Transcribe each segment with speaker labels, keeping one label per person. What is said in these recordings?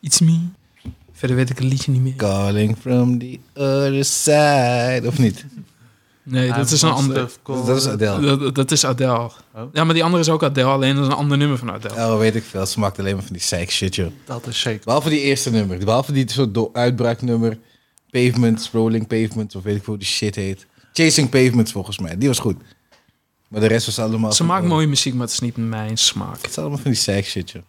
Speaker 1: It's me. Verder weet ik het liedje niet meer.
Speaker 2: Calling from the other side. Of niet?
Speaker 1: Nee, dat is een ander.
Speaker 2: Dus dat is Adele.
Speaker 1: Dat, dat is Adele.
Speaker 3: Oh.
Speaker 1: Ja, maar die andere is ook Adele, alleen dat is een ander nummer van Adele.
Speaker 2: Oh, weet ik veel. Ze maakt alleen maar van die psych shit, joh.
Speaker 3: Dat is zeker.
Speaker 2: Behalve die eerste nummer. Behalve die soort do- uitbraaknummer. Pavements, Rolling Pavements, of weet ik hoe die shit heet. Chasing Pavements, volgens mij. Die was goed. Maar de rest was allemaal...
Speaker 1: Ze maakt mooie muziek, maar het is niet mijn smaak.
Speaker 2: Het is allemaal van die psych shit, joh.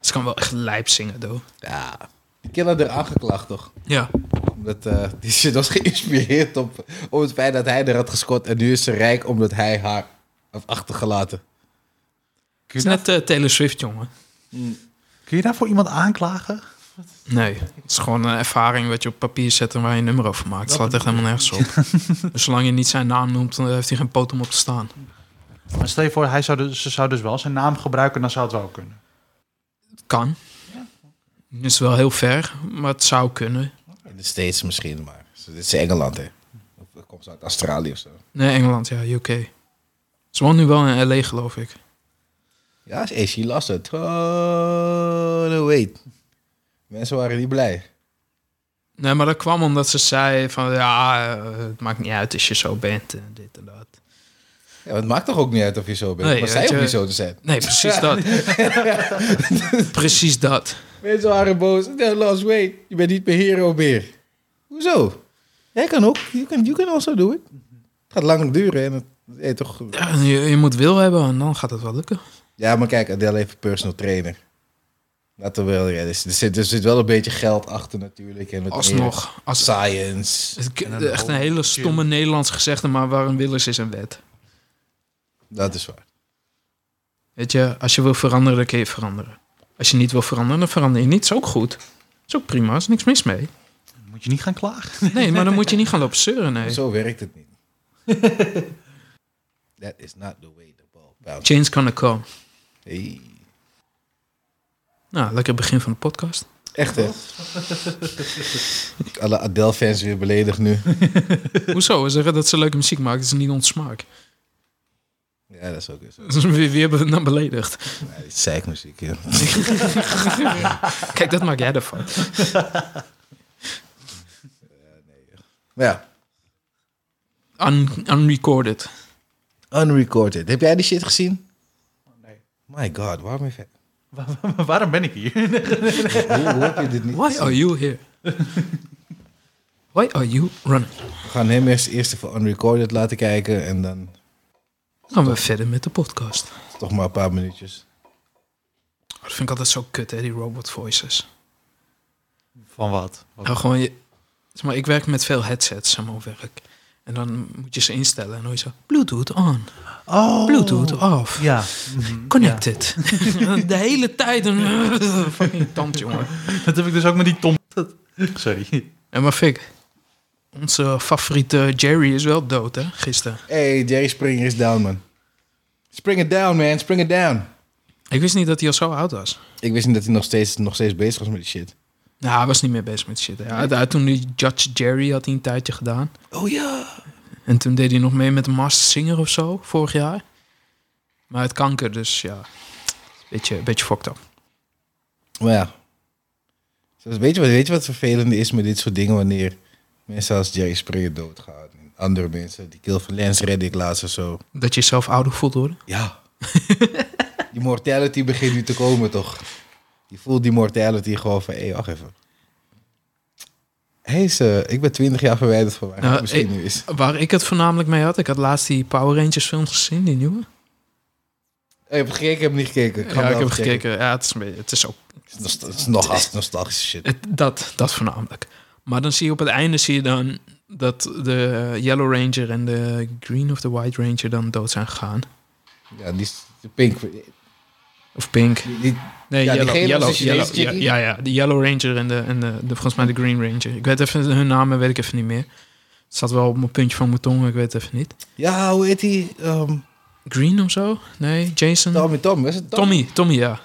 Speaker 1: Ze kan wel echt lijp zingen, doe.
Speaker 2: Ja. Die killer er aangeklaagd, toch?
Speaker 1: Ja.
Speaker 2: Omdat eh, die shit was geïnspireerd op, op het feit dat hij er had gescoord. En nu is ze rijk omdat hij haar heeft achtergelaten.
Speaker 1: Het is net eh, Taylor Swift, jongen.
Speaker 3: Kun je daarvoor iemand aanklagen?
Speaker 1: Nee, het is gewoon een ervaring wat je op papier zet en waar je een nummer over maakt. Het slaat echt helemaal nergens op. dus zolang je niet zijn naam noemt, dan heeft hij geen poot om op te staan.
Speaker 3: Maar stel je voor, hij zou dus, ze zou dus wel zijn naam gebruiken, dan zou het wel kunnen.
Speaker 1: Het kan. Het is wel heel ver, maar het zou kunnen.
Speaker 2: In de States misschien, maar dit is Engeland, hè. Of komt ze uit Australië of zo.
Speaker 1: Nee, Engeland, ja, UK. Ze woont nu wel in LA, geloof ik.
Speaker 2: Ja, hey, she lost it. Oh, wait. Mensen waren niet blij.
Speaker 1: Nee, maar dat kwam omdat ze zei van ja, eh, het maakt niet uit als je zo bent en dit en dat.
Speaker 2: Ja, maar het maakt toch ook niet uit of je zo bent.
Speaker 1: Nee,
Speaker 2: maar
Speaker 1: weet
Speaker 2: zij
Speaker 1: je-
Speaker 2: hoeft niet zo te zijn.
Speaker 1: Nee, precies dat. precies dat.
Speaker 2: Mensen waren boos. No, lost weight. Je bent niet mijn hero meer. Hoezo? Jij kan ook. You can, you can also do it. Het gaat lang duren. En het, hey, toch...
Speaker 1: Ja, je, je moet wil hebben en dan gaat het wel lukken.
Speaker 2: Ja, maar kijk, Adele heeft een personal trainer. Laten we wel realistisch. Er zit, er zit wel een beetje geld achter natuurlijk. En wat meer
Speaker 1: Alsnog. Als,
Speaker 2: Science.
Speaker 1: Het-
Speaker 3: En een
Speaker 1: echt een hele
Speaker 3: hoop
Speaker 1: stomme Nederlands gezegde, maar waar een wil is, is een wet.
Speaker 2: Dat is waar.
Speaker 1: Weet je, als je wil veranderen, dan kun je veranderen. Als je niet wil veranderen, dan verander je niet. Is ook goed. Is ook prima, is niks mis mee.
Speaker 3: Moet je niet gaan klagen.
Speaker 1: Nee, maar dan moet je niet gaan lopen zeuren, nee.
Speaker 2: Zo werkt het niet. That is not the way the ball bounces.
Speaker 1: Change gonna come.
Speaker 2: Hey.
Speaker 1: Nou, lekker begin van de podcast.
Speaker 2: Echt hè? Alle Adele-fans weer beledigd nu.
Speaker 1: Hoezo? We zeggen dat ze leuke muziek maakt, dat is niet ons smaak.
Speaker 2: Ja, dat is ook weer zo.
Speaker 1: Dat is weer, weer be- nou beledigd.
Speaker 2: Ja, dit is zeikmuziek, joh.
Speaker 1: Kijk, dat maak jij ervan.
Speaker 2: Maar ja,
Speaker 1: Un- unrecorded.
Speaker 2: unrecorded. Heb jij die shit gezien?
Speaker 3: Nee.
Speaker 2: My god, waarom heeft hij...
Speaker 3: Wa- wa- Waarom ben ik hier?
Speaker 2: Hoe, hoe heb je dit niet
Speaker 1: Why
Speaker 2: gezien?
Speaker 1: are you here? Why are you running?
Speaker 2: We gaan hem eerst, eerst even unrecorded laten kijken en dan
Speaker 1: Dan gaan we verder met de podcast.
Speaker 2: toch maar een paar minuutjes.
Speaker 1: Oh, Dat vind ik altijd zo kut, hè, die robot voices.
Speaker 3: Van wat? Wat-
Speaker 1: Nou, gewoon je, zeg maar, ik werk met veel headsets zeg maar, op werk. En dan moet je ze instellen en dan hoor je zo... Bluetooth on,
Speaker 3: Oh,
Speaker 1: Bluetooth off,
Speaker 3: Ja,
Speaker 1: connected. De hele tijd een fucking tand, jongen.
Speaker 3: dat heb ik dus ook met die Tom. Sorry.
Speaker 1: En maar Fik, onze favoriete Jerry is wel dood, hè, gisteren.
Speaker 2: Hey, Jerry Springer is down, man. Spring it down, man. Spring it down.
Speaker 1: Ik wist niet dat hij al zo oud was.
Speaker 2: Ik wist niet dat hij nog steeds, nog steeds bezig was met die shit.
Speaker 1: Nou, hij was niet meer bezig met shit. hè. Hij- hij- toen die Judge Jerry had hij een tijdje gedaan.
Speaker 2: Oh ja.
Speaker 1: En toen deed hij nog mee met de Master Singer of zo, vorig jaar. Maar het kanker, dus ja. Beetje, beetje fucked up.
Speaker 2: Maar ja. Dus weet, je wat, weet je wat het vervelende is met dit soort dingen wanneer mensen als Jerry Springer doodgaan? En andere mensen, die kill van Lance Reddick laatst of zo.
Speaker 1: Dat je jezelf ouder voelt worden.
Speaker 2: Ja. die mortality begint nu te komen, toch? Je voelt die mortality gewoon van, hé, wacht even. Hé, ze, ik ben 20 jaar verwijderd van waar
Speaker 1: Nou,
Speaker 2: het misschien
Speaker 1: ik-
Speaker 2: nu is.
Speaker 1: Waar ik het voornamelijk mee had, ik had laatst die Power Rangers film gezien, die nieuwe.
Speaker 2: Oh, je hebt gekeken, ik heb niet gekeken. Ik ga
Speaker 1: Ja,
Speaker 2: hem
Speaker 1: ik
Speaker 2: wel
Speaker 1: heb
Speaker 2: even kijken.
Speaker 1: gekeken. Ja, het is, een beetje- het is ook
Speaker 2: Het is nost- Het is nog als nostalgische shit.
Speaker 1: het- dat, dat voornamelijk. Maar dan zie je op het einde zie je dan dat de eh, Yellow Ranger en de Green of the White Ranger dan dood zijn gegaan.
Speaker 2: Ja, die is die pink. Die-
Speaker 1: Of Pink.
Speaker 2: die-
Speaker 1: Nee,
Speaker 2: Ja, die
Speaker 1: Yellow,
Speaker 2: gele was dus
Speaker 1: Yellow,
Speaker 2: die Chinese
Speaker 1: Yellow, ja,
Speaker 2: chickie.
Speaker 1: ja, ja, de Yellow Ranger en, de, en de, de, volgens mij de Green Ranger. Ik weet even hun namen, weet ik even niet meer. Het staat wel op mijn puntje van mijn tong, ik weet het even niet.
Speaker 2: ja, hoe heet die? Ehm,
Speaker 1: Green of zo? Nee, Jason?
Speaker 2: Tommy Tom, is het Tom?
Speaker 1: Tommy, Tommy, ja.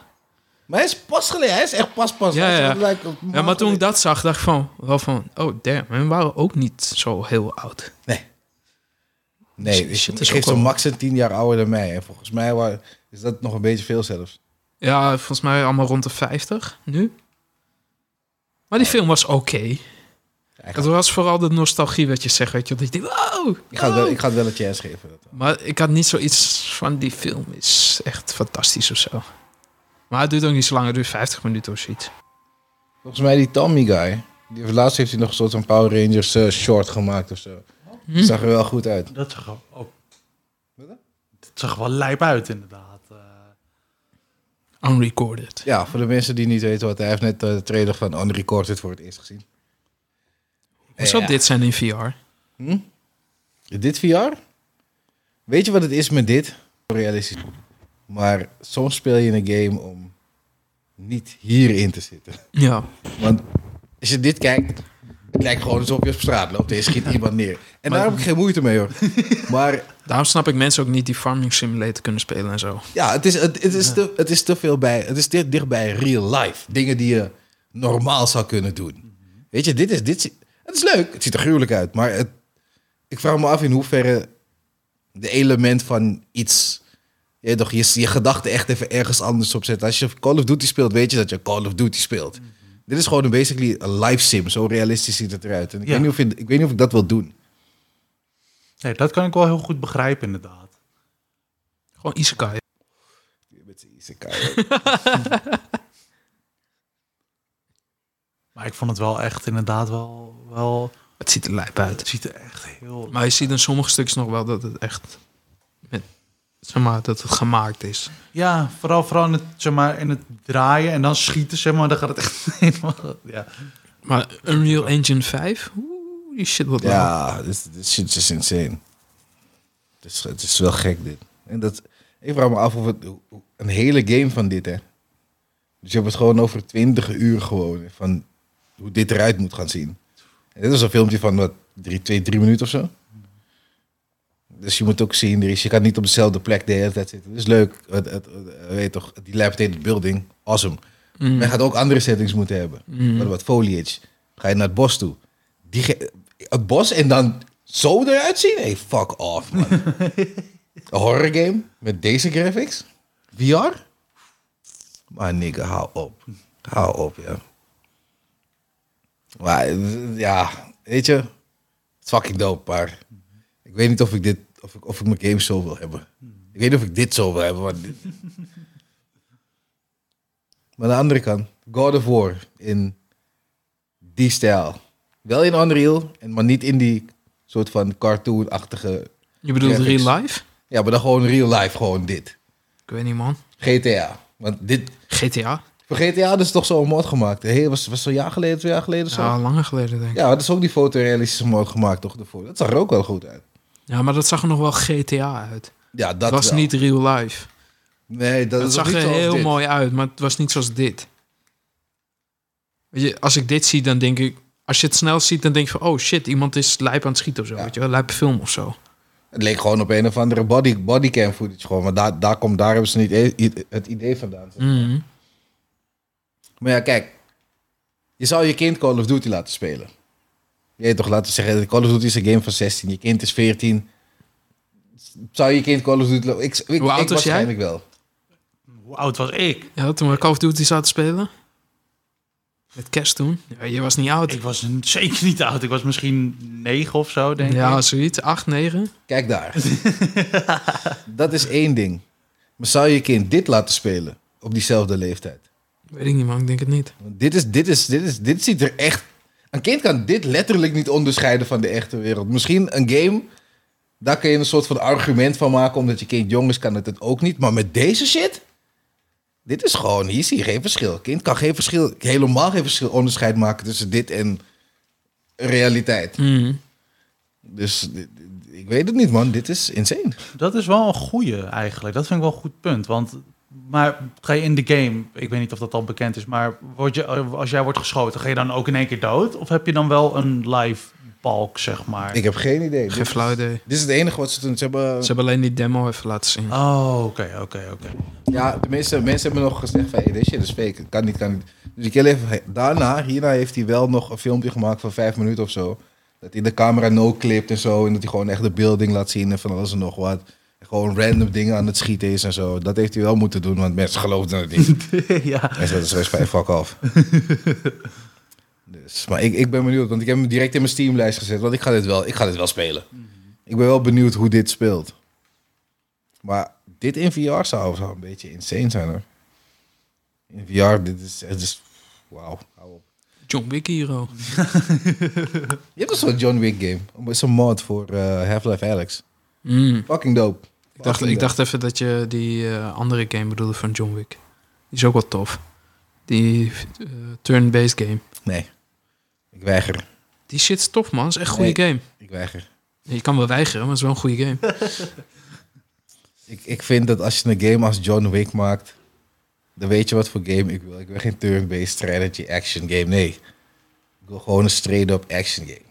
Speaker 2: Maar hij is pas geleden, hij is echt pas pas.
Speaker 1: Ja,
Speaker 2: Hij is
Speaker 1: ja.
Speaker 2: echt, like, een
Speaker 1: Ja, maar
Speaker 2: maand
Speaker 1: toen ik
Speaker 2: geleden.
Speaker 1: dat zag, dacht ik van, wel van, oh damn, hun waren ook niet zo heel oud.
Speaker 2: Nee,
Speaker 1: Shit,
Speaker 2: ik
Speaker 1: is ook
Speaker 2: geef zo'n
Speaker 1: wel-
Speaker 2: max een 10 jaar ouder dan mij. En volgens mij wa- is dat nog een beetje veel zelfs.
Speaker 1: Ja, volgens mij allemaal rond de 50 nu. Maar die film was oké.
Speaker 2: Ja, ik,
Speaker 1: Het
Speaker 2: ga,
Speaker 1: was vooral de nostalgie wat je zegt, weet je. Dat je denkt, wow.
Speaker 2: ik, ga het wel, ik ga het wel een chance geven. Dat wel.
Speaker 1: Maar ik had niet zoiets van die film is echt fantastisch of zo. Maar het duurt ook niet zo lang, het duurt 50 minuten of zoiets.
Speaker 2: Volgens mij die Tommy guy. Die heeft, laatst heeft hij nog een soort van Power Rangers eh, short gemaakt of zo.
Speaker 1: Hm.
Speaker 2: Zag er wel goed uit.
Speaker 3: Dat zag er ook...
Speaker 2: Wat dan?
Speaker 3: Dat zag er wel lijp uit, inderdaad. Eh,
Speaker 1: Unrecorded.
Speaker 2: Ja, voor de mensen die niet weten wat hij heeft net eh, de trailer van Unrecorded voor het eerst gezien.
Speaker 1: Hoe zou
Speaker 2: Ja.
Speaker 1: dit zijn in VR?
Speaker 2: Hm? Dit VR? Weet je wat het is met dit? Realistisch. Maar soms speel je een game om niet hierin te zitten.
Speaker 1: Ja.
Speaker 2: Want als je dit kijkt, het lijkt gewoon alsof je op straat loopt en je schiet iemand neer. En daar heb ik geen moeite mee hoor. Maar
Speaker 1: Daarom snap ik mensen ook niet die Farming Simulator kunnen spelen en zo.
Speaker 2: ja, het is, het, het is, te, het is te veel bij. Het is te dichtbij real life. Dingen die je normaal zou kunnen doen. Weet je, dit is. Dit, zi- het is leuk. Het ziet er gruwelijk uit. Maar het, ik vraag me af in hoeverre de element van iets. Je, weet toch, je, je gedachten echt even ergens anders op zet. Als je Call of Duty speelt, weet je dat je Call of Duty speelt. Dit is gewoon een basically een life sim. Zo realistisch ziet het eruit. En ik,
Speaker 3: Ja.
Speaker 2: weet niet of je- ik weet niet of ik dat wil doen.
Speaker 3: nee, dat kan ik wel heel goed begrijpen, inderdaad.
Speaker 1: Gewoon Isekai.
Speaker 2: Met z'n isekai.
Speaker 3: Maar ik vond het wel echt inderdaad wel... wel
Speaker 1: Het ziet er lijp uit.
Speaker 3: het ziet er echt heel...
Speaker 1: Maar je ziet in sommige stukjes nog wel dat het echt... Met, zeg maar, dat het gemaakt is.
Speaker 3: Ja, vooral, vooral in, het, zeg maar, in het draaien en dan schieten, zeg maar. Dan gaat het echt helemaal... Ja.
Speaker 1: Maar Unreal Engine 5? Oeh, die shit wordt ja.
Speaker 2: Ja, dit, dit shit is insane. Het is, het is wel gek dit. En dat, ik vraag me af of het hoe- hoe- een hele game van dit, hè. Dus je hebt het gewoon over 20 uur gewoon, hè, van hoe dit eruit moet gaan zien. En dit is een filmpje van, wat, drie, twee, drie minuten of zo. Dus je moet ook zien, er is- je kan niet op dezelfde plek de hele tijd zitten. Dat is leuk, het, het, het- weet toch, die dilapidated building, awesome.
Speaker 1: Mm.
Speaker 2: Men gaat ook andere settings moeten hebben.
Speaker 1: Mm.
Speaker 2: Wat, wat foliage. Ga je naar het bos toe. Die ge- het bos en dan zo eruit zien? Hey, fuck off, man. Een horror game met deze graphics? VR? Maar nigga, hou op. Hou op, ja. Maar eh, ja, weet je. It's fucking dope, maar... Ik weet niet of ik dit... Of ik, of ik mijn game zo wil hebben. Ik weet niet of ik dit zo wil hebben, want dit- maar aan de andere kant, God of War in die stijl. Wel in Unreal, en maar niet in die soort van cartoon-achtige...
Speaker 1: Je bedoelt
Speaker 2: graphics.
Speaker 1: real life?
Speaker 2: Ja, maar dan gewoon real life, gewoon dit.
Speaker 1: Ik weet niet, man.
Speaker 2: GTA. Want dit...
Speaker 1: GTA?
Speaker 2: Voor GTA hadden ze toch zo'n mod gemaakt. Hey, was, was zo'n jaar geleden, twee jaar geleden of zo?
Speaker 1: Ja,
Speaker 2: Ja,
Speaker 1: langer geleden, denk ik.
Speaker 2: dat is ook die fotorealistische mod gemaakt, toch? Ervoor. Dat zag er ook wel goed uit.
Speaker 1: Ja, maar dat zag er nog wel GTA uit.
Speaker 2: Ja, dat
Speaker 1: Dat was
Speaker 2: wel.
Speaker 1: niet real life.
Speaker 2: Nee, dat,
Speaker 1: Dat,
Speaker 2: is
Speaker 1: zag
Speaker 2: niet
Speaker 1: er
Speaker 2: zoals
Speaker 1: heel
Speaker 2: dit.
Speaker 1: mooi uit, maar het was niet zoals dit. Weet je, als ik dit zie, dan denk ik... Als je het snel ziet, dan denk je van... Oh shit, iemand is lijp aan het schieten of zo.
Speaker 2: Ja.
Speaker 1: Weet je wel, lijp film of zo.
Speaker 2: Het leek gewoon op een of andere body, bodycam footage gewoon. Maar daar, daar, komt, daar hebben ze niet e- het idee vandaan.
Speaker 1: Mhm.
Speaker 2: Maar ja, kijk. Je zou je kind Call of Duty laten spelen. Je weet toch, laten we zeggen, Call of Duty is een game van 16. Je kind is 14. Zou je kind Call of Duty... la- Ik, ik, ik
Speaker 1: Hoe oud was jij?
Speaker 2: waarschijnlijk wel.
Speaker 3: Hoe oud was ik?
Speaker 1: Ja, toen we Call of Duty zaten spelen. Met kerst toen. Ja, je was niet oud.
Speaker 3: Ik was een- zeker niet oud. Ik was misschien negen of zo, denk
Speaker 1: Ja,
Speaker 3: ik.
Speaker 1: zoiets. 8, 9.
Speaker 2: Kijk daar. dat is één ding. Maar zou je je kind dit laten spelen? Op diezelfde leeftijd.
Speaker 1: Weet ik niet, man. Ik denk het niet.
Speaker 2: Want dit, is, dit, is, dit, is, dit ziet er echt... Een kind kan dit letterlijk niet onderscheiden van de echte wereld. Misschien een game... Daar kun je een soort van argument van maken. Omdat je kind jong is, kan het het ook niet. Maar met deze shit... Dit is gewoon... Hier zie je geen verschil. Kind kan geen verschil... Helemaal geen verschil onderscheid maken tussen dit en realiteit.
Speaker 1: Mhm.
Speaker 2: Dus dit- dit- ik weet het niet, man. Dit is insane.
Speaker 3: Dat is wel een goeie eigenlijk. Dat vind ik wel een goed punt. Want maar ga je in de game, ik weet niet of dat al bekend is, maar word je, als jij wordt geschoten, ga je dan ook in één keer dood? Of heb je dan wel een live balk, zeg maar?
Speaker 2: Ik heb geen idee.
Speaker 1: Geen
Speaker 2: Dit,
Speaker 1: flauw idee.
Speaker 2: dit is het enige wat ze toen ze hebben...
Speaker 1: Ze hebben alleen die demo even laten
Speaker 2: Ah.
Speaker 1: zien.
Speaker 3: Oh, oké, oké, oké.
Speaker 2: Ja, de meeste mensen hebben nog gezegd van, hey, dit shit is fake, Het kan niet, kan niet. Dus ik heel even, daarna, hierna heeft hij wel nog een filmpje gemaakt van vijf minuten of zo. Dat hij de camera no-clipt en zo, en dat hij gewoon echt de building laat zien en van alles en nog wat. En gewoon random dingen aan het schieten is en zo. Dat heeft hij wel moeten doen, want mensen geloofden het niet.
Speaker 3: ja.
Speaker 2: Mensen hadden zoiets van, hey, fuck off. Dus, maar ik, ik ben benieuwd, want ik heb hem direct in mijn Steamlijst gezet. Want ik ga dit wel, ik ga dit wel spelen. Ik ben wel benieuwd hoe dit speelt. Maar dit in VR zou, zou een beetje insane zijn hoor. In VR, dit is... Het is Wauw, hou op.
Speaker 1: John Wick Hero.
Speaker 2: Je hebt een soort John Wick game. Het is een mod voor eh, Half-Life Alex.
Speaker 1: Mm.
Speaker 2: Fucking dope.
Speaker 1: Ik, dacht, ik dacht even dat je die eh, andere game bedoelde van John Wick. Die is ook wel tof. Die eh, turn-based game.
Speaker 2: Nee. Ik weiger.
Speaker 1: Die shit is tof, man. is echt een goede game.
Speaker 2: Ik weiger.
Speaker 1: Je kan wel weigeren, maar het is wel een goede game.
Speaker 2: Ik, ik vind dat als je een game als John Wick maakt, dan weet je wat voor game ik wil. Ik wil geen turn-based strategy action game. Nee. Ik wil gewoon een straight-up action game.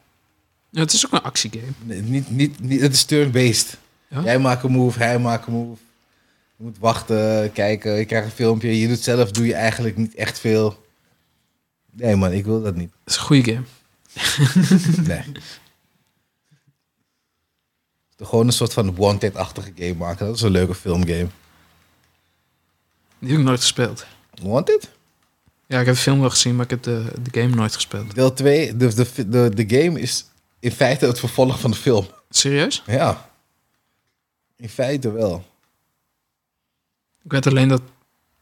Speaker 1: Ja, het is ook een actiegame.
Speaker 2: Nee, niet, niet, niet, het is turn-based.
Speaker 1: Ja?
Speaker 2: Jij maakt een move, hij maakt een move. Je moet wachten, kijken, je krijgt een filmpje. Je doet zelf, doe je eigenlijk niet echt veel. Nee man, ik wil dat niet.
Speaker 1: Het is een goede game.
Speaker 2: Nee. Gewoon een soort van Wanted-achtige game maken. Dat is een leuke filmgame.
Speaker 1: Die heb ik nooit gespeeld.
Speaker 2: Wanted?
Speaker 1: Ja, ik heb de film wel gezien, maar ik heb de, de game nooit gespeeld.
Speaker 2: Deel 2, de, de, de, de game is in feite het vervolg van de film.
Speaker 1: Serieus?
Speaker 2: Ja. In feite wel.
Speaker 1: Ik weet alleen dat...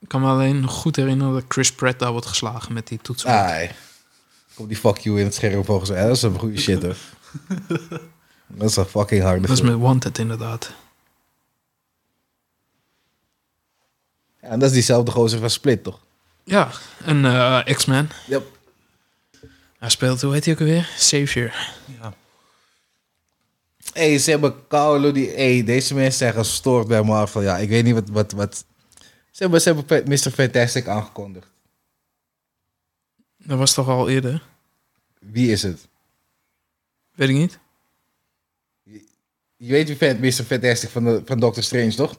Speaker 1: Ik kan me alleen nog goed herinneren dat Chris Pratt daar wordt geslagen met die toets.
Speaker 2: Ai. Komt die fuck you in het scherm volgens mij. Dat is een goede shit hoor. Dat is een fucking harde
Speaker 1: dat is
Speaker 2: film.
Speaker 1: met Wanted inderdaad.
Speaker 2: Ja, en dat is diezelfde gozer van Split toch?
Speaker 1: Ja, en eh, X-Men.
Speaker 2: Yep.
Speaker 1: Hij speelt, hoe heet hij ook alweer? Savior.
Speaker 3: Ja.
Speaker 2: Hey, ze hebben Carlo die. Hey, deze mensen zijn gestoord bij Marvel. Ja, ik weet niet wat. wat, wat. Ze, hebben, ze hebben Fa- Mr. Fantastic aangekondigd.
Speaker 1: Dat was toch al eerder?
Speaker 2: Wie is het?
Speaker 1: Weet ik niet.
Speaker 2: Je weet wie Fan- Mr. Fantastic van, de, van Doctor Strange, toch?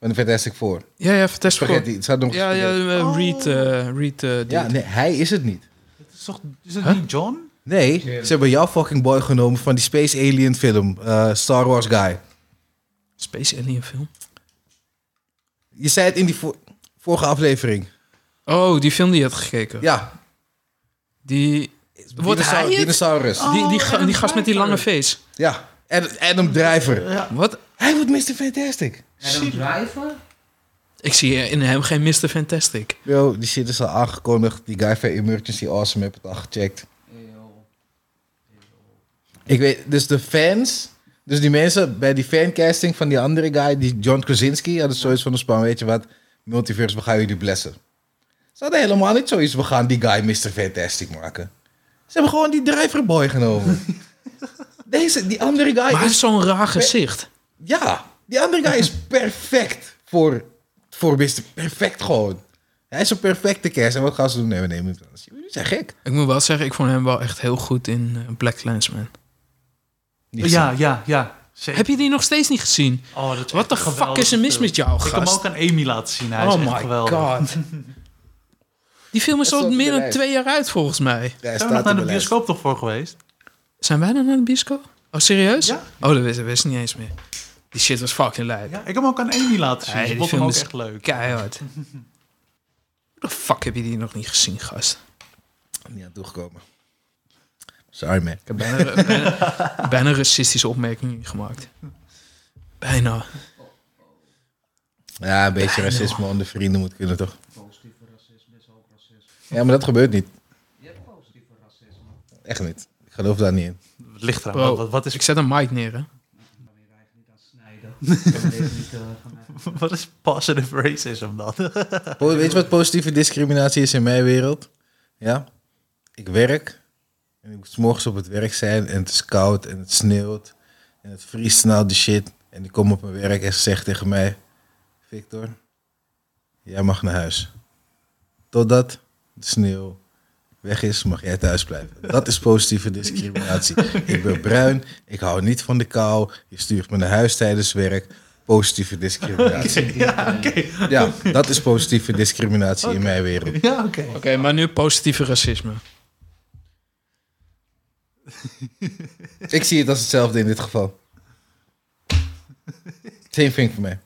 Speaker 2: Van de Fantastic Four.
Speaker 1: Ja, ja, Fantastic Four.
Speaker 2: Spaghetti. Het staat nog
Speaker 1: Ja, ja,
Speaker 2: spaghetti.
Speaker 1: eh,
Speaker 3: Oh.
Speaker 1: Reed. eh, Reed eh, dude.
Speaker 2: ja, nee, hij is het niet.
Speaker 3: Het is, toch, is het
Speaker 1: Huh?
Speaker 3: niet John?
Speaker 2: Nee, ze hebben jouw fucking boy genomen van die Space Alien film. eh, Star Wars Guy.
Speaker 1: Space Alien film.
Speaker 2: Je zei het in die vo- vorige aflevering.
Speaker 1: Oh, die film die je had gekeken.
Speaker 2: Ja.
Speaker 1: Die, Wordt hij
Speaker 2: Dinosaur-
Speaker 1: het?
Speaker 2: Dinosaurus.
Speaker 1: die, die, ga-
Speaker 3: Adam
Speaker 1: die gast met die lange
Speaker 3: Driver.
Speaker 1: face.
Speaker 2: Ja. Ad- Adam Driver.
Speaker 1: Wat?
Speaker 2: Hij wordt Mr. Fantastic.
Speaker 4: Adam Driver?
Speaker 1: Ik zie eh, in hem geen Mr. Fantastic.
Speaker 2: Yo, die shit is al aangekondigd. Die guy van Emergency Awesome heb het al gecheckt.
Speaker 4: Eeuw.
Speaker 2: Ik weet, dus de fans... Dus die mensen bij die fancasting van die andere guy, die John Krasinski, hadden zoiets van de span, weet je wat? Multiverse, we gaan jullie blessen. Ze hadden helemaal niet zoiets, we gaan die guy Mr. Fantastic maken. Ze hebben gewoon die driverboy genomen. Deze, die andere guy
Speaker 1: Maar hij
Speaker 2: is
Speaker 1: heeft zo'n raar gezicht.
Speaker 2: Ja, die andere guy is perfect voor, voor Mr. Perfect gewoon. Hij is een perfecte kerst. En wat gaan ze doen? Nee, we nemen hem anders. Jullie zijn gek.
Speaker 1: Ik moet wel zeggen, ik vond hem wel echt heel goed in eh, Black Clansman.
Speaker 2: Niet
Speaker 3: Ja, ja, ja. Zeker.
Speaker 1: Heb je die nog steeds niet gezien?
Speaker 3: Oh, dat is
Speaker 1: Wat
Speaker 3: echt
Speaker 1: de
Speaker 3: een
Speaker 1: fuck
Speaker 3: geweldige
Speaker 1: is er mis
Speaker 3: film.
Speaker 1: met jou,
Speaker 3: Ik heb hem
Speaker 1: gast?
Speaker 3: ook aan Amy laten zien. Hij is
Speaker 1: Oh
Speaker 3: echt
Speaker 1: my
Speaker 3: geweldig.
Speaker 1: god. Die film is
Speaker 2: Dat is
Speaker 1: al
Speaker 2: ook
Speaker 1: meer dan
Speaker 2: beleid.
Speaker 1: twee jaar uit, volgens mij.
Speaker 2: Hij
Speaker 3: Zijn we nog
Speaker 2: staat
Speaker 3: naar
Speaker 2: in
Speaker 3: de
Speaker 2: de lijst.
Speaker 3: bioscoop toch voor geweest?
Speaker 1: Zijn wij dan naar de bioscoop? Oh, serieus?
Speaker 3: Ja.
Speaker 1: Oh, dat wist, dat wist ik niet eens meer. Die shit was fucking lijp.
Speaker 3: Ja, ik heb hem ook aan Amy laten zien.
Speaker 1: Nee, die
Speaker 3: ik vond hem
Speaker 1: film
Speaker 3: ook
Speaker 1: is
Speaker 3: echt leuk.
Speaker 1: Keihard. Hoe de fuck heb je die nog niet gezien, gast?
Speaker 2: Niet aan toegekomen. Sorry, man.
Speaker 1: Ik heb bijna, bijna, bijna een racistische opmerking gemaakt. Bijna.
Speaker 2: Ja, een beetje racisme onder vrienden moet kunnen, toch? Ja, maar dat gebeurt niet.
Speaker 4: Je hebt positief voor racisme.
Speaker 2: Echt niet. Ik geloof daar niet in.
Speaker 3: Het ligt eraan.
Speaker 1: Bro,
Speaker 3: Wat, wat,
Speaker 1: Ik
Speaker 3: is,
Speaker 1: zet een mic neer, hè?
Speaker 4: Ik ben hier eigenlijk niet aan het snijden. Ik heb deze niet eh, gemaakt.
Speaker 3: wat is positive racism dan?
Speaker 2: Po- Weet je wat positieve discriminatie is in mijn wereld? Ja? Ik werk. En ik moet 's morgens op het werk zijn. En het is koud. En het sneeuwt. En het vriest snel de shit. En ik kom op mijn werk en ze zegt tegen mij... Victor, jij mag naar huis. Totdat de sneeuw weg is, mag jij thuis blijven. Dat is positieve discriminatie. Ik ben bruin. Ik hou niet van de kou. Je stuurt me naar huis tijdens werk. Positieve discriminatie.
Speaker 3: ja, oké.
Speaker 2: Ja, dat is positieve discriminatie in mijn wereld.
Speaker 3: Ja, oké.
Speaker 1: Oké, maar nu positieve racisme.
Speaker 2: Ik zie het als hetzelfde in dit geval. Same thing voor mij.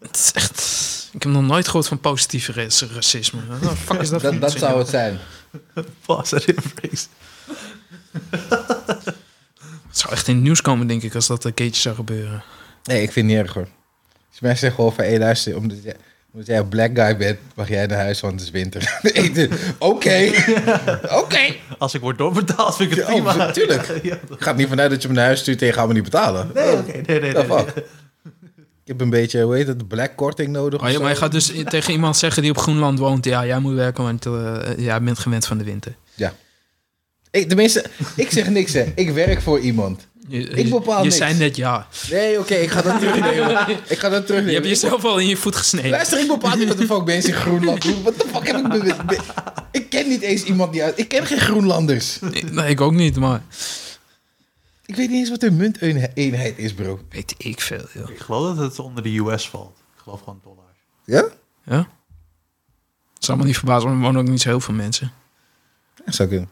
Speaker 1: Het is echt... Ik heb nog nooit gehoord van positieve ra- racisme. Wat de fuck is dat,
Speaker 2: Dat,
Speaker 1: voor
Speaker 2: dat
Speaker 1: onzin?
Speaker 2: zou het zijn.
Speaker 3: Positive racism.
Speaker 1: zou echt in het nieuws komen, denk ik, als dat een keertje zou gebeuren.
Speaker 2: Nee, ik vind het niet erg hoor. Als mensen zeggen gewoon van, hé luister, omdat jij, omdat jij een black guy bent, mag jij naar huis, want het is winter. Ik denk, Oké, oké.
Speaker 3: Als ik word doorbetaald, vind ik het
Speaker 2: Ja, oh,
Speaker 3: prima.
Speaker 2: natuurlijk.
Speaker 3: Ja,
Speaker 2: Ik ga er niet vanuit dat je me naar huis stuurt en je gaat me niet betalen.
Speaker 3: nee, oké, nee, nee, nee,
Speaker 2: The
Speaker 3: nee.
Speaker 2: fuck? Ik heb een beetje, hoe heet het, black korting nodig.
Speaker 1: Oh, ja,
Speaker 2: of
Speaker 1: maar je
Speaker 2: zo.
Speaker 1: gaat dus i- tegen iemand zeggen die op Groenland woont... ja, jij moet werken, want eh, jij bent gewend van de winter.
Speaker 2: ik, tenminste, ik zeg niks hè. Ik werk voor iemand.
Speaker 1: Je,
Speaker 2: Ik bepaal
Speaker 1: Je
Speaker 2: niks.
Speaker 1: zei net ja.
Speaker 2: Nee, oké, ik ga dat terugnemen. Ik ga dat
Speaker 1: Je
Speaker 2: terugnemen.
Speaker 1: hebt jezelf al in je voet
Speaker 2: Ik-
Speaker 1: gesneden.
Speaker 2: Luister, ik bepaal niet wat de fuck mensen in Groenland doen. Wat de fuck heb ik... be- be- Ik ken niet eens iemand die uit... Ik ken geen Groenlanders.
Speaker 1: Nee, ik ook niet, maar...
Speaker 2: Ik weet niet eens wat een munteenheid is, bro.
Speaker 1: Weet ik veel, joh.
Speaker 3: Ik geloof dat het onder de US valt. Ik geloof gewoon dollars.
Speaker 2: Ja?
Speaker 1: Ja? Het is allemaal niet verbazen, want er wonen ook niet zo heel veel mensen.
Speaker 2: Ja, zou kunnen.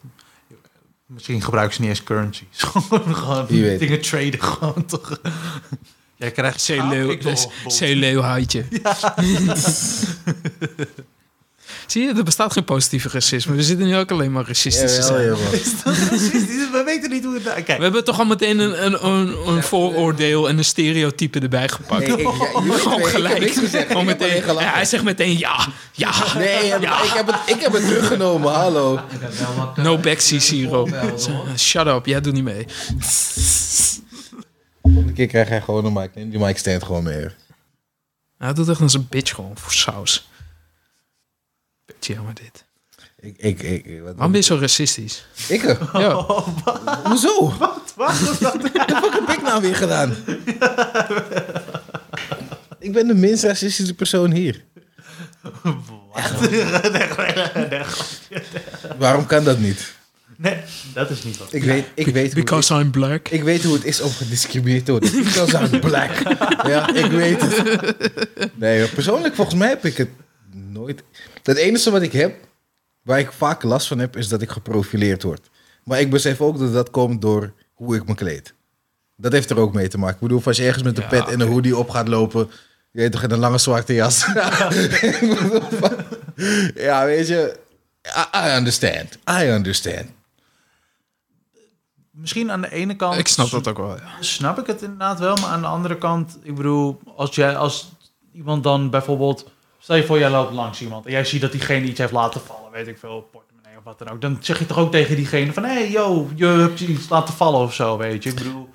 Speaker 3: Misschien gebruiken ze niet eens currencies. gewoon gewoon
Speaker 2: Wie weet.
Speaker 3: dingen traden gewoon toch. Jij krijgt
Speaker 1: Zeeleeuw,
Speaker 3: Afrika-
Speaker 1: zeeleeuwhaitje. Zie je, er bestaat geen positieve racisme. We zitten nu ook alleen maar racistisch te
Speaker 2: Jawel,
Speaker 1: zijn.
Speaker 2: joh, man.
Speaker 3: Is dat racistisch? We weten niet hoe het... Kijk,
Speaker 1: We hebben toch al meteen een, een, een, een vooroordeel en een stereotype erbij gepakt.
Speaker 2: Nee, ik, ja, jullie weten,
Speaker 1: Gewoon
Speaker 2: ik heb
Speaker 1: gelijk.
Speaker 2: niks gezegd.
Speaker 1: Gewoon
Speaker 2: Ik heb
Speaker 1: meteen,
Speaker 2: alleen gelachen.
Speaker 1: ja, hij zegt meteen ja, ja.
Speaker 2: Nee, ja, maar ik heb, het, ik heb het teruggenomen, hallo.
Speaker 4: Ik heb wel wat...
Speaker 1: No backseat hierop.
Speaker 4: voorbeelden, hoor.
Speaker 1: Shut up, jij doet niet mee.
Speaker 2: Volgende keer krijg jij gewoon een mic. Neem die mic stand gewoon mee.
Speaker 1: Hij doet echt als een bitch gewoon voor saus. Beetje jammer dit.
Speaker 2: Ik, ik, ik. Wat,
Speaker 1: Waarom ben je zo racistisch?
Speaker 2: Ik? eh,
Speaker 1: Ja.
Speaker 2: Hoezo? Wat? Wat? de fuck heb ik nou weer gedaan? ik ben de minst racistische persoon hier. Waarom kan dat niet?
Speaker 3: nee, dat is niet wat.
Speaker 2: Ik weet, ik weet hoe het is.
Speaker 1: Because I'm black.
Speaker 2: Ik weet hoe het is om gediscrimineerd te worden. Because I'm black. Ja, ik weet het. Nee, maar persoonlijk volgens mij heb ik het nooit... Het enige wat ik heb, waar ik vaak last van heb, is dat ik geprofileerd word. Maar ik besef ook dat dat komt door hoe ik me kleed. Dat heeft er ook mee te maken. Ik bedoel, als je ergens met een
Speaker 1: Ja,
Speaker 2: pet en een hoodie op gaat lopen... Je weet toch, en een lange zwarte jas. Ik bedoel, van- ja, weet je... I, I understand. I understand.
Speaker 3: Misschien aan de ene kant...
Speaker 1: Ik snap dat ook wel, ja.
Speaker 3: Snap ik het inderdaad wel, maar aan de andere kant... Ik bedoel, als, jij, als iemand dan bijvoorbeeld... Stel je voor, jij loopt langs iemand en jij ziet dat diegene iets heeft laten vallen. Weet ik veel, portemonnee of wat dan ook. Dan zeg je toch ook tegen diegene van... Hé, hey, yo, je hebt iets laten vallen of zo, weet je. Ik bedoel...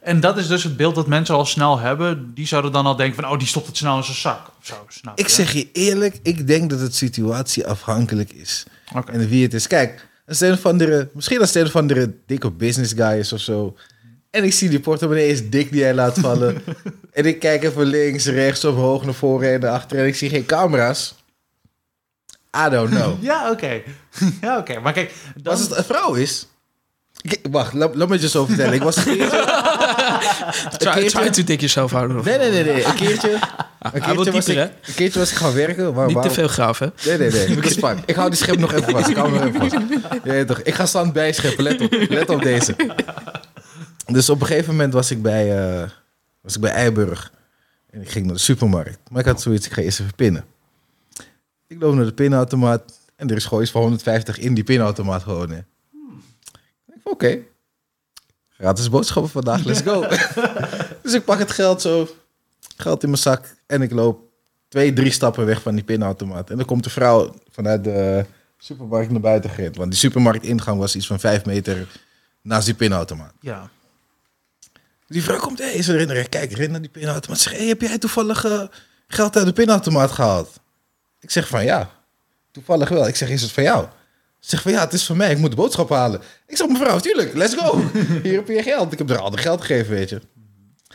Speaker 3: En dat is dus het beeld dat mensen al snel hebben. Die zouden dan al denken van... Oh, die stopt het snel in zijn zak of zo. Snap
Speaker 2: Ik
Speaker 3: je?
Speaker 2: zeg je eerlijk, ik denk dat het situatieafhankelijk is.
Speaker 3: Oké.
Speaker 2: En wie het is. Kijk, als het een of andere, misschien als het een of andere dikke business guy is of zo. En ik zie die portemonnee is dik die hij laat vallen. en ik kijk even links, rechts, omhoog, naar voren en naar achteren. En ik zie geen camera's. I don't know.
Speaker 3: Ja, oké. Ja, oké. Maar kijk, dat
Speaker 2: Als
Speaker 3: is
Speaker 2: het een vrouw is... Ik- wacht, laat, laat me het je zo vertellen. Ik was een keertje... Een
Speaker 1: Try,
Speaker 2: keertje-
Speaker 1: try to dik jezelf houden. of-
Speaker 2: Nee, nee, nee. nee. Een keertje... Een
Speaker 1: Hij wil
Speaker 2: keertje, was ik,
Speaker 1: dieper, hè?
Speaker 2: een keertje was ik gaan werken. Maar
Speaker 1: Niet te
Speaker 2: waarom-
Speaker 1: veel graven.
Speaker 2: Nee, nee, nee. Dat is fijn. Ik hou die schep nog even vast. Ik hou hem even vast. Ja, toch. Ik ga stand bijscheppen. Let op. Let op deze. Dus op een gegeven moment was ik bij, eh, was ik bij Eiburg. En ik ging naar de supermarkt. Maar ik had zoiets, ik ga eerst even pinnen. Ik loop naar de pinautomaat. En er is gewoon iets van 150 in die pinautomaat gewoon. Hè. Ik dacht, oké. Gratis boodschappen vandaag, let's go. dus ik pak het geld zo. Geld in mijn zak. En ik loop twee, drie stappen weg van die pinautomaat. En dan komt de vrouw vanuit de supermarkt naar buiten gerend. Want die supermarktingang was iets van vijf meter naast die pinautomaat.
Speaker 3: Ja.
Speaker 2: Die vrouw komt, hé, hey, ze erin, kijk, ren naar die pinautomaat. Zeg, hey, heb jij toevallig eh, geld uit de pinautomaat gehaald? Ik zeg van ja, toevallig wel. Ik zeg, is het van jou? Ze zegt van ja, het is van mij, ik moet de boodschap halen. Ik zeg, mevrouw, tuurlijk, let's go. Hier heb je je geld. Ik heb er al de geld gegeven, weet je.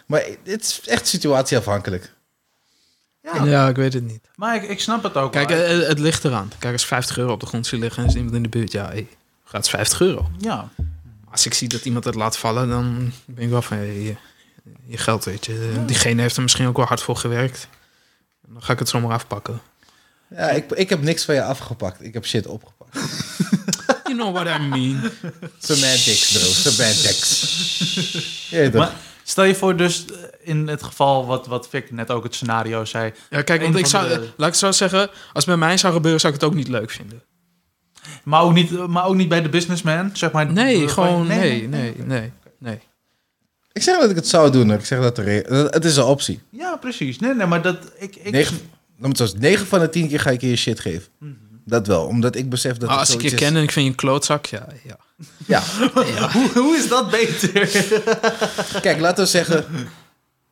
Speaker 2: Maar het is echt situatieafhankelijk.
Speaker 3: Ja.
Speaker 1: Ja, ik weet het niet.
Speaker 3: Maar ik, ik snap het ook.
Speaker 1: Kijk,
Speaker 3: wel.
Speaker 1: eh, het ligt eraan. Kijk, als 50 euro op de grond ziet liggen en is iemand in de buurt, ja, hey, gaat 50 euro.
Speaker 3: ja.
Speaker 1: Als ik zie dat iemand het laat vallen, dan ben ik wel van hey, je, je geld, weet je. Diegene heeft er misschien ook wel hard voor gewerkt. Dan ga ik het zomaar afpakken.
Speaker 2: Ja, ik, ik heb niks van je afgepakt. Ik heb shit opgepakt.
Speaker 1: You know what I mean.
Speaker 2: Semantics, bro. Semantics. Ja, toch?
Speaker 3: Maar stel je voor dus eh, in het geval wat, wat Vic net ook het scenario zei.
Speaker 1: Ja, kijk, want
Speaker 3: Een
Speaker 1: ik
Speaker 3: van
Speaker 1: zou,
Speaker 3: de-
Speaker 1: eh, laat ik het zo zeggen, als het bij mij zou gebeuren, zou ik het ook niet leuk vinden.
Speaker 3: Maar ook niet, maar ook niet bij de businessman, zeg maar.
Speaker 1: Nee,
Speaker 3: Eh,
Speaker 1: gewoon,
Speaker 3: van-
Speaker 1: nee, nee, nee, nee.
Speaker 2: Ik zeg dat ik het zou doen. hoor. Ik zeg dat er, het is een optie.
Speaker 3: Ja, precies. Nee, nee, maar dat... Ik, ik,
Speaker 2: Negen, noem het zoals, 9 van de 10 keer ga ik je je shit geven. Dat wel, omdat ik besef
Speaker 1: Ah,
Speaker 2: dat het
Speaker 1: als ik je
Speaker 2: zoiets
Speaker 1: ken
Speaker 2: is.
Speaker 1: en ik vind je een klootzak, ja. ja.
Speaker 2: Ja,
Speaker 3: Hoe, hoe is dat beter?
Speaker 2: kijk, laten we zeggen,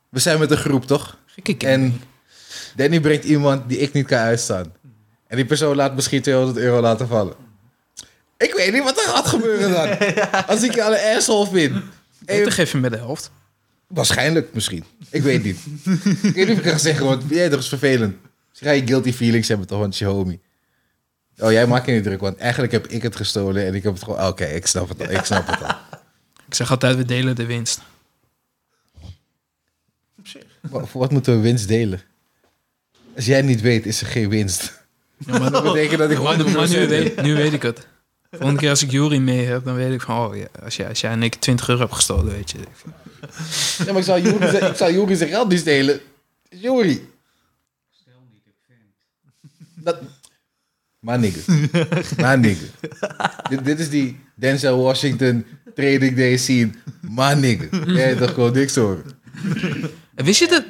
Speaker 2: we zijn met een groep, toch?
Speaker 1: Gekke ken.
Speaker 2: En Danny brengt iemand die ik niet kan uitstaan. En die persoon laat misschien 200 euro laten vallen. Ik weet niet wat er gaat gebeuren dan. Als ik je al een asshole vind.
Speaker 1: En
Speaker 2: En-
Speaker 1: dan geef je me de helft.
Speaker 2: waarschijnlijk misschien. Ik weet niet. ik weet niet of ik ga zeggen, want jij toch is vervelend. Misschien ga je guilty feelings hebben toch, want je homie. Oh, jij maakt je niet druk, want eigenlijk heb ik het gestolen en ik heb het gewoon... Ah, Oké, ik snap het al, ik snap het al.
Speaker 1: Ik zeg altijd, we delen de winst.
Speaker 2: Wa- Voor wat moeten we winst delen? Als jij niet weet, is er geen winst.
Speaker 1: Ja, maar
Speaker 2: Dat betekent dat ik
Speaker 1: Maar, maar
Speaker 2: 100%
Speaker 1: nu,
Speaker 2: weet.
Speaker 1: weet, nu weet ik het. Volgende keer als ik Jury mee heb, dan weet ik van... Oh, ja, als, jij, als jij en ik 20 euro hebt gestolen, weet je.
Speaker 2: Ja, maar ik zou Jury zijn- ik zou "Ah, Jury zijn geld niet stelen. Jury.
Speaker 4: Stel niet, ik vind.
Speaker 2: Dat... Maar nigger. Maar nigger. dit, dit is die Denzel Washington trading day scene. Maar nigger. Jij hebt toch gewoon niks hoor.
Speaker 1: En Wist je dat,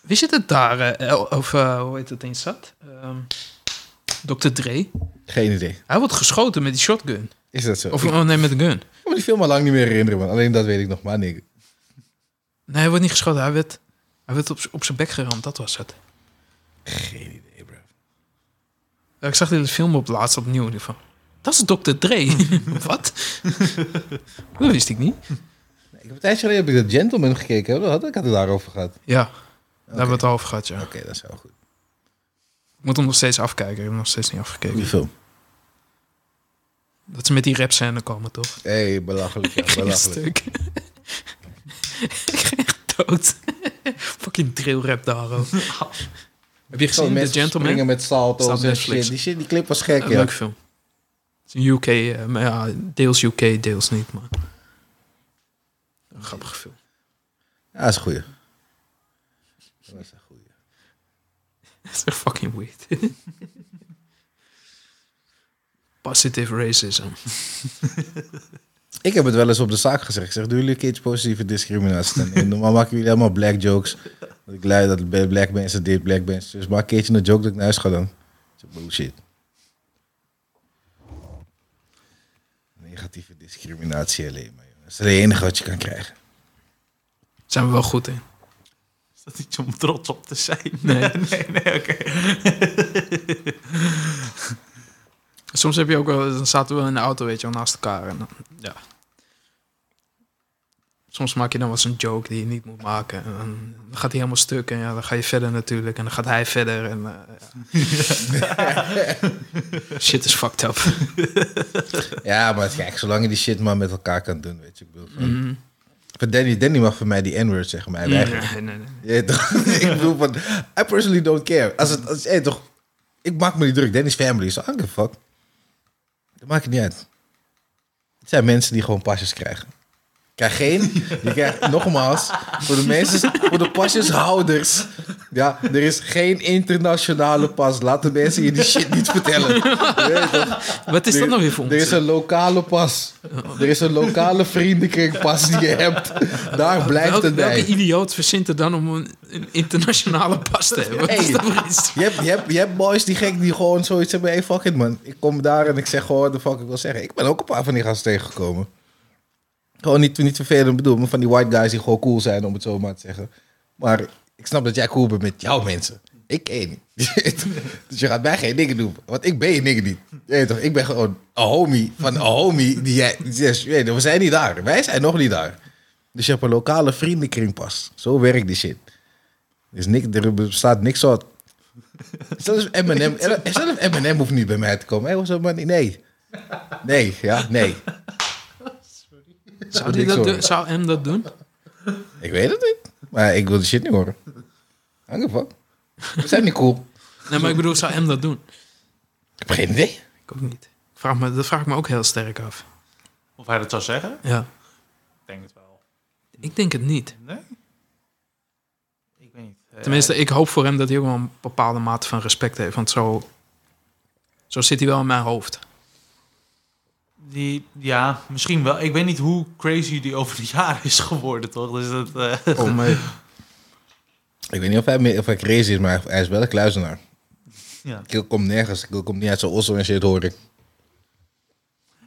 Speaker 1: wist je dat daar... eh, El- of eh, hoe heet dat eens zat? Ehm Dr. Dre.
Speaker 2: Geen idee.
Speaker 1: Hij wordt geschoten met die shotgun.
Speaker 2: Is dat zo?
Speaker 1: Of oh, nee, met een gun.
Speaker 2: Ik kan me die film al lang niet meer herinneren, man. Alleen dat weet ik nog. Maar nigger.
Speaker 1: Nee, hij wordt niet geschoten. Hij werd, hij werd op, z'n- op zijn bek geramd. Dat was het.
Speaker 2: Geen idee, bro.
Speaker 1: Ja, Ik zag deze film op laatst opnieuw. Ik dacht Van, dat is Dr. Dre. Wat? dat wist ik niet.
Speaker 2: Ik heb een tijdje geleden heb ik dat Gentleman gekeken. hè. Dat had ik had het daarover gehad. Oké,
Speaker 1: Ja, daar hebben we het al over gehad, ja.
Speaker 2: dat is wel goed.
Speaker 1: Ik moet hem nog steeds afkijken. Ik heb hem nog steeds niet afgekeken.
Speaker 2: Goeie film.
Speaker 1: Dat ze met die rap scène komen, toch?
Speaker 2: Hé, hey, belachelijk. Ja,
Speaker 1: Geen
Speaker 2: belachelijk.
Speaker 1: stuk. ik ging echt dood. Fucking drill rap daar, ook. Heb je gezien The Gentleman?
Speaker 2: springen
Speaker 1: Een
Speaker 2: met
Speaker 1: Staat
Speaker 2: salto's
Speaker 1: op
Speaker 2: en
Speaker 1: Netflix.
Speaker 2: shit. Die, shit. die clip was gek, ja.
Speaker 1: leuke film. Het is een UK, eh, maar ja, deels UK, deels niet, maar... Een grappige film.
Speaker 2: Ja, dat is een goeie. Dat is een goeie.
Speaker 1: Het is echt fucking weird. Positive racism.
Speaker 2: Ik heb het wel eens op de zaak gezegd. Ik zeg, doen jullie een keertje positieve discriminatie? Dan? En normaal maken jullie allemaal black jokes. Dat ik lui dat bij black mensen dit, black mensen. Dus maak een keertje een joke dat ik naar huis ga dan. Dat is bullshit. Negatieve discriminatie alleen maar. jongen. Dat is het enige wat je kan krijgen.
Speaker 1: Zijn we wel goed in.
Speaker 3: Is dat iets om trots op te zijn?
Speaker 1: Nee.
Speaker 3: nee, nee, oké.
Speaker 1: Soms heb je ook wel, dan zaten we in de auto, weet je wel, naast elkaar. En dan, ja. Soms maak je dan wel eens een joke die je niet moet maken. En dan dan gaat hij helemaal stuk en ja, dan ga je verder natuurlijk. En dan gaat hij verder en eh, ja. Shit is fucked up.
Speaker 2: Ja, maar kijk, zolang je die shit maar met elkaar kan doen, weet je. Ik bedoel, van,
Speaker 1: Mhm.
Speaker 2: van Danny, Danny mag voor mij die N-word zeggen, maar hij
Speaker 1: Nee,
Speaker 2: weigert.
Speaker 1: nee, nee, nee.
Speaker 2: Je weet toch? ik bedoel van, I personally don't care. Als het, als, hey, toch, ik maak me niet druk. Dennis family, so I don't give a fuck. Dat maakt het niet uit. Het zijn mensen die gewoon pasjes krijgen. Ik krijg geen, je krijgt nogmaals, voor de mensen, voor de pasjeshouders. Ja, er is geen internationale pas. Laat de mensen je die shit niet vertellen. Je weet toch?
Speaker 1: Wat is dat
Speaker 2: Er-
Speaker 1: nou weer voor
Speaker 2: Er is
Speaker 1: ons?
Speaker 2: een lokale pas. Er is een lokale vriendenkringpas die je hebt. Daar blijft
Speaker 1: Welke,
Speaker 2: het bij.
Speaker 1: welke idioot verzint er dan om een, een internationale pas te hebben? Wat is
Speaker 2: Hey.
Speaker 1: dat voor iets?
Speaker 2: Je hebt, je, hebt, je hebt boys die gek die gewoon zoiets hebben. Hey, fuck it man. Ik kom daar en ik zeg gewoon wat de fuck ik wil zeggen. Ik ben ook een paar van die gasten tegengekomen. Gewoon niet, niet vervelend bedoel, maar van die white guys die gewoon cool zijn, om het zo maar te zeggen. Maar ik snap dat jij cool bent met jouw mensen. Ik één. dus je gaat mij geen dingen doen. Want ik ben je nigger niet. Je weet toch, ik ben gewoon een homie van een homie. Die jij, die zegt, je weet toch, we zijn niet daar. Wij zijn nog niet daar. Dus je hebt een lokale vriendenkring pas. Zo werkt die shit. Dus nik, er bestaat niks soort Zelfs Eminem, zelfs Eminem hoeft niet bij mij te komen. Hij was helemaal niet. Nee. Nee, ja, nee.
Speaker 1: Zou, die dat
Speaker 2: Sorry.
Speaker 1: doen? Zou hem dat doen?
Speaker 2: Ik weet het niet. Maar ik wil de shit niet horen. Hang ervan. We zijn niet cool.
Speaker 1: Nee, maar ik bedoel, zou hem dat doen?
Speaker 2: Ik heb geen idee.
Speaker 1: Ik ook niet. Ik vraag me, dat vraag ik me ook heel sterk af.
Speaker 3: Of hij dat zou zeggen? Ik
Speaker 1: Ja.
Speaker 3: denk het wel.
Speaker 1: Ik denk het niet.
Speaker 3: Nee? Ik weet niet. Eh,
Speaker 1: Tenminste, ik hoop voor hem dat hij ook wel een bepaalde mate van respect heeft. Want zo, zo zit hij wel in mijn hoofd.
Speaker 3: Die, ja, misschien wel. Ik weet niet hoe crazy die over de jaren is geworden, toch? Dus dat, eh,
Speaker 1: Oh, mee.
Speaker 2: Ik weet niet of hij, meer, of hij crazy is, maar hij is wel een kluizenaar.
Speaker 3: ja.
Speaker 2: Kill komt nergens. Kill komt niet uit zijn osso en shit, hoor ik.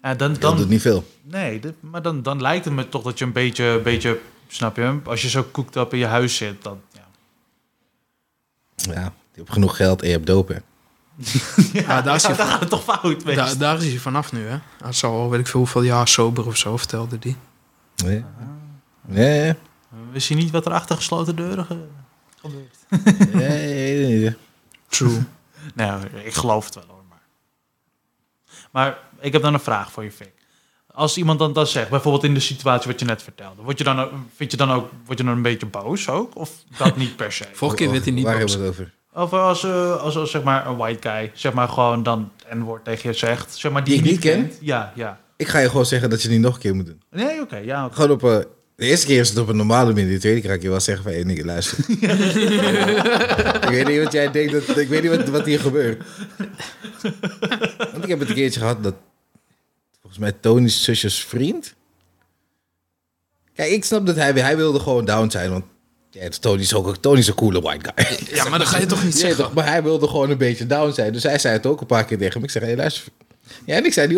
Speaker 3: Ja, dan,
Speaker 2: Kill doet
Speaker 3: dan,
Speaker 2: niet veel.
Speaker 3: nee, dit- maar dan, dan lijkt het me toch dat je een beetje, een beetje, snap je? Als je zo cooked up in je huis zit, dan... Ja.
Speaker 2: Ja, je hebt genoeg geld en je hebt dopen.
Speaker 1: Ja, daar is hij
Speaker 3: dan gaat het toch fout, weet
Speaker 1: Daar, daar is hij vanaf nu, hè? Hij zal al weet ik veel hoeveel jaar sober of zo, vertelde die.
Speaker 2: Nee. Nee,
Speaker 3: Wist je niet wat er achter gesloten deuren ge- gebeurt?
Speaker 2: nee, nee, nee, nee.
Speaker 1: True.
Speaker 3: Nou, ik geloof het wel hoor. Maar, maar ik heb dan een vraag voor je, Fik. Als iemand dan dat zegt, bijvoorbeeld in de situatie wat je net vertelde, word je dan, ook- vind je dan ook word je dan een beetje boos ook? Of dat niet per se?
Speaker 1: Vorige keer werd hij niet
Speaker 2: Waar
Speaker 1: boos.
Speaker 2: hebben we het over?
Speaker 3: Of als, eh, als, als zeg maar een white guy, zeg maar gewoon dan een woord tegen je zegt, zeg maar die,
Speaker 2: Die
Speaker 3: je
Speaker 2: ik niet ken?
Speaker 3: kent. Ja, ja.
Speaker 2: Ik ga je gewoon zeggen dat je het niet nog een keer moet doen.
Speaker 3: Nee, oké, ja. oké.
Speaker 2: Gewoon op een... De eerste keer is het op een normale manier. De tweede keer ga ik je wel zeggen van... Hé, nigga, luister. ik weet niet wat jij denkt. Dat, ik weet niet wat, wat hier gebeurt. Want ik heb het een keertje gehad dat... Volgens mij Tony's zusjes vriend... Kijk, ik snap dat hij... Hij wilde gewoon down zijn, want... Ja, Tony is ook Tony is een coole white guy.
Speaker 1: Ja, maar dat ga je toch niet
Speaker 2: Ja,
Speaker 1: zeggen?
Speaker 2: toch, maar hij wilde gewoon een beetje down zijn. Dus hij zei het ook een paar keer tegen me. Ik zeg, hé, luister. Jij en ik zijn niet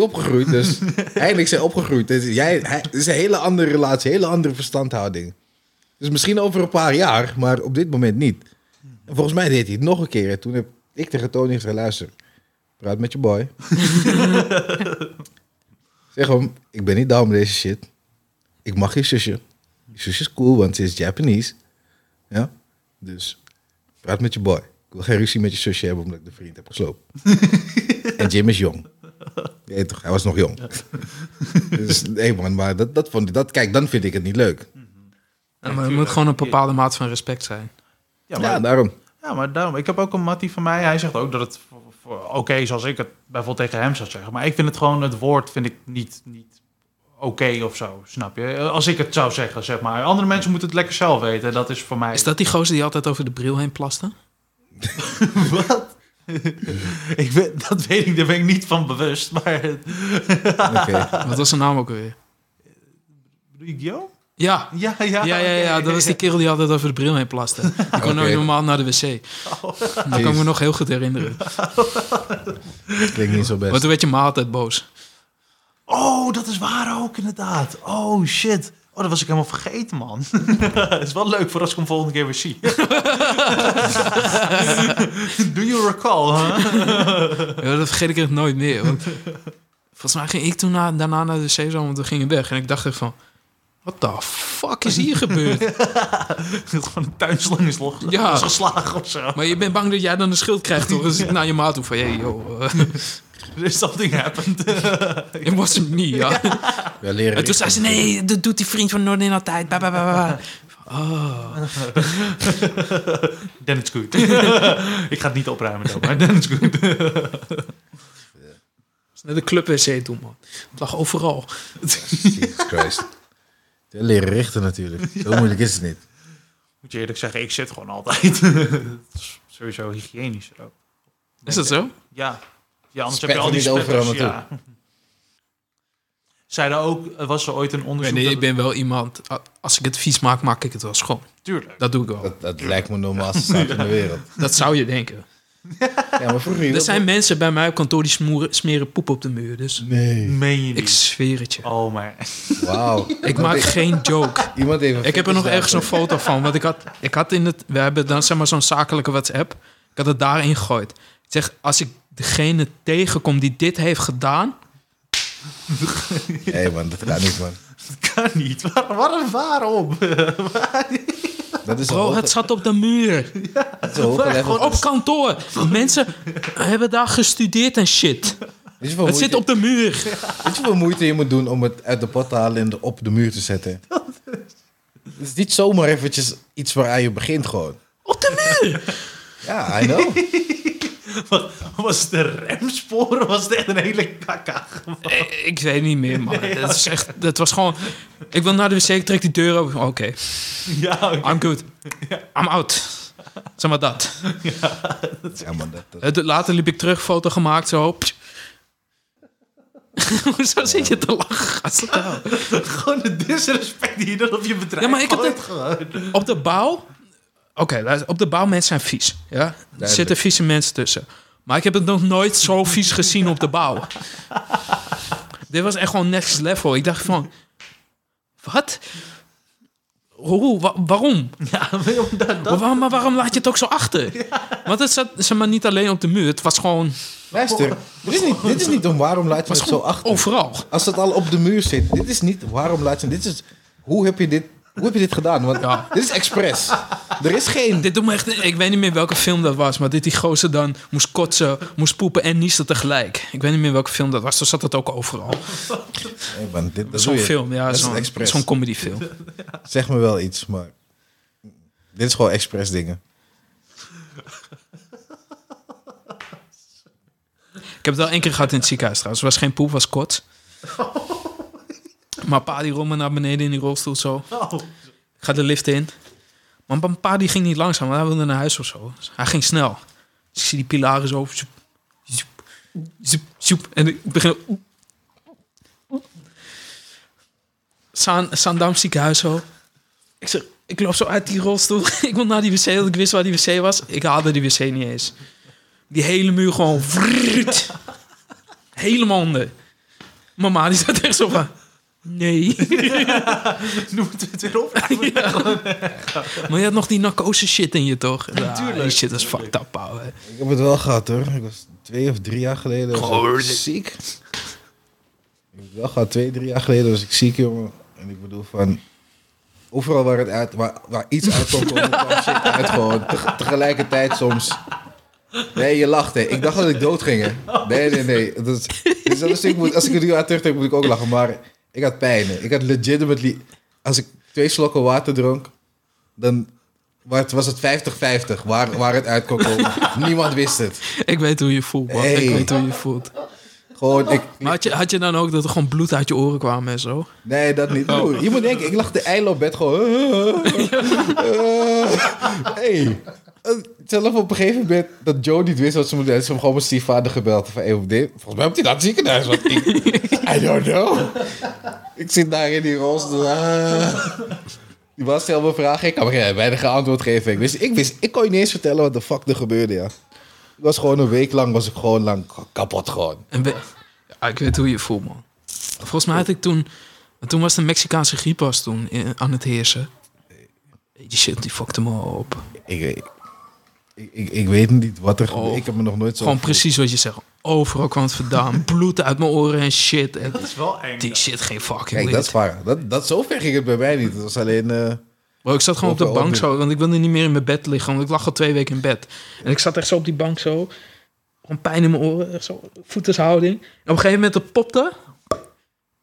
Speaker 2: opgegroeid, dus... hij en ik zijn opgegroeid. Dus jij, hij, het is een hele andere relatie, hele andere verstandhouding. Dus misschien over een paar jaar, maar op dit moment niet. En volgens mij deed hij het nog een keer. En toen heb ik tegen Tony gezegd, luister, praat met je boy. zeg hem, ik ben niet down met deze shit. Ik mag je zusje. Je zusje is cool, want ze is Japanese. Ja? Dus Praat met je boy. Ik wil geen ruzie met je zusje hebben omdat ik de vriend heb gesloopt. en Jim is jong. Nee, toch, hij was nog jong. dus nee man, maar dat, dat vond ik, dat, kijk, dan vind ik het niet leuk.
Speaker 1: Ja, maar het moet gewoon een bepaalde mate van respect zijn.
Speaker 3: Ja, maar
Speaker 2: Ja, daarom.
Speaker 3: Ja, maar daarom. Ik heb ook een mattie van mij. Hij zegt ook dat het voor- voor- oké is als ik het bijvoorbeeld tegen hem zou zeggen. Maar ik vind het gewoon, het woord vind ik niet, niet oké of zo. Snap je? Eh, Als ik het zou zeggen, zeg maar. Andere mensen moeten het lekker zelf weten. Dat is voor mij...
Speaker 1: Is dat die gozer die altijd over de bril heen plaste?
Speaker 3: Wat? ik weet, dat weet ik, daar ben ik niet van bewust. Maar...
Speaker 2: Oké.
Speaker 1: Wat was zijn naam ook alweer?
Speaker 3: Yu-Gi-Oh?
Speaker 1: Ja.
Speaker 3: Ja, ja.
Speaker 1: Ja, ja, ja,
Speaker 3: oké.
Speaker 1: dat was die kerel die altijd over de bril heen plaste. Die kon
Speaker 2: Oké.
Speaker 1: nooit normaal naar de wc. Dat kan ik me nog heel goed herinneren.
Speaker 2: Klinkt niet zo
Speaker 1: Want
Speaker 2: best.
Speaker 1: toen werd je ma altijd boos.
Speaker 3: Oh, dat is waar ook, inderdaad. Oh, shit. Oh, dat was ik helemaal vergeten, man. Het is wel leuk voor als ik hem volgende keer weer zie. Do you recall, huh?
Speaker 1: Ja, dat vergeet ik echt nooit meer. Want volgens mij ging ik toen na- daarna naar de wc zo, want we gingen weg. En ik dacht echt van, what the fuck is hier gebeurd?
Speaker 3: Gewoon een tuinslang is, los,
Speaker 1: Ja.
Speaker 3: is geslagen of zo.
Speaker 1: Maar je bent bang dat jij dan een schild krijgt, toch? Dus ik naar je ma toe van, hey, joh, eh,
Speaker 3: There's something Dus happened.
Speaker 1: it wasn't me, ja.
Speaker 2: Ja, leren.
Speaker 1: En toen zei ze, nee, dat doet die vriend van Noordin altijd. Bah, bah, bah, bah.
Speaker 3: Then it's good. ik ga het niet opruimen, dan, maar then it's good.
Speaker 1: Dat is net een club-wc toen, man. Het lag overal.
Speaker 2: Jesus Christ. Ja, leren richten natuurlijk. Zo moeilijk is het niet.
Speaker 3: Moet je eerlijk zeggen, ik zit gewoon altijd. Het is Sowieso hygiënisch ook.
Speaker 1: Is dat zo?
Speaker 3: Ja. Ja, anders
Speaker 2: Spetter
Speaker 3: heb je al die
Speaker 2: niet overal
Speaker 3: spetters. Ja. Zeiden ook, er was er ooit een onderzoek...
Speaker 1: Nee,
Speaker 3: dat
Speaker 1: ik ben wel iemand... a- Als ik het vies maak, maak ik het wel schoon.
Speaker 3: Tuurlijk.
Speaker 1: Dat doe ik wel.
Speaker 2: Dat, dat lijkt me normaal zaak in de wereld.
Speaker 1: Dat zou je denken.
Speaker 2: Ja, maar vroeger...
Speaker 1: Er zijn mensen bij mij op kantoor die smoeren, smeren poep op de muur. Dus
Speaker 2: Nee.
Speaker 3: Meen je niet?
Speaker 1: ik zweer het je.
Speaker 3: Oh, maar...
Speaker 2: Wauw. e-
Speaker 1: Ik maak geen joke.
Speaker 2: Iemand heeft een
Speaker 1: Ik heb er nog
Speaker 2: foto
Speaker 1: ergens een foto van. Want ik had, ik had in het... We hebben dan zeg maar zo'n zakelijke WhatsApp. Ik had het daarin gegooid. Ik zeg, als ik degene tegenkom die dit heeft gedaan...
Speaker 2: staan. Nee man, dat gaat niet man.
Speaker 3: Dat kan niet. Waar, waar, waarom?
Speaker 2: Dat is
Speaker 1: Bro, het zat op de muur.
Speaker 2: is een hoger level.
Speaker 1: Op kantoor. Mensen hebben daar gestudeerd en shit.
Speaker 2: Weet je hoeveel
Speaker 1: Het zit
Speaker 2: moeite-
Speaker 1: op de muur.
Speaker 2: Weet je hoeveel moeite je moet doen om het uit de pot te halen en er op de muur te zetten? Het is niet zomaar eventjes iets waaraan je begint gewoon.
Speaker 1: Op de muur.
Speaker 2: Ja, I know.
Speaker 3: Wat- Was het een remspoor of was het echt een hele kakka?
Speaker 1: Eh, Ik weet niet meer, man. Dat, is echt, dat was gewoon... Ik wil naar de wc, ik trek die deur open. Oké,
Speaker 3: Ja, oké.
Speaker 1: I'm good. I'm out. Zeg maar dat.
Speaker 2: Ja, man, dat, dat-
Speaker 1: Eh, Later liep ik terug, foto gemaakt, zo. Pst. Hoezo zit je te lachen? gast?
Speaker 3: Ah, Gewoon de disrespect die je dan op je bedrijf
Speaker 1: Ja, maar ik heb
Speaker 3: gooit
Speaker 1: dat-
Speaker 3: gewoon.
Speaker 1: Op de bouw... Oké, luister, op de bouw mensen zijn vies. Ja? Er zitten vieze mensen tussen. Maar ik heb het nog nooit zo vies gezien op de bouw. Dit was echt gewoon next level. Ik dacht van... Wat? Hoe? Wa- waarom?
Speaker 3: Ja, maar omdat
Speaker 1: Maar
Speaker 3: dat...
Speaker 1: waarom, maar waarom laat je het ook zo achter? Want het zat zeg maar, niet alleen op de muur. Het was gewoon
Speaker 2: Luister, dit is niet, dit is niet om waarom laat je het zo achter.
Speaker 1: overal.
Speaker 2: Als het al op de muur zit, dit is niet waarom laat je dit is hoe heb je dit, hoe heb je dit gedaan? Want
Speaker 1: Ja.
Speaker 2: dit is expres. Er is geen.
Speaker 1: Dit doet me echt... Ik weet niet meer welke film dat was. Maar dit die gozer dan moest kotsen, moest poepen en niezen tegelijk. Ik weet niet meer welke film dat was. Toen zat het ook overal.
Speaker 2: Nee, man, dit, dat
Speaker 1: Zo'n
Speaker 2: doe je.
Speaker 1: film, ja.
Speaker 2: Dat is
Speaker 1: Zo'n
Speaker 2: expres.
Speaker 1: zo'n comedyfilm.
Speaker 2: Zeg me wel iets, maar dit is gewoon expres dingen.
Speaker 1: Ik heb het wel één keer gehad in het ziekenhuis trouwens. Het was geen poep, het was kots. Maar pa die rolde naar beneden in die rolstoel zo.
Speaker 3: Oh.
Speaker 1: Ik ga de lift in. Maar mijn pa die ging niet langzaam, want hij wilde naar huis of zo. Dus hij ging snel. Dus ik zie die pilaren zo. Zoep, zoep, zoep, zoep. En ik begin... Saan, Saandam ziekenhuis zo. Ik zeg, ik loop zo uit die rolstoel. ik wil naar die wc, want ik wist waar die wc was. Ik haalde die wc niet eens. Die hele muur gewoon... vrrrt. Helemaal onder. Mama die zat echt zo van... Nee.
Speaker 3: Noem het weer op.
Speaker 1: Maar je had nog die narcose shit in je, toch? Ja,
Speaker 3: tuurlijk.
Speaker 1: Die shit is fucked up, ouwe.
Speaker 2: Ik heb het wel gehad hoor. Ik was twee of drie jaar geleden. was ik ziek. Ik heb het wel gehad. Twee, drie jaar geleden was ik ziek, jongen. En ik bedoel van. Overal waar, het uit, waar, waar iets uit kon komen, kwam shit uit gewoon. Teg- tegelijkertijd soms. Nee, je lacht hè. Ik dacht dat ik dood ging hè. Nee, nee, nee. Dat is, dus dat is- ik moet, als ik het nu aan terugdenk, moet ik ook lachen. Maar ik had pijn hè. Ik had legitimately... Als ik twee slokken water dronk, dan maar het was het 50-50 waar, waar het uit kon komen. Niemand wist het.
Speaker 1: Ik weet hoe je voelt, man. Ik
Speaker 2: Hey.
Speaker 1: weet hoe je voelt.
Speaker 2: Gewoon, ik...
Speaker 1: Maar had je, had je dan ook dat er gewoon bloed uit je oren kwam en zo?
Speaker 2: Nee, dat niet. Broer, je moet denken, ik lag de eilen op bed gewoon... Eh, hey. Eh, Zelf op een gegeven moment dat Joe niet wist wat ze moest doen. Ze hem gewoon mijn stiefvader gebeld. Van, hey, op dit- volgens mij moet hij naar het ziekenhuis. Want ik, I don't know. Ik zit daar in die rolstoel. Ah. Die was helemaal vragen. Ik kan me geen- weinig antwoord geven. Ik wist, ik wist, ik kon je niet eens vertellen wat de fuck er gebeurde, ja. Ik was gewoon een week lang, was ik gewoon lang kapot gewoon.
Speaker 1: En we- ja, ik weet hoe je voelt, man. Volgens mij had ik toen... want Toen was de Mexicaanse griep was toen in- aan het heersen. Die shit, die fuckte me op.
Speaker 2: Ik, weet- ik, ik, ik weet niet wat er gebeurde.
Speaker 1: Oh.
Speaker 2: Ik heb me nog nooit zo...
Speaker 1: Gewoon precies wat je zegt. Overal kwam het vandaan. Bloed uit mijn oren en shit. En
Speaker 3: Dat is wel eng.
Speaker 1: die shit geen fucking
Speaker 2: Kijk,
Speaker 1: lid.
Speaker 2: dat is waar. Dat, dat, zover ging het bij mij niet. Het was alleen... eh,
Speaker 1: Bro, ik zat gewoon op de
Speaker 2: Overal
Speaker 1: bank
Speaker 2: dit.
Speaker 1: zo, want ik wilde niet meer in mijn bed liggen, want ik lag al twee weken in bed. En ik zat echt zo op die bank zo, gewoon pijn in mijn oren, echt zo, voetenshouding. En op een gegeven moment het popte,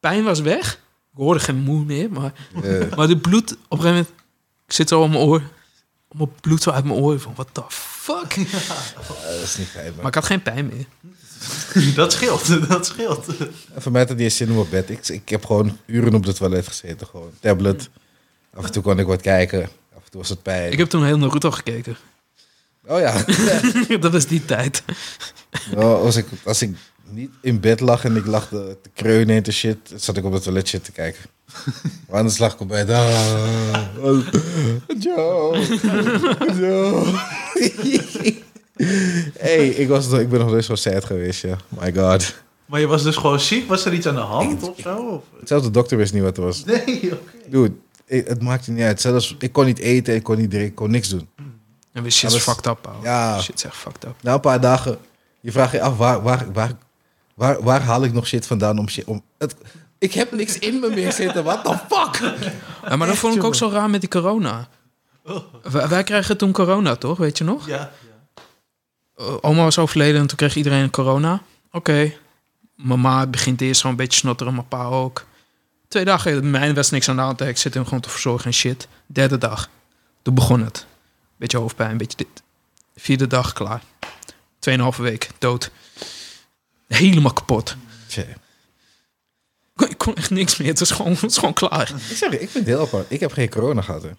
Speaker 1: pijn was weg. Ik hoorde geen moe meer, maar,
Speaker 2: eh,
Speaker 1: maar de bloed, op een gegeven moment, ik zit zo aan mijn oor, om het bloed zo uit mijn oor, van what the fuck.
Speaker 2: dat is niet fijn, man.
Speaker 1: Maar ik had geen pijn meer.
Speaker 3: Dat scheelt, dat scheelt.
Speaker 2: En Voor mij had het niet eens zin om op bed. Ik, ik heb gewoon uren op de toilet gezeten. Gewoon tablet. Af en toe kon ik wat kijken. Af en toe was het pijn.
Speaker 1: Ik heb toen heel Naruto gekeken.
Speaker 2: Oh ja.
Speaker 1: dat was die tijd.
Speaker 2: Ja, als, ik, als ik niet in bed lag en ik lag te, te kreunen en te shit, zat ik op het toilet shit te kijken. Maar anders lag ik op bed. Ah, oh, Joe, Joe. hey, ik, was, nog- ik ben nog nooit zo sad geweest, ja. My god.
Speaker 3: Maar je was dus gewoon ziek? Was er iets aan de hand of zo? Of-
Speaker 2: Zelfs de dokter wist niet wat er was.
Speaker 3: Nee, oké.
Speaker 2: Dude, ik- het maakte niet uit. Zelfs, ik kon niet eten, ik kon niet drinken, ik kon niks doen.
Speaker 1: En we shit
Speaker 2: Ja,
Speaker 1: is
Speaker 2: dat-
Speaker 1: fucked up, ouwe.
Speaker 2: ja.
Speaker 1: Shit is echt fucked up.
Speaker 2: Na een paar dagen, je vraagt je af waar, waar, waar, waar, waar haal ik nog shit vandaan om shit. Om, het, ik heb niks in me meer zitten, what the fuck?
Speaker 1: Ja, maar dat vond ik ook zo raar met die corona. Wij, wij kregen toen corona, toch? Weet je nog?
Speaker 3: Ja.
Speaker 1: Eh, oma was overleden en toen kreeg iedereen corona. Oké. Mama begint eerst zo'n beetje snotteren, mijn pa ook. Twee dagen, eh, mijn was niks aan de hand. hè. Ik zit hem gewoon te verzorgen en shit. Derde dag, toen begon het. Beetje hoofdpijn, beetje dit. Vierde dag, klaar. Tweeënhalve week, dood. Helemaal kapot.
Speaker 2: Tje.
Speaker 1: Ik kon- Ik kon echt niks meer. Het was gewoon, het was gewoon klaar.
Speaker 2: Ik zeg je, ik vind het heel apart. Ik heb geen corona gehad. Hè. Ik,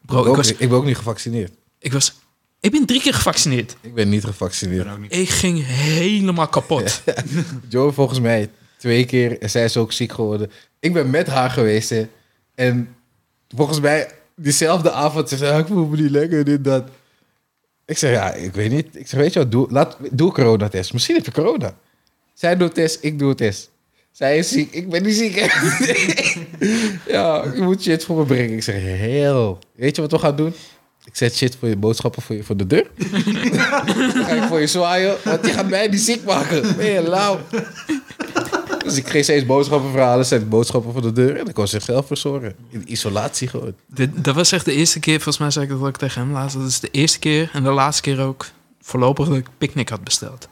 Speaker 1: Bro,
Speaker 2: ben
Speaker 1: ik
Speaker 2: ook,
Speaker 1: was,
Speaker 2: niet- ik ben ook niet gevaccineerd.
Speaker 1: ik was... Ik ben drie keer gevaccineerd.
Speaker 2: Ik ben niet gevaccineerd.
Speaker 1: Ik ging helemaal kapot.
Speaker 2: Joe, volgens mij Twee keer. En zij is ook ziek geworden. Ik ben met haar geweest. hè. En volgens mij, diezelfde avond, ze zei, "Ah, ik voel me niet lekker, dit, dat. Ik zeg, ja, ik weet niet. Ik zeg, weet je wat, doe, laat, doe een coronatest. Misschien heb je corona. Zij doet test, ik doe test. Zij is ziek, ik ben niet ziek. ja, je moet shit voor me brengen. Ik zeg, heel. Weet je wat we gaan doen? Ik zet shit voor je boodschappen voor, je, voor de deur. Dan ga ik voor je zwaaien, want je gaat mij niet ziek maken. Ben je lauw? Dus ik geef steeds boodschappen verhalen, zet boodschappen voor de deur en ik kon zichzelf verzorgen. In isolatie gewoon.
Speaker 1: Dit- dat was echt de eerste keer, volgens mij zei ik dat ook tegen hem laatst. Dat is de eerste keer en de laatste keer ook voorlopig dat ik picknick had besteld.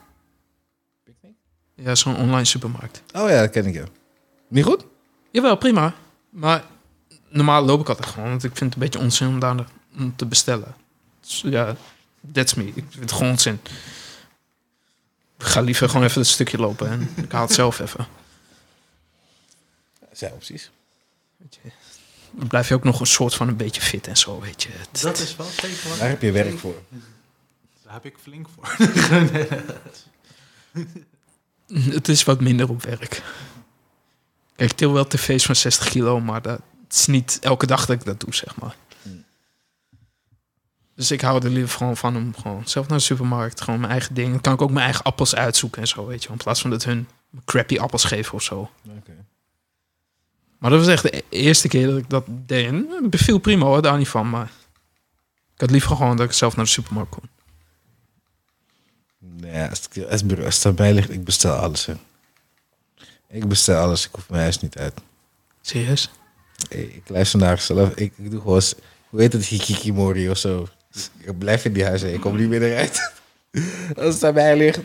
Speaker 2: Picknick?
Speaker 1: Ja, zo'n online supermarkt.
Speaker 2: Oh ja, dat ken ik ja. Niet goed?
Speaker 1: Jawel, prima. Maar normaal loop ik altijd gewoon, want ik vind het een beetje onzin om daar om te bestellen. Dus ja, that's me. Ik vind het gewoon onzin. Ik ga liever gewoon even een stukje lopen en ik haal het zelf even.
Speaker 2: Zijn opties.
Speaker 1: Dan blijf je ook nog een soort van een beetje fit en zo, weet je. Het-
Speaker 3: Dat is wel zeker wat.
Speaker 2: Daar heb je werk voor.
Speaker 3: Daar heb ik flink voor.
Speaker 1: Het is wat minder op werk. Kijk, ik til wel tv's van 60 kilo, maar dat het is niet elke dag dat ik dat doe, zeg maar.
Speaker 2: Hmm.
Speaker 1: Dus ik hou er liever gewoon van om gewoon zelf naar de supermarkt, gewoon mijn eigen ding. Dan kan ik ook mijn eigen appels uitzoeken en zo, weet je. wel, In plaats van dat hun me crappy appels geven of zo.
Speaker 2: Oké.
Speaker 1: Maar dat was echt de e- eerste keer dat ik dat deed. En het beviel prima hoor, daar niet van. Maar ik had liever gewoon dat ik zelf naar de supermarkt kon.
Speaker 2: Nee, als het, als het bureau- als het aan mij ligt, ik bestel alles. Hè. Ik bestel alles, ik hoef mijn huis niet uit.
Speaker 1: Serieus?
Speaker 2: Ik, ik luister naar zelf. Ik, ik doe gewoon, eens- hoe heet het, hikikimori of zo. Ik blijf in die huis en ik kom niet meer eruit. als het aan mij ligt.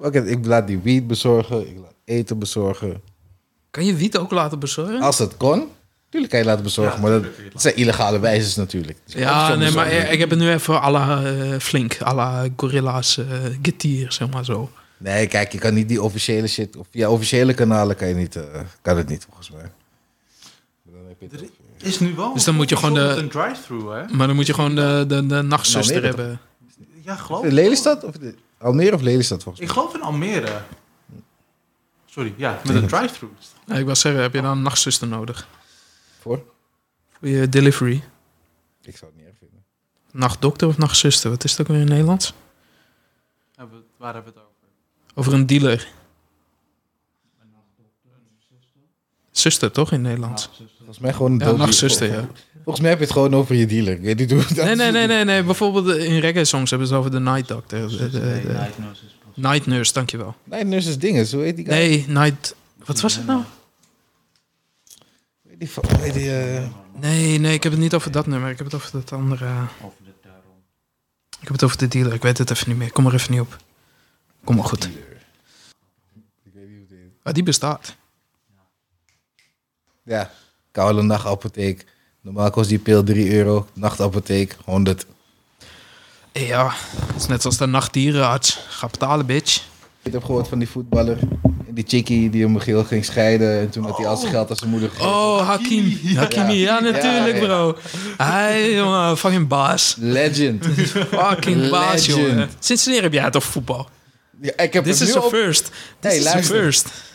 Speaker 2: fuck it, ik laat die wiet bezorgen, ik laat eten bezorgen.
Speaker 1: Kan je wiet ook laten bezorgen?
Speaker 2: Als het kon, tuurlijk kan je laten bezorgen.
Speaker 3: Ja,
Speaker 2: maar dat,
Speaker 3: tuurlijk kun je het
Speaker 2: dat zijn illegale wijzes natuurlijk. Dus je kan het
Speaker 1: Ja,
Speaker 2: zo
Speaker 1: nee, maar
Speaker 2: bezorgen.
Speaker 1: ik, ik heb het nu even à la eh, flink, à la Gorilla's eh Getir, zeg maar zo.
Speaker 2: Nee, kijk, je kan niet die officiële shit. Of via officiële kanalen kan, je niet, eh, kan het niet, volgens mij. Dan heb je het
Speaker 3: Er-
Speaker 2: over-
Speaker 3: Is nu wel.
Speaker 1: Dus dan moet je gewoon de-
Speaker 3: Een drive-thru, hè?
Speaker 1: Maar dan moet je gewoon de, de, de nachtzuster
Speaker 2: Nou, nee, dat-
Speaker 1: hebben.
Speaker 3: Ja, geloof
Speaker 2: In Lelystad? Of de- Almere of Lelystad, volgens
Speaker 3: Ik geloof in Almere. Sorry, ja, met een drive-thru.
Speaker 1: Ja, ik wil zeggen, heb je dan een nachtzuster nodig?
Speaker 2: mij. Voor?
Speaker 1: Voor je delivery?
Speaker 2: Ik zou het niet erg vinden.
Speaker 1: Nachtdokter of nachtzuster? Wat is dat ook weer in het Nederlands?
Speaker 3: Hebben we- Waar hebben we het over?
Speaker 1: Over een dealer. Zuster, toch, in het Nederlands?
Speaker 2: Volgens mij gewoon een
Speaker 1: Ja,
Speaker 2: dood-
Speaker 1: nachtzuster, ja.
Speaker 2: Volgens- Volgens mij heb je het gewoon over je dealer. Ik weet niet hoe dat
Speaker 1: Nee, nee, nee, nee, nee. Bijvoorbeeld eh, in reggae songs hebben ze het over de night doctor. De- de- de-
Speaker 4: Night nurses.
Speaker 1: night nurse, dankjewel.
Speaker 2: Nee, nurses dinges. Hoe heet die guy?
Speaker 1: Nee, night... Wat was het nou?
Speaker 2: Hoe heet die... fa- hoe heet die, eh,
Speaker 1: Nee, nee, ik heb het niet over dat nummer. Ik heb het over dat andere... eh,
Speaker 4: Over de daarom.
Speaker 1: Ik heb het over de dealer, ik weet het even niet meer. Kom er even niet op. Kom maar goed.
Speaker 2: Ik weet niet hoe het heet.
Speaker 1: Maar die bestaat.
Speaker 2: Ja. Koude nachtapotheek. Normaal kost die pil 3 euro. Nachtapotheek 100.
Speaker 1: Ja, het is net zoals de nachtdierenarts. Ga betalen, bitch.
Speaker 2: Ik heb gehoord van die voetballer. En die chickie die hem geel ging scheiden. En toen had hij al zijn geld aan zijn moeder gegeven.
Speaker 1: Oh, Hakim. Hakimi, ja, natuurlijk,
Speaker 2: Ja, ja.
Speaker 1: bro. Hij, jongen, fucking baas.
Speaker 2: Legend.
Speaker 1: Fucking baas,
Speaker 2: Legend.
Speaker 1: jongen. Sinds wanneer heb jij het over voetbal?
Speaker 2: Ja, ik heb
Speaker 1: This
Speaker 2: het
Speaker 1: is
Speaker 2: nu
Speaker 1: the
Speaker 2: op...
Speaker 1: first. This
Speaker 2: Hey,
Speaker 1: is the
Speaker 2: luister.
Speaker 1: first.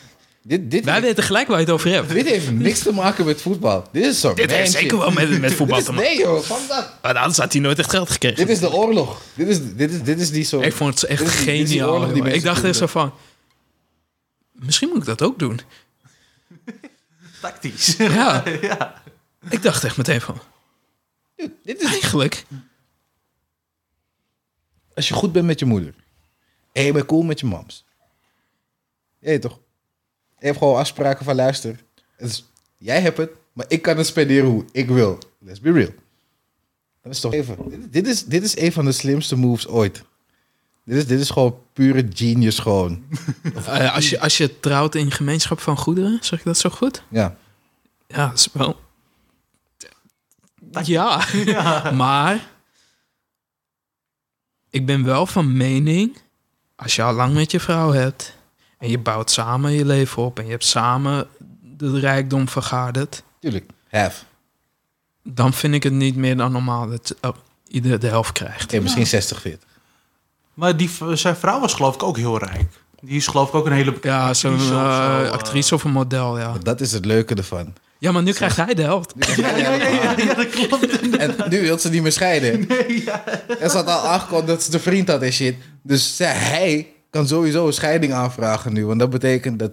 Speaker 2: Dit, dit,
Speaker 1: Wij weten gelijk waar je het over hebt.
Speaker 2: dit heeft niks te maken met voetbal. Dit is zo.
Speaker 1: Dit heeft zeker wel met, met voetbal te maken.
Speaker 2: Nee joh, van dat.
Speaker 1: Maar anders had hij nooit echt geld
Speaker 2: Dit
Speaker 1: gekregen.
Speaker 2: is de oorlog. Dit is, dit is, dit is die soort...
Speaker 1: Ik vond het
Speaker 2: Dit
Speaker 1: echt
Speaker 2: is die- dit is die
Speaker 1: geniaal.
Speaker 2: oorlog die
Speaker 1: jongen. Ik
Speaker 2: mensen
Speaker 1: dacht echt zo
Speaker 2: voeren.
Speaker 1: van... Misschien moet ik dat ook doen.
Speaker 3: Tactisch.
Speaker 1: Ja. Ik dacht echt meteen van,
Speaker 2: Dude, dit is...
Speaker 1: eigenlijk,
Speaker 2: Als je goed bent met je moeder. En je bent cool met je mams. Je weet toch? Je hebt gewoon afspraken van luister. het is- jij hebt het, maar ik kan het spenderen hoe ik wil. Let's be real. Dat is toch even... Dit- Dit is, dit is een van de slimste moves ooit. Dit is, dit is gewoon pure genius gewoon.
Speaker 1: eh, als, je, als je trouwt in gemeenschap van goederen, zeg ik dat zo goed?
Speaker 2: Ja.
Speaker 1: Ja, dat is wel... Ja, maar ik ben wel van mening, als je al lang met je vrouw hebt en je bouwt samen je leven op en je hebt samen de rijkdom vergaderd,
Speaker 2: Tuurlijk. Have.
Speaker 1: dan vind ik het niet meer dan normaal dat eh, ieder de helft krijgt.
Speaker 2: Oké, misschien 60, 40.
Speaker 3: Maar die, v- zijn vrouw was geloof ik ook heel rijk. Die is geloof ik ook een hele bekende
Speaker 1: Ja, zo'n
Speaker 3: actrice of zo,
Speaker 1: eh,
Speaker 3: eh.
Speaker 1: actrice of een model, ja.
Speaker 2: Maar Dat is het leuke ervan.
Speaker 1: Ja, maar nu krijgt hij de helft.
Speaker 3: Ja, ja, ja, ja, ja, dat klopt.
Speaker 2: En nu wil ze niet meer scheiden.
Speaker 3: Nee, ja.
Speaker 2: En ze had al aangekondigd dat ze de vriend had en shit. Dus zij, hij kan sowieso een scheiding aanvragen nu. Want dat betekent dat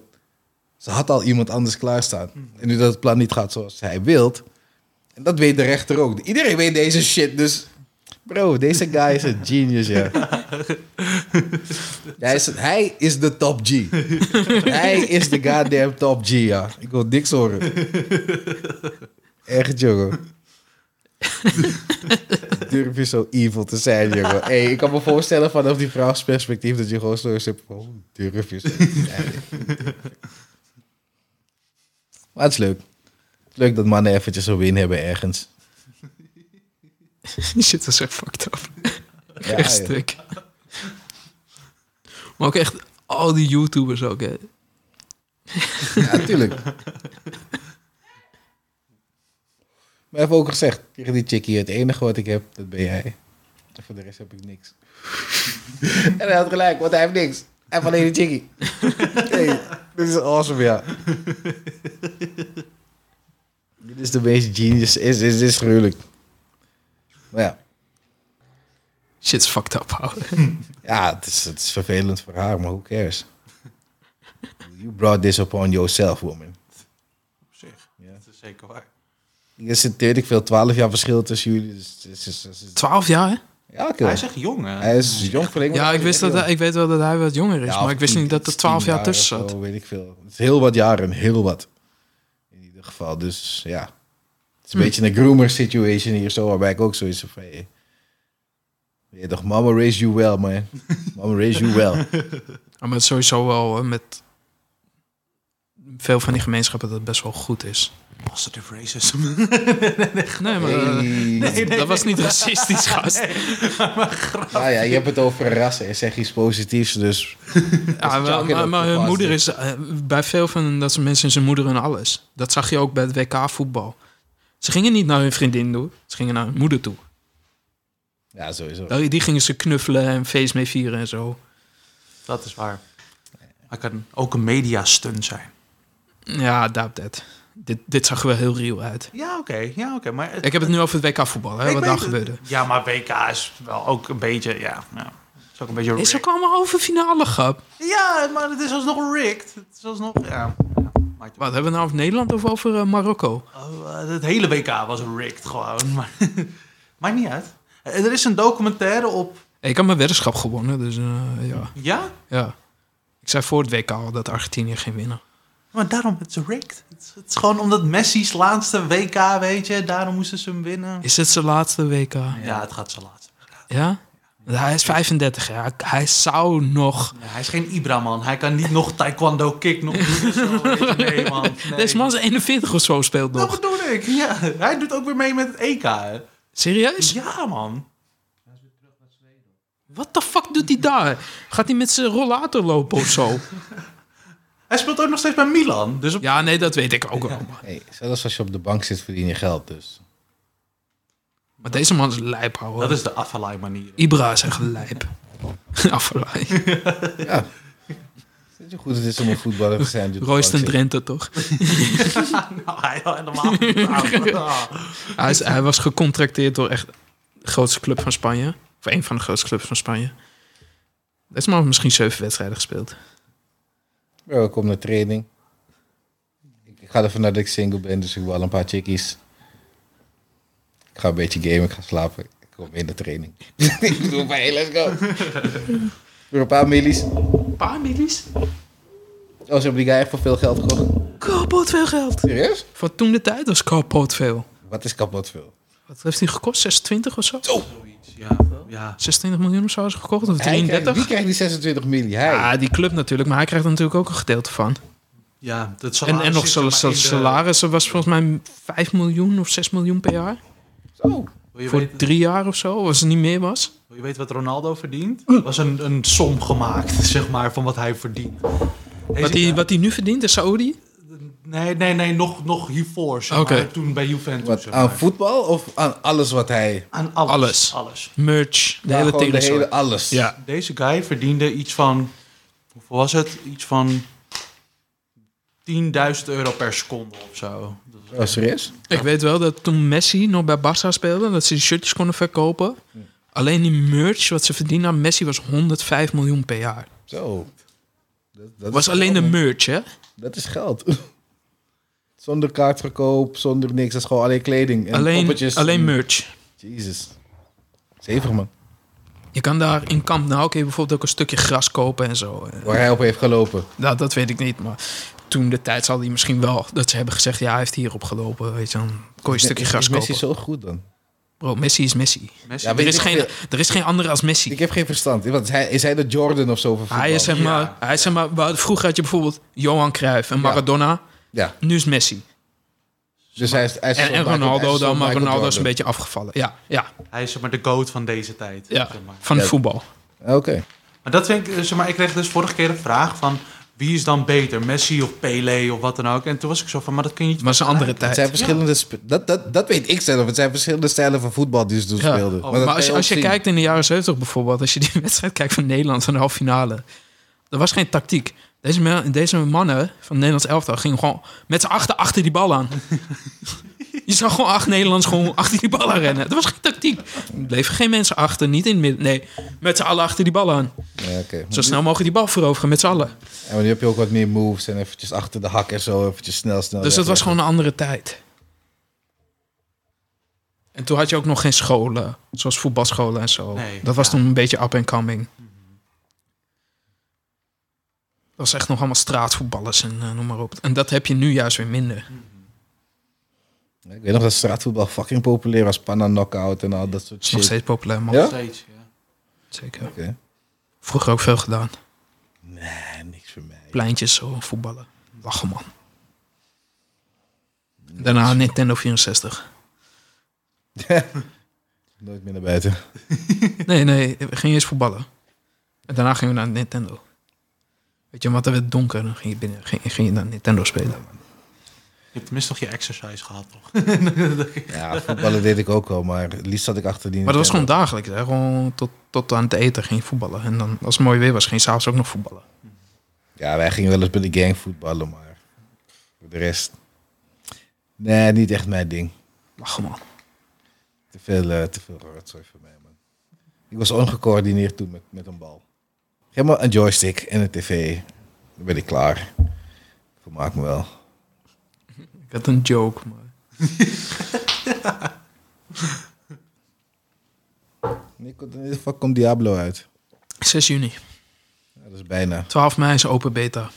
Speaker 2: ze had al iemand anders klaarstaan.
Speaker 3: Hmm.
Speaker 2: En nu dat het plan niet gaat zoals hij wilt. En dat weet de rechter ook. Iedereen weet deze shit. Dus bro, deze guy is een genius, ja. Hij is, hij is de top G. hij is de goddamn top G, ja. Ik wil niks horen. Echt, jongen. Durf je zo evil te zijn, jongen. Hey, ik kan me voorstellen vanaf die vrouwsperspectief dat je gewoon zo is. van, hoe Durf je zo te zijn. Maar het is leuk. Leuk dat mannen eventjes een win hebben ergens.
Speaker 1: Die shit was echt fucked up.
Speaker 2: Ja,
Speaker 1: echt
Speaker 2: joh.
Speaker 1: stuk. Maar ook echt al die YouTubers ook, hè.
Speaker 2: Ja, tuurlijk. Maar even ook gezegd, tegen die chickie, het enige wat ik heb, dat ben jij. En voor de rest heb ik niks. en hij had gelijk, want hij heeft niks. Hij heeft alleen die chickie. hey, dit is awesome, ja. dit is de meest genius. Is, is, is gruwelijk. Maar ja,
Speaker 1: Shit's fucked up, houden.
Speaker 2: ja het, is, het is vervelend voor haar, maar who cares? You brought this upon yourself, woman.
Speaker 3: Op zich,
Speaker 2: Ja.
Speaker 3: dat is zeker waar.
Speaker 2: Er zit, weet ik veel, 12 jaar verschil tussen jullie. Dus, het is- het is- het is-
Speaker 1: Twaalf jaar, hè?
Speaker 2: ja, oké.
Speaker 3: Hij is echt jong, hè?
Speaker 2: Hij is jong verlengd.
Speaker 1: Ja, ik, wist dat, hij- ik weet wel dat hij wat jonger is, maar ik wist niet dat er twaalf jaar tussen zat.
Speaker 2: Zo, weet ik veel. Het is heel wat jaren, heel wat. In ieder geval, dus ja. Het is een
Speaker 1: Hm.
Speaker 2: beetje een groomer situation hier zo, waarbij ik ook zo is van... hey, Weet je toch, mama raise you well, man. Mama raise you well.
Speaker 1: Ja, maar het is sowieso wel eh, met veel van die gemeenschappen dat het best wel goed is.
Speaker 3: Positive racism.
Speaker 1: Nee, maar eh,
Speaker 2: Hey.
Speaker 1: dat was niet racistisch, gast.
Speaker 2: Nou ja, je hebt het over rassen en zeg iets positiefs, dus...
Speaker 1: Ja,
Speaker 2: Dat is
Speaker 1: maar,
Speaker 2: ook heel
Speaker 1: maar, maar hun
Speaker 2: opgepast,
Speaker 1: moeder
Speaker 2: hè?
Speaker 1: is eh, bij veel van dat soort mensen is hun moeder en alles. Dat zag je ook bij het WK voetbal. Ze gingen niet naar hun vriendin toe, ze gingen naar hun moeder toe.
Speaker 2: Ja, sowieso.
Speaker 1: Daar- Die gingen ze knuffelen en feest mee vieren en zo.
Speaker 3: Dat is waar. Hij kan ook een media-stun zijn.
Speaker 1: Ja, doubt that. Dit, dit zag er wel heel real uit.
Speaker 3: Ja, oké. Ja, oké. Maar het-
Speaker 1: Ik heb het nu over het WK voetbal, hè,
Speaker 3: Ik
Speaker 1: wat
Speaker 3: weet
Speaker 1: daar
Speaker 3: het.
Speaker 1: gebeurde.
Speaker 3: Ja, maar WK is wel ook een beetje... Ja, ja. Is ook een beetje
Speaker 1: Is ook
Speaker 3: rigged.
Speaker 1: allemaal over finale, grap.
Speaker 3: Ja, maar het is alsnog rigged. Het is alsnog... Ja. ja. maakt-
Speaker 1: Wat hebben we nou over Nederland of over eh, Marokko?
Speaker 3: Oh, eh, het hele WK was rigged gewoon. Maar maakt niet uit. Eh, Er is een documentaire op...
Speaker 1: Ik had mijn weddenschap gewonnen, dus eh, ja.
Speaker 3: Ja?
Speaker 1: ja. Ik zei voor het WK al dat Argentinië ging winnen.
Speaker 3: Maar daarom, het is rigged. Het is, het is gewoon omdat Messi's laatste WK, weet je. Daarom moesten ze hem winnen.
Speaker 1: Is het zijn laatste WK?
Speaker 3: Ja, het gaat zo laat.
Speaker 1: Ja? Hij is 35, ja. Hij- hij zou nog...
Speaker 3: Ja, hij is geen Ibra, man. Hij kan niet nog taekwondo kick nog doen. of zo, weet je. Nee, man. Nee. Nou,
Speaker 1: Deze man is 41 of zo speelt
Speaker 3: Dat
Speaker 1: nog.
Speaker 3: bedoel ik. Ja, hij doet ook weer mee met het EK. hè.
Speaker 1: Serieus?
Speaker 3: Ja, man.
Speaker 1: Wat de fuck doet hij daar? Gaat hij met zijn rollator lopen of zo?
Speaker 3: Hij speelt ook nog steeds bij Milan. Dus op...
Speaker 1: Ja, nee, dat weet ik ook wel. man.
Speaker 2: Hey, zelfs als je op de bank zit, verdien je geld, dus...
Speaker 1: Maar deze man is lijp, hoor.
Speaker 3: dat is de Afalai manier.
Speaker 1: Ibra is echt lijp. Afvallei.
Speaker 2: Ja. Weet je hoe goed het is om een voetballer te zijn? die op de
Speaker 1: Royston
Speaker 2: bank zit?
Speaker 1: Drenthe, toch?
Speaker 3: nou, hij helemaal niet. Ah,
Speaker 1: Hij, is- hij was gecontracteerd door echt de grootste club van Spanje. Of een van de grootste clubs van Spanje. Deze man heeft misschien zeven wedstrijden gespeeld.
Speaker 2: Bro, ik kom naar training. Ik ik ga ervan uit dat ik single ben, dus ik wil al een paar chickies. Ik ga een beetje gamen, ik ga slapen. Ik kom in de training. ik doe maar hey, let's go. Voor een paar millies.
Speaker 1: Een paar millies?
Speaker 2: Oh, ze hebben die guy echt voor veel geld gekocht.
Speaker 1: Kapot veel geld.
Speaker 2: Serieus?
Speaker 1: Van toen de tijd was kapot veel.
Speaker 2: Wat is kapot veel?
Speaker 1: Wat heeft hij gekost? 26 of zo?
Speaker 3: zoiets, Ja, ja.
Speaker 1: 26 miljoen of zo is gekocht? Of
Speaker 2: Hij krijgt, wie
Speaker 1: 33?
Speaker 2: krijgt die 26 miljoen? Hij.
Speaker 1: Ja, die club natuurlijk, maar hij krijgt er natuurlijk ook een gedeelte van.
Speaker 3: ja dat
Speaker 1: En, en nog
Speaker 3: salaris zit er
Speaker 1: sal-
Speaker 3: maar in de-
Speaker 1: salarissen was volgens mij 5 miljoen of 6 miljoen per jaar.
Speaker 2: Zo.
Speaker 3: Wil je,
Speaker 1: Voor
Speaker 3: weten,
Speaker 1: drie jaar of zo, als het niet meer was.
Speaker 3: wil je weten wat Ronaldo verdient? Er was een, een som gemaakt, zeg maar, van wat hij verdient. Hij
Speaker 1: Wat
Speaker 3: zit-
Speaker 1: hij, wat hij nu verdient, de Saudi?
Speaker 3: Nee, nee, nee, nog, nog hiervoor, zeg
Speaker 1: Oké.
Speaker 3: maar, toen bij Juventus.
Speaker 2: Wat,
Speaker 3: zeg maar.
Speaker 2: aan voetbal of aan alles wat hij...
Speaker 3: Aan alles.
Speaker 1: Alles.
Speaker 3: alles.
Speaker 1: Merch, de hele
Speaker 2: Ja, gewoon de hele
Speaker 1: tegenstelling.
Speaker 2: alles.
Speaker 1: Ja.
Speaker 3: Deze guy verdiende iets van Hoeveel was het? Iets van 10.000 euro per seconde of zo. Dat is-
Speaker 2: Als er is.
Speaker 1: Ik weet wel dat toen Messi nog bij Barça speelde, dat ze die shirtjes konden verkopen. Alleen die merch wat ze verdienen aan Messi was 105 miljoen per jaar.
Speaker 2: Zo. Dat, dat
Speaker 1: was
Speaker 2: is
Speaker 1: alleen de
Speaker 2: geld,
Speaker 1: merch, hè?
Speaker 2: man. Dat is geld. zonder kaartverkoop, zonder niks. Dat is gewoon alleen kleding en
Speaker 1: Alleen,
Speaker 2: poppetjes.
Speaker 1: alleen merch.
Speaker 2: Jezus. Zeven man.
Speaker 1: Je kan daar in Kamp Nou kun je bijvoorbeeld ook een stukje gras kopen en zo. Eh,
Speaker 2: Waar hij op heeft gelopen.
Speaker 1: Nou, dat weet ik niet, maar toen de tijd zal hij misschien wel dat ze hebben gezegd... ja, hij heeft hierop gelopen, weet je, dan kon je een stukje
Speaker 2: Is-
Speaker 1: gras
Speaker 2: is Messi
Speaker 1: kopen.
Speaker 2: zo goed dan?
Speaker 1: Bro, Messi is Messi.
Speaker 3: Messi,
Speaker 2: Ja,
Speaker 1: Er
Speaker 2: weet
Speaker 1: is,
Speaker 2: ik
Speaker 1: geen, er is geen andere als Messi.
Speaker 2: Ik heb geen verstand. Want hij, is hij de Jordan of zo? van
Speaker 1: Hij is,
Speaker 2: voetbal?
Speaker 1: zeg maar,
Speaker 3: Ja.
Speaker 1: hij is, zeg maar, waar- vroeger had je bijvoorbeeld Johan Cruijff en Maradona.
Speaker 2: Ja,
Speaker 1: Nu is Messi.
Speaker 2: dus hij is... Hij is een
Speaker 1: En, en
Speaker 2: soort Michael- hij
Speaker 1: Ronaldo
Speaker 2: een soort
Speaker 1: dan, maar
Speaker 2: Michael
Speaker 1: Ronaldo is een
Speaker 2: Jordan.
Speaker 1: beetje afgevallen. Ja, ja,
Speaker 3: hij is zeg maar de goat van deze tijd.
Speaker 1: ja.
Speaker 3: zeg maar.
Speaker 1: Van het
Speaker 2: Ja.
Speaker 1: voetbal.
Speaker 2: Oké.
Speaker 3: Maar dat vind ik, eh, zeg maar, ik kreeg dus vorige keer een vraag van wie is dan beter, Messi of Pele of wat dan ook. En toen was ik zo van, maar dat kun je niet.
Speaker 1: Maar zijn andere
Speaker 2: Het
Speaker 1: tijd.
Speaker 2: zijn verschillende... sp- Dat, dat, dat weet ik zelf. Het zijn verschillende stijlen van voetbal die ze toen
Speaker 1: Ja.
Speaker 2: speelden.
Speaker 1: Oh,
Speaker 2: dat
Speaker 1: maar
Speaker 2: kan
Speaker 1: als je,
Speaker 2: ook
Speaker 1: als je
Speaker 2: zien.
Speaker 1: kijkt in de jaren 70 bijvoorbeeld, als je die wedstrijd kijkt van Nederland van de halve finale, er was geen tactiek. Deze, me- deze mannen van het Nederlands elftal gingen gewoon met z'n achter achter die bal aan. je zag gewoon acht Nederlands gewoon achter die bal aan rennen. Er was geen tactiek. Er bleven geen mensen achter, niet in het midden. Nee, met z'n allen achter die bal aan.
Speaker 2: Ja, oké.
Speaker 1: Zo snel mogelijk die bal veroveren, met z'n allen.
Speaker 2: En nu heb je ook wat meer moves en eventjes achter de hak en zo. Eventjes snel, snel.
Speaker 1: Dus dat
Speaker 2: weg,
Speaker 1: was
Speaker 2: weg.
Speaker 1: gewoon een andere tijd. En toen had je ook nog geen scholen, zoals voetbalscholen en zo.
Speaker 3: Nee,
Speaker 1: dat was
Speaker 3: ja.
Speaker 1: toen een beetje up and coming. Dat was echt nog allemaal straatvoetballers en eh, noem maar op. En dat heb je nu juist weer minder.
Speaker 2: Ik weet nog dat straatvoetbal fucking populair was. Panna knockout en al dat soort
Speaker 1: Het is nog
Speaker 2: shit.
Speaker 1: steeds populair, man.
Speaker 2: Ja?
Speaker 3: Steeds, ja.
Speaker 1: Zeker.
Speaker 2: Oké.
Speaker 1: Vroeger ook veel gedaan.
Speaker 2: Nee, niks voor mij.
Speaker 1: Pleintjes zo, voetballen. Lachen, man. Daarna Nintendo 64.
Speaker 2: Nooit meer naar buiten.
Speaker 1: Nee, nee, we gingen eerst voetballen. En daarna gingen we naar Nintendo. Weet je, want het werd donker en dan ging je, binnen, ging, ging je naar Nintendo spelen.
Speaker 3: Je hebt tenminste nog je exercise gehad, toch?
Speaker 2: Ja, voetballen deed ik ook wel, maar het liefst zat ik achter die...
Speaker 1: Maar dat was gewoon
Speaker 2: Nintendo.
Speaker 1: dagelijks. Hè? Gewoon tot, tot aan het eten ging je voetballen. En dan, als het mooi weer was, ging je s'avonds ook nog voetballen.
Speaker 2: Ja, wij gingen wel eens bij de gang voetballen, maar... Voor de rest... Nee, niet echt mijn ding.
Speaker 1: Lachen, man.
Speaker 2: Te veel, eh, te veel rotzooi voor mij, man. Ik was ongecoördineerd toen met, met een bal. Geef maar een joystick en een tv. Dan ben ik klaar. Vermaak me wel.
Speaker 1: Ik had een joke, maar...
Speaker 2: Nee, komt- In ieder geval komt Diablo uit.
Speaker 1: 6 juni.
Speaker 2: Ja, dat is bijna.
Speaker 1: 12 mei is open beta.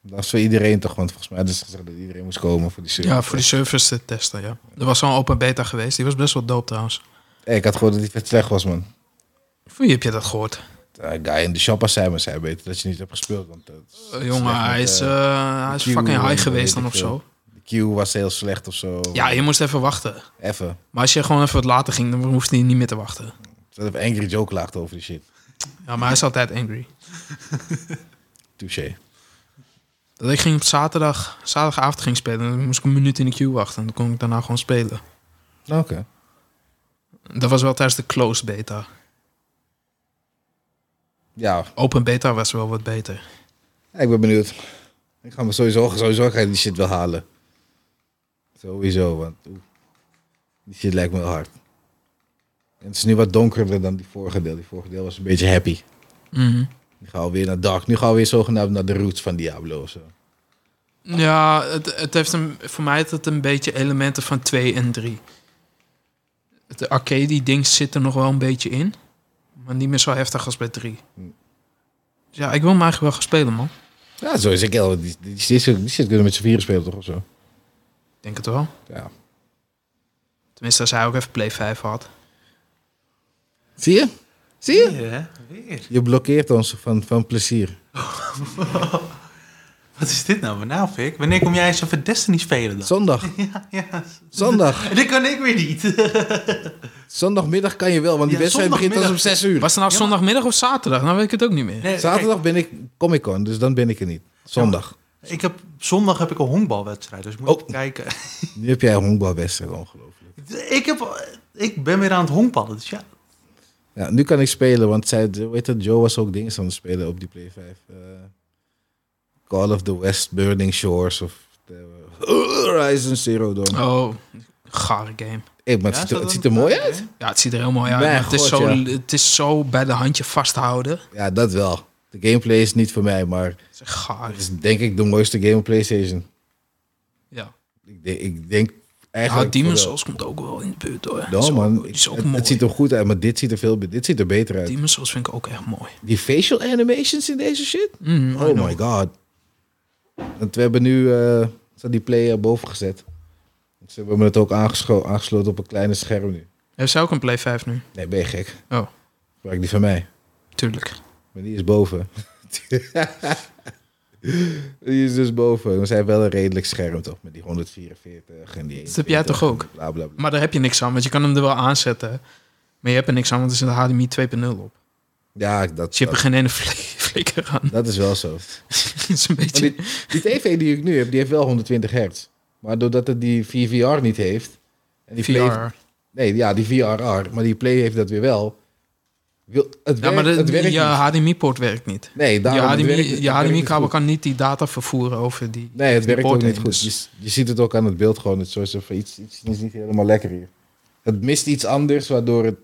Speaker 2: Dat is voor iedereen toch, want volgens mij is gezegd dat iedereen moest komen voor die serie.
Speaker 1: Ja, voor die servers te testen, ja. Er was al een open beta geweest. Die was best wel dope, trouwens.
Speaker 2: Hey, ik had gehoord dat die vet slecht was, man.
Speaker 1: Voor wie heb je dat gehoord?
Speaker 2: De guy in de shop zei me, zei beter dat je niet hebt gespeeld, want dat is
Speaker 1: Eh,
Speaker 2: slecht
Speaker 1: jongen,
Speaker 2: met,
Speaker 1: hij is,
Speaker 2: eh,
Speaker 1: eh, hij is
Speaker 2: Q
Speaker 1: fucking
Speaker 2: en
Speaker 1: high
Speaker 2: weet
Speaker 1: geweest
Speaker 2: ik
Speaker 1: dan of
Speaker 2: veel.
Speaker 1: zo.
Speaker 2: de queue was heel slecht of zo.
Speaker 1: Ja, je moest even wachten.
Speaker 2: Even.
Speaker 1: Maar als je gewoon even wat later ging, dan hoefde hij niet meer te wachten.
Speaker 2: Dat even Angry Joe klaagde over die shit.
Speaker 1: Ja, maar hij is altijd angry.
Speaker 2: Touché.
Speaker 1: Dat ik ging op zaterdag, zaterdagavond ging spelen, dan moest ik een minuut in de queue wachten. En dan kon ik daarna gewoon spelen.
Speaker 2: Nou, Oké.
Speaker 1: Dat was wel tijdens de closed beta.
Speaker 2: Ja,
Speaker 1: Open beta was wel wat beter.
Speaker 2: Ja, ik ben benieuwd. Ik ga me sowieso, sowieso ga ik die shit wel halen. Sowieso, want oeh, die shit lijkt me wel hard. En het is nu wat donkerder dan die vorige deel. Die vorige deel was een beetje happy.
Speaker 1: Mhm.
Speaker 2: Nu gaan we weer naar dark. Nu gaan we weer zogenaamd naar de roots van Diablo of zo.
Speaker 1: Ja, het, het heeft een, voor mij had het een beetje elementen van 2 en 3. Het arcade-ding zit er nog wel een beetje in. Maar niet meer zo heftig als bij 3.
Speaker 3: Mm.
Speaker 1: Dus ja, ik wil hem eigenlijk wel gaan spelen, man.
Speaker 2: Ja, zo is ik heel. Die, die, die, shit- die shit kunnen met z'n vieren spelen toch of zo?
Speaker 1: Ik denk het wel.
Speaker 2: Ja.
Speaker 1: Tenminste, als hij ook even Play 5 had.
Speaker 2: Zie je? Zie je?
Speaker 3: Ja, weer.
Speaker 2: Je blokkeert ons van, van plezier.
Speaker 3: Wat is dit nou? Nou, Fik, wanneer kom jij eens even Destiny spelen dan?
Speaker 2: Zondag.
Speaker 3: Ja,
Speaker 2: Zondag.
Speaker 3: dat kan ik weer niet.
Speaker 2: Zondagmiddag kan je wel, want die
Speaker 3: Ja,
Speaker 2: wedstrijd begint pas om
Speaker 3: zondagmiddag.
Speaker 2: 6 uur.
Speaker 1: Was het nou
Speaker 3: Ja, maar-
Speaker 1: zondagmiddag of zaterdag? Nou weet ik het ook niet meer.
Speaker 3: Nee,
Speaker 2: Zaterdag ben ik Comic Con, dus dan ben ik er niet. Zondag.
Speaker 3: kijk, ik heb, zondag heb ik een honkbalwedstrijd, dus ik moet
Speaker 2: Oh.
Speaker 3: even kijken.
Speaker 2: Nu heb jij een honkbalwedstrijd, ongelooflijk.
Speaker 3: Ik, heb, ik ben weer aan het honkballen, dus ja.
Speaker 2: Ja, nu kan ik spelen, want zij, weet het, Joe was ook dingen aan het spelen op die Play 5. eh, Call of the West, Burning Shores of the- Horizon Zero Dawn.
Speaker 1: Oh, gare game.
Speaker 2: Hey, maar het,
Speaker 3: Ja,
Speaker 2: ziet,
Speaker 3: is dat
Speaker 2: er- het
Speaker 3: een-
Speaker 2: ziet er mooi uit.
Speaker 1: Ja, het ziet er heel mooi uit.
Speaker 2: Mijn
Speaker 1: maar het, is
Speaker 2: god,
Speaker 1: zo,
Speaker 2: ja.
Speaker 1: het is zo bij de handje vasthouden.
Speaker 2: Ja, dat wel. De gameplay is niet voor mij, maar
Speaker 1: Het is echt gaar.
Speaker 2: het is denk ik de mooiste game op PlayStation.
Speaker 1: Ja.
Speaker 2: Ik, denk- ik denk
Speaker 1: ja,
Speaker 2: eigenlijk...
Speaker 1: Demon's
Speaker 2: voor
Speaker 1: Souls komt ook wel in de buurt hoor.
Speaker 2: wel.
Speaker 1: Zo,
Speaker 2: Ja, man.
Speaker 1: die
Speaker 2: ik-
Speaker 1: is ook
Speaker 2: het,
Speaker 1: mooi.
Speaker 2: het ziet er goed uit, maar dit ziet er, veel, be- dit ziet er beter uit.
Speaker 1: Demon's Souls vind ik ook echt mooi.
Speaker 2: Die facial animations in deze shit?
Speaker 1: Mm, I
Speaker 2: Oh
Speaker 1: know.
Speaker 2: my god. Want we hebben nu eh, ze had die player boven gezet. Ze hebben me het ook aangescho- aangesloten op een kleine scherm nu.
Speaker 1: Heeft zij ook een Play 5 nu?
Speaker 2: Nee, ben je gek?
Speaker 1: Oh.
Speaker 2: Gebruik die van mij.
Speaker 1: Tuurlijk.
Speaker 2: Maar die is boven. die is dus boven. We zijn wel een redelijk scherm toch? Met die 144 en die
Speaker 1: Dat heb jij
Speaker 2: 120
Speaker 1: toch ook?
Speaker 2: en Bla bla bla.
Speaker 1: Maar daar heb je niks aan, want je kan hem er wel aanzetten. Maar je hebt er niks aan, want er zit een HDMI 2.0 op.
Speaker 2: Ja, dat,
Speaker 1: Dus je hebt
Speaker 2: dat,
Speaker 1: er geen ene fli- flikker aan.
Speaker 2: dat is wel zo.
Speaker 1: Het is een beetje...
Speaker 2: Maar Die tv die ik nu heb, die heeft wel 120 hertz. Maar doordat het die VVR niet heeft... En die
Speaker 1: VR.
Speaker 2: Play- Nee, ja, die VRR. Maar die Play heeft dat weer wel. Wil, het
Speaker 1: Ja,
Speaker 2: werkt,
Speaker 1: maar de,
Speaker 2: het werkt
Speaker 1: je
Speaker 2: niet.
Speaker 1: HDMI-poort werkt niet.
Speaker 2: Nee,
Speaker 1: Je
Speaker 2: daarom, het werkt
Speaker 1: HDMI
Speaker 2: niet.
Speaker 1: je
Speaker 2: Het werkt niet
Speaker 1: HDMI-kabel
Speaker 2: goed.
Speaker 1: kan niet die data vervoeren over die...
Speaker 2: Nee, het werkt ook
Speaker 1: poort
Speaker 2: niet
Speaker 1: heen,
Speaker 2: goed.
Speaker 1: dus-
Speaker 2: Je, je ziet het ook aan het beeld gewoon. Het, is zoals even iets, iets is niet helemaal lekker hier. Het mist iets anders, waardoor het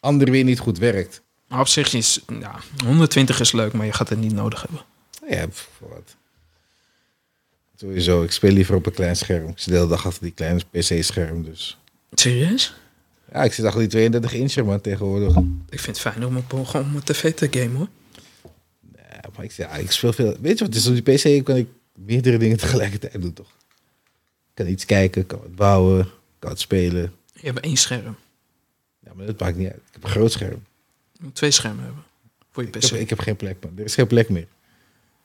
Speaker 2: ander weer niet goed werkt.
Speaker 1: Maar op zich is... Ja, 120 is leuk, maar je gaat het niet nodig hebben.
Speaker 2: Nou ja, pff, voor wat. Sowieso, ik speel liever op een klein scherm. Ik zit de hele dag achter die kleine PC-scherm, dus...
Speaker 1: Serieus?
Speaker 2: Ja, ik zit achter die 32 inch man, tegenwoordig.
Speaker 1: Ik vind het fijn om op gewoon op mijn tv te gamen, hoor.
Speaker 2: Ja, maar ik, zeg, ja, ik speel veel... Weet je wat, dus op die PC kan ik meerdere dingen tegelijkertijd doen, toch? Ik kan iets kijken, kan wat bouwen, kan wat spelen.
Speaker 1: Je hebt één scherm.
Speaker 2: Ja, maar dat maakt niet uit. Ik heb een groot scherm.
Speaker 1: Je moet twee schermen hebben. Voor je
Speaker 2: Ik
Speaker 1: pc.
Speaker 2: heb, ik heb geen plek, man. Er is geen plek meer.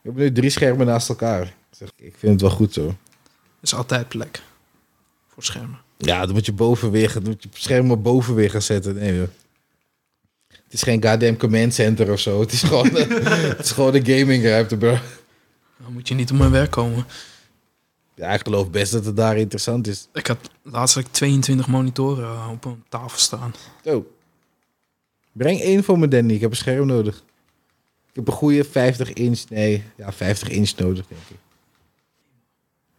Speaker 2: We hebben nu drie schermen naast elkaar. Ik, zeg, ik vind het wel goed zo.
Speaker 1: is altijd plek. Voor schermen.
Speaker 2: Ja, dan moet je boven weer, gaan- dan moet je schermen boven weer gaan zetten. Nee, joh. Het is geen goddamn command center of zo. Het is gewoon, het is gewoon een gamingruimte, bro.
Speaker 1: Dan moet je niet op mijn werk komen.
Speaker 2: Ja, ik geloof best dat het daar interessant is.
Speaker 1: Ik had laatst had ik 22 monitoren eh, op een tafel staan.
Speaker 2: Zo. Oh. Breng één voor me, Danny. Ik heb een scherm nodig. Ik heb een goede 50 inch, nee, ja, 50 inch nodig, denk ik.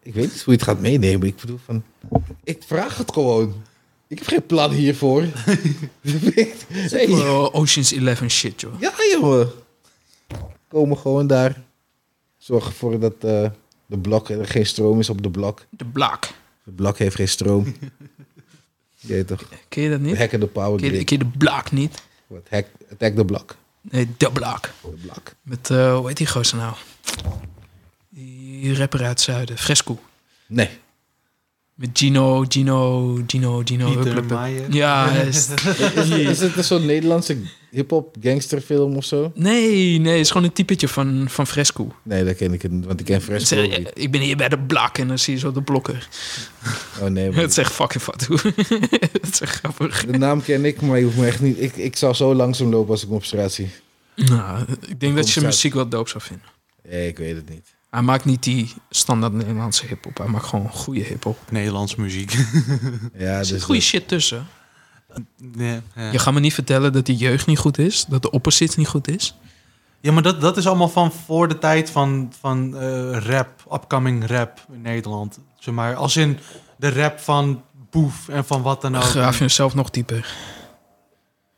Speaker 2: Ik weet niet hoe je het gaat meenemen. Ik bedoel van, ik vraag het gewoon. Ik heb geen plan hiervoor. nee.
Speaker 1: Oh, Oceans 11 shit, joh.
Speaker 2: Ja, jongen. Komen gewoon daar. Zorg ervoor dat eh, de blok, er geen stroom is op de blok.
Speaker 1: De Black.
Speaker 2: De blok heeft geen stroom. Jeet toch.
Speaker 1: Ken je dat niet?
Speaker 2: Hacken de power
Speaker 1: Ken je,
Speaker 2: grid.
Speaker 1: ken je de Black niet?
Speaker 2: Wat, Hack, attack de blok.
Speaker 1: Nee, de Black.
Speaker 2: De blok.
Speaker 1: Met, eh, hoe heet die gozer nou? Die rapper uit het zuiden. Fresco.
Speaker 2: Nee.
Speaker 1: Met Gino, Gino, Gino, Gino.
Speaker 3: Pieter
Speaker 1: hupplepup.
Speaker 3: Maier.
Speaker 1: Ja, is-
Speaker 2: Is, is het een soort Nederlandse hip-hop gangsterfilm of zo?
Speaker 1: nee, nee, het is gewoon een typetje van, van Fresco.
Speaker 2: Nee, dat ken ik niet, want ik ken Fresco
Speaker 1: Zeg,
Speaker 2: ook niet.
Speaker 1: ik ben hier bij de Black en dan zie je zo de blokker.
Speaker 2: Oh nee, maar
Speaker 1: Het is echt fucking fatou. Het is echt grappig.
Speaker 2: de naam ken ik, maar je hoeft me echt niet... Ik, ik zou zo langzaam lopen als ik hem op straat zie.
Speaker 1: Nou, ik denk dat je
Speaker 2: uit.
Speaker 1: zijn muziek wel doop zou vinden.
Speaker 2: Nee, ik weet het niet.
Speaker 1: Hij maakt niet die standaard Nederlandse hip-hop. Hij maakt gewoon goede hip-hop.
Speaker 3: Nederlands muziek.
Speaker 2: Ja,
Speaker 1: Er zit
Speaker 2: dus
Speaker 1: goede
Speaker 2: dat-
Speaker 1: shit tussen.
Speaker 3: Nee, ja.
Speaker 1: Je gaat me niet vertellen dat die jeugd niet goed is. Dat de opposite niet goed is.
Speaker 3: Ja, maar dat, dat is allemaal van voor de tijd van, van eh, rap, upcoming rap in Nederland. Zeg maar, als in de rap van Boef en van wat Nou, dan ook.
Speaker 1: Graaf jezelf nog dieper.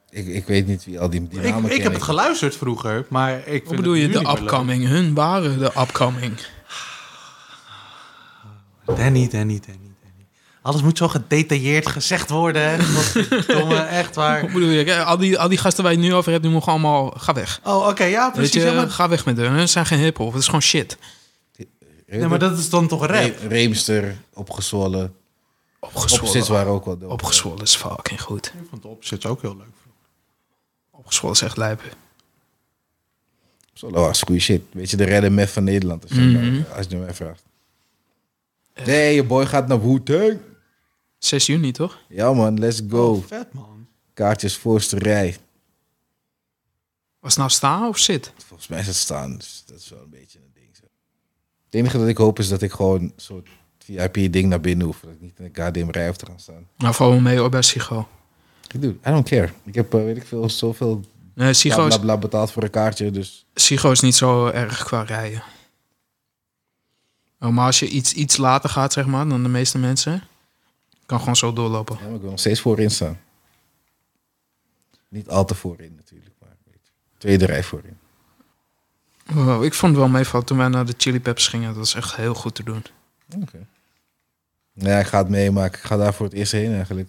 Speaker 2: ik, ik weet niet wie al die, die
Speaker 3: ik,
Speaker 2: namen
Speaker 3: ik
Speaker 2: ken
Speaker 3: heb het geluisterd vroeger, maar ik vind
Speaker 1: Wat bedoel je?
Speaker 3: het nu
Speaker 1: De
Speaker 3: niet meer leuk.
Speaker 1: upcoming. Hun waren de upcoming.
Speaker 3: Danny, Danny, Danny, Danny. Alles moet zo gedetailleerd gezegd worden. Domme, echt waar.
Speaker 1: Wat bedoel je? Kijk, Al die, al die gasten waar je het nu over hebt, die mogen allemaal... Ga weg.
Speaker 3: Oh, oké, ja,
Speaker 1: Weet
Speaker 3: precies.
Speaker 1: je,
Speaker 3: ja, maar,
Speaker 1: ga weg met hun. Hun zijn geen hip-hop. Het is gewoon shit.
Speaker 3: nee, maar dat is dan toch rap?
Speaker 2: Re- Reemster, opgezwollen. Opzits
Speaker 1: Opgezwollen.
Speaker 2: waren ook wel dood.
Speaker 1: Opgezwollen is fucking goed.
Speaker 3: Ik vond de opzet ook heel leuk.
Speaker 1: Opgezwollen is echt lijp.
Speaker 2: Opzwollen was goede shit. Weet je, de redder mef van Nederland. Als je,
Speaker 1: Mhm.
Speaker 2: eh, als je mij vraagt. Nee, je boy gaat naar Wu-Tang.
Speaker 1: 6 juni, toch?
Speaker 2: Ja man, let's go.
Speaker 3: Oh, vet, man.
Speaker 2: Kaartjes voorste rij.
Speaker 1: Was het nou staan of zit?
Speaker 2: Volgens mij is het staan, dus dat is wel een beetje een ding. Zo. Het enige dat ik hoop is dat ik gewoon een soort VIP-ding naar binnen hoef. Dat ik niet in een goddamn rij hoef te gaan staan.
Speaker 1: Nou, vooral mee hoor, bij Sigo.
Speaker 2: Dude, I don't care. Ik heb, eh, weet ik veel, zoveel
Speaker 1: Nee,
Speaker 2: bla,
Speaker 1: Sigo is,
Speaker 2: bla, bla betaald voor een kaartje. Dus
Speaker 1: Sigo is niet zo erg qua rijden. Oh, maar als je iets, iets later gaat, zeg maar, dan de meeste mensen, kan gewoon zo doorlopen.
Speaker 2: ja, maar ik wil nog steeds voorin staan. Niet al te voorin natuurlijk, maar weet je, tweede rij voorin.
Speaker 1: Wow, ik vond het wel meevallen toen wij naar de Chili Peppers gingen. Dat was echt heel goed te doen.
Speaker 2: Nee, Nou ik ga het meemaken. Ik ga daar voor het eerst heen eigenlijk.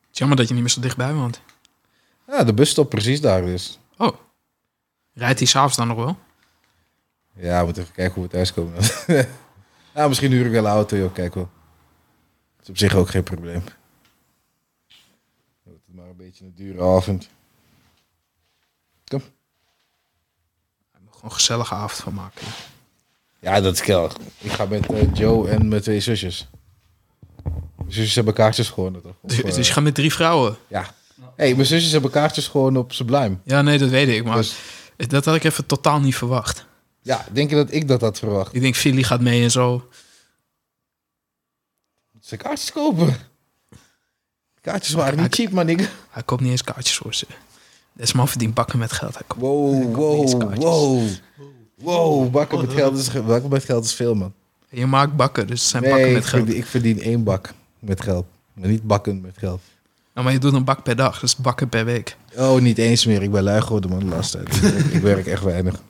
Speaker 1: Het is jammer dat je niet meer zo dichtbij woont.
Speaker 2: Ja, de bus stopt precies daar dus.
Speaker 1: Oh. Rijdt hij s'avonds dan nog wel?
Speaker 2: Ja, we moeten even kijken hoe we thuis komen. ja, misschien huur ik wel een auto, joh. Kijk wel. Dat is op zich ook geen probleem. Dan wordt het maar een beetje een dure avond.
Speaker 1: Daar moet Gewoon een gezellige avond van maken.
Speaker 2: Ja, dat is kellig. Ik ga met eh, Joe en mijn twee zusjes. Mijn zusjes hebben kaartjes gewonnen, toch? Of,
Speaker 1: Dus,
Speaker 2: eh,
Speaker 1: dus je gaat met drie vrouwen.
Speaker 2: Ja. hey, mijn zusjes hebben kaartjes gewoon op Sublime.
Speaker 1: Ja, nee, dat weet ik. Maar
Speaker 2: Dus
Speaker 1: dat had ik even totaal niet verwacht.
Speaker 2: ja, denk je dat ik dat had verwacht?
Speaker 1: Ik denk, Philly gaat mee en zo.
Speaker 2: Ze kaartjes kopen. Kaartjes waren niet cheap, man. Ik...
Speaker 1: Hij koopt niet eens kaartjes voor ze. Deze man verdient bakken met geld. Hij koopt-
Speaker 2: Wow,
Speaker 1: eens
Speaker 2: wow,
Speaker 1: kaartjes.
Speaker 2: wow. Wow, bakken met geld is, bakken met geld is veel, man.
Speaker 1: Je maakt bakken, dus het zijn bakken
Speaker 2: Nee, ik
Speaker 1: met geld.
Speaker 2: verdien, ik verdien één bak met geld. Maar niet bakken met geld.
Speaker 1: Nou, maar je doet een bak per dag, dus bakken per week.
Speaker 2: Oh, niet eens meer. Ik ben lui geworden, man, de laatste tijd. Ik werk- ik werk echt weinig.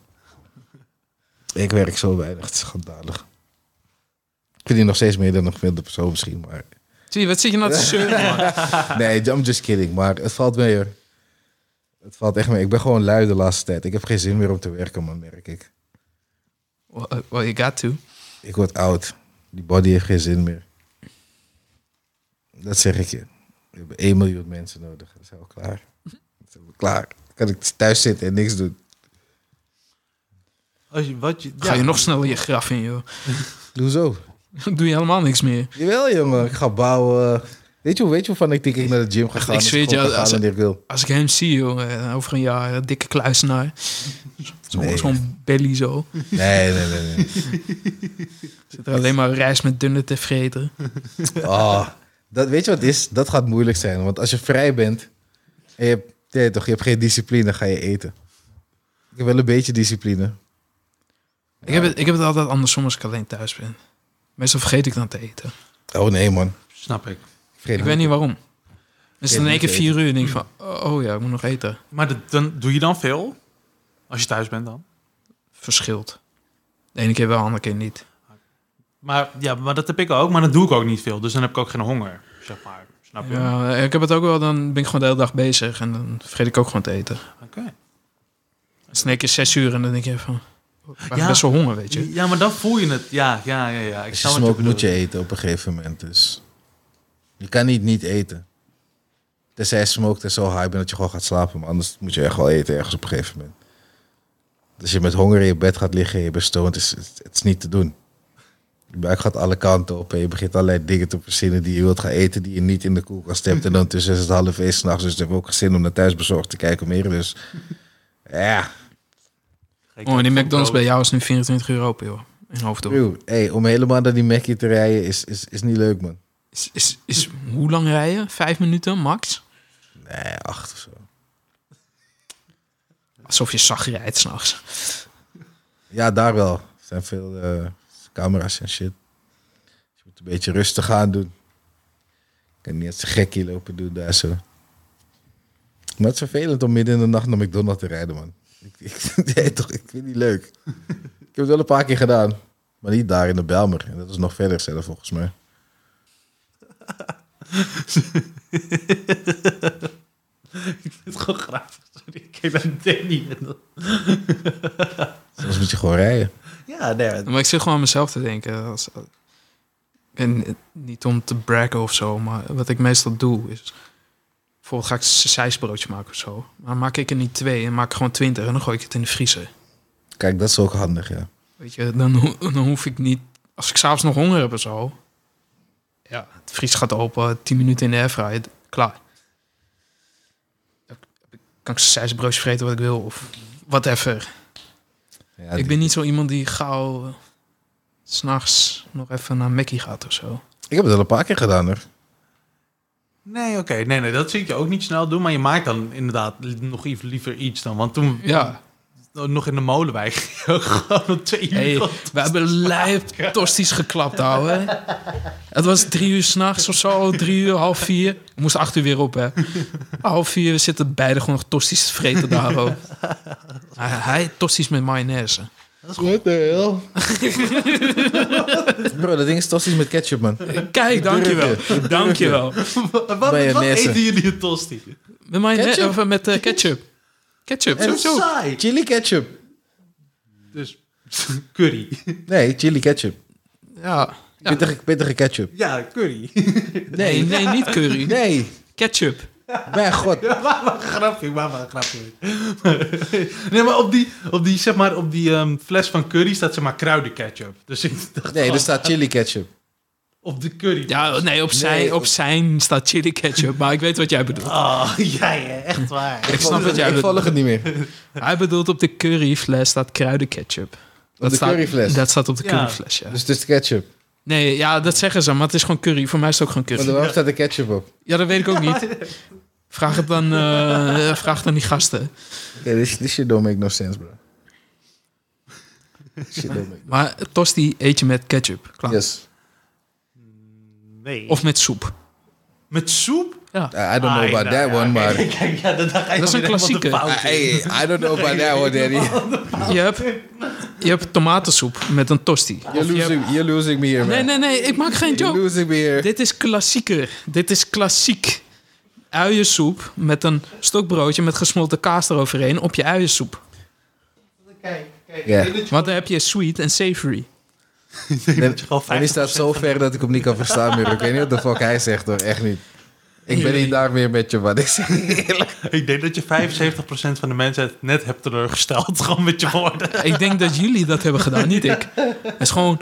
Speaker 2: Ik werk zo weinig. Het is schandalig. Ik verdien nog steeds meer dan een gemiddelde persoon misschien, maar...
Speaker 1: Zie je, wat zit je nou te zeuren, man?
Speaker 2: Nee, I'm just kidding. Maar het valt mee, hoor. Het valt echt mee. Ik ben gewoon lui de laatste tijd. Ik heb geen zin meer om te werken, man, merk ik.
Speaker 1: Well, uh, well, you got to.
Speaker 2: Ik word oud. Die body heeft geen zin meer. Dat zeg ik je. We hebben 1 miljoen mensen nodig. Dat is al klaar. Dat zijn we klaar. Dan kan ik thuis zitten en niks doen.
Speaker 3: Als je, wat je,
Speaker 1: Ga
Speaker 3: ja.
Speaker 1: je nog sneller je graf in, joh.
Speaker 2: Hoezo?
Speaker 1: Dan doe je helemaal niks meer.
Speaker 2: Jawel, jongen. Ik ga bouwen. Weet je, hoe- weet je waarvan ik denk ik naar de gym ga gaan?
Speaker 1: ik
Speaker 2: als
Speaker 1: zweer het je,
Speaker 2: gewoon ga
Speaker 1: als-
Speaker 2: gaan wanneer ik wil.
Speaker 1: Als ik hem zie, joh, eh, over een jaar, eh, dikke kluisenaar. Zo'n
Speaker 2: Nee.
Speaker 1: zo'n belly zo.
Speaker 2: Nee, nee, nee. nee.
Speaker 1: Zit er alleen maar rijst met dunne te vreten.
Speaker 2: Ah, dat, weet je wat het is? Dat gaat moeilijk zijn. Want als je vrij bent en je hebt, nee, toch, je hebt geen discipline, ga je eten. Ik heb wel een beetje discipline.
Speaker 1: Ik, heb het, ik heb het altijd andersom als ik alleen thuis ben. Meestal vergeet ik dan te eten.
Speaker 2: Oh nee, man.
Speaker 3: Snap ik.
Speaker 1: Ik weet niet waarom. Dus
Speaker 2: Ja,
Speaker 1: in één
Speaker 2: niet
Speaker 1: keer
Speaker 2: eten.
Speaker 1: vier uur en denk ik van, oh ja, ik moet nog eten.
Speaker 3: Maar dat- dan, doe je dan veel? Als je thuis bent dan?
Speaker 1: Verschilt. De ene keer wel, de andere keer niet.
Speaker 3: Maar, ja, maar dat heb ik ook, maar dat doe ik ook niet veel. Dus dan heb ik ook geen honger, zeg maar. Snap je?
Speaker 1: Ja, ik heb het ook wel, dan ben ik gewoon de hele dag bezig en dan vergeet ik ook gewoon te eten.
Speaker 3: Oké.
Speaker 1: Het is in één keer zes uur en dan denk je van, oh, ik ben
Speaker 3: Ja.
Speaker 1: best wel honger, weet je.
Speaker 3: Ja, maar dan voel je het. Ja, ja, ja. ja.
Speaker 2: Als
Speaker 3: Ik
Speaker 2: je
Speaker 3: snap wat je
Speaker 2: smoke moet je
Speaker 3: bedoelt.
Speaker 2: eten op een gegeven moment. Dus je kan niet niet eten. Tenzij je smoked en zo high bent dat je gewoon gaat slapen. Maar anders moet je echt wel eten ergens op een gegeven moment. Als je met honger in je bed gaat liggen en je bent stoned, is het het is niet te doen. Je buik gaat alle kanten op en je begint allerlei dingen te verzinnen die je wilt gaan eten die je niet in de koelkast hebt. En dan tussen is het half één s'nachts, dus ik heb ook geen zin om naar thuis bezorgd te kijken meer. Dus ja,
Speaker 3: Ik
Speaker 1: Oh, en die McDonald's bij
Speaker 3: heb
Speaker 1: jou is nu 24 uur open, joh. In Hoofddorp.
Speaker 2: Dude, hey, om helemaal naar die Mackie te rijden is, is, is niet leuk man.
Speaker 1: Is, is, is, hoe lang rijden? Vijf minuten, max?
Speaker 2: Nee, acht of zo.
Speaker 1: Alsof je zacht rijdt s'nachts.
Speaker 2: Ja, daar wel. Er zijn veel eh, camera's en shit. Dus je moet een beetje rustig aan doen. Je kan niet als een gekkie lopen doen daar zo. Maar het is vervelend om midden in de nacht naar McDonald's te rijden, man. Ik, ik, nee, toch, ik vind het niet leuk. Ik heb het wel een paar keer gedaan. Maar niet daar in de Belmer. En dat is nog verder zelf, volgens mij.
Speaker 3: het gewoon graag. Sorry, ik keek naar Danny. en dan-
Speaker 2: Soms moet je gewoon rijden.
Speaker 3: Ja, nee. het-
Speaker 1: Maar ik zit gewoon aan mezelf te denken. Als, en eh, niet om te braggen of zo, maar wat ik meestal doe is... Bijvoorbeeld ga ik een sijsbroodje maken of zo. Maar dan maak ik er niet twee en maak ik gewoon twintig en dan gooi ik het in de vriezer.
Speaker 2: Kijk, dat is ook handig, ja.
Speaker 1: Weet je, dan, ho- dan hoef ik niet... Als ik s'avonds nog honger heb of zo... Ja, het vries gaat open, tien minuten in de airfryer, d- klaar. Dan Kan ik een sijsbroodje vreten wat ik wil of whatever.
Speaker 2: ja
Speaker 1: ik ben niet zo iemand die gauw eh, 's s'nachts nog even naar Mackie gaat of zo.
Speaker 2: ik heb het wel een paar keer gedaan, hoor.
Speaker 3: Nee, oké. Nee, nee, dat zie ik je ook niet snel doen. Maar je maakt dan inderdaad li- nog ief- liever iets dan. Want toen oh,
Speaker 1: Ja,
Speaker 3: nog in de molenwijk ging je ook gewoon om twee uur.
Speaker 1: hey,
Speaker 3: tot-
Speaker 1: we hebben lijp tostisch geklapt, ouwe. Het was drie uur s'nachts of zo, drie uur, half vier. We moesten acht uur weer op, hè. Half vier, we zitten beide gewoon nog tostisch te vreten daar, ook. Hij, hij tostisch met mayonaise.
Speaker 2: What the hell? Bro, dat ding is tostisch met ketchup, man.
Speaker 1: Kijk, dankjewel. Dankjewel.
Speaker 3: wat, wat
Speaker 2: Mayonaise.
Speaker 3: eten jullie een tosti?
Speaker 1: Met, mijn,
Speaker 2: Ketchup?
Speaker 1: ketchup? Of, eh, met eh, ketchup. Ketchup,
Speaker 2: En-
Speaker 1: sowieso.
Speaker 3: Saai.
Speaker 2: Chili ketchup.
Speaker 3: Dus curry.
Speaker 2: Nee, chili ketchup.
Speaker 1: Ja. Ja.
Speaker 2: Pittige, pittige ketchup.
Speaker 3: Ja, curry.
Speaker 1: Nee, nee, niet curry.
Speaker 2: Nee,
Speaker 1: Ketchup.
Speaker 2: mijn god.
Speaker 3: Ja, maar maar een grapje, maar maar een grapje. nee, maar op die, op die, zeg maar, op die ehm, fles van curry staat zeg maar kruidenketchup. Dus ik dacht
Speaker 2: Nee, er
Speaker 3: van,
Speaker 2: staat chili ketchup.
Speaker 3: op de curry.
Speaker 1: Ja, nee, op zijn,
Speaker 2: Nee.
Speaker 1: op zijn staat chili ketchup. Maar ik weet wat jij bedoelt.
Speaker 3: Oh, jij hè, echt waar.
Speaker 1: Ik snap wat jij
Speaker 2: Ik volg
Speaker 1: bedoelt.
Speaker 2: het niet meer.
Speaker 1: Hij bedoelt op de curryfles staat kruidenketchup.
Speaker 2: Op de
Speaker 1: staat,
Speaker 2: curryfles.
Speaker 1: Dat staat op de
Speaker 3: Ja.
Speaker 1: curryfles, ja.
Speaker 2: Dus het is ketchup.
Speaker 1: Nee, ja, dat zeggen ze, maar het is gewoon curry. Voor mij is het ook gewoon
Speaker 2: Maar
Speaker 1: curry.
Speaker 2: waarom staat er ketchup op?
Speaker 1: Ja, dat weet ik ook niet. Vraag het dan, eh, vraag het aan die gasten.
Speaker 2: Oké, this, this shit don't make no sense, bro. Shit don't make
Speaker 1: Maar tosti eet je met ketchup. Klaar.
Speaker 2: Yes.
Speaker 3: Nee.
Speaker 1: Of met soep.
Speaker 3: met soep?
Speaker 1: Ja. Ah,
Speaker 2: I I don't know
Speaker 3: Ah,
Speaker 2: about
Speaker 3: ja,
Speaker 2: that
Speaker 3: ja,
Speaker 2: one,
Speaker 3: kijk,
Speaker 2: maar... Ah,
Speaker 3: Kijk, ja, dan ga je
Speaker 1: Dat is een
Speaker 3: dan weer helemaal de
Speaker 1: klassieker.
Speaker 3: fout in.
Speaker 2: Hey, I don't know about that one, daddy.
Speaker 1: Je hebt, je hebt tomatensoep met een tosti. Of
Speaker 2: You're
Speaker 1: je hebt-
Speaker 2: losing, you're losing me here, man.
Speaker 1: Nee, nee, nee, ik maak geen
Speaker 2: You're
Speaker 1: joke.
Speaker 2: losing me here.
Speaker 1: Dit is klassieker. Dit is klassiek. Uiensoep met een stokbroodje met gesmolten kaas eroverheen op je uiensoep.
Speaker 3: Kijk, kijk.
Speaker 2: Ja.
Speaker 3: Ik denk
Speaker 1: Want dan heb je sweet en savory.
Speaker 3: dat je gewoon
Speaker 2: En die staat zo ver dat ik hem niet kan verstaan meer. Ik weet niet wat de fuck hij zegt, hoor. Echt niet. Ik ben niet daar meer met je, man. Ik zeg je eerlijk.
Speaker 3: 50% Ik denk dat je 75% van de mensheid net hebt teleurgesteld. Gewoon met je woorden.
Speaker 1: Ik denk dat jullie dat hebben gedaan, niet ik. Het is gewoon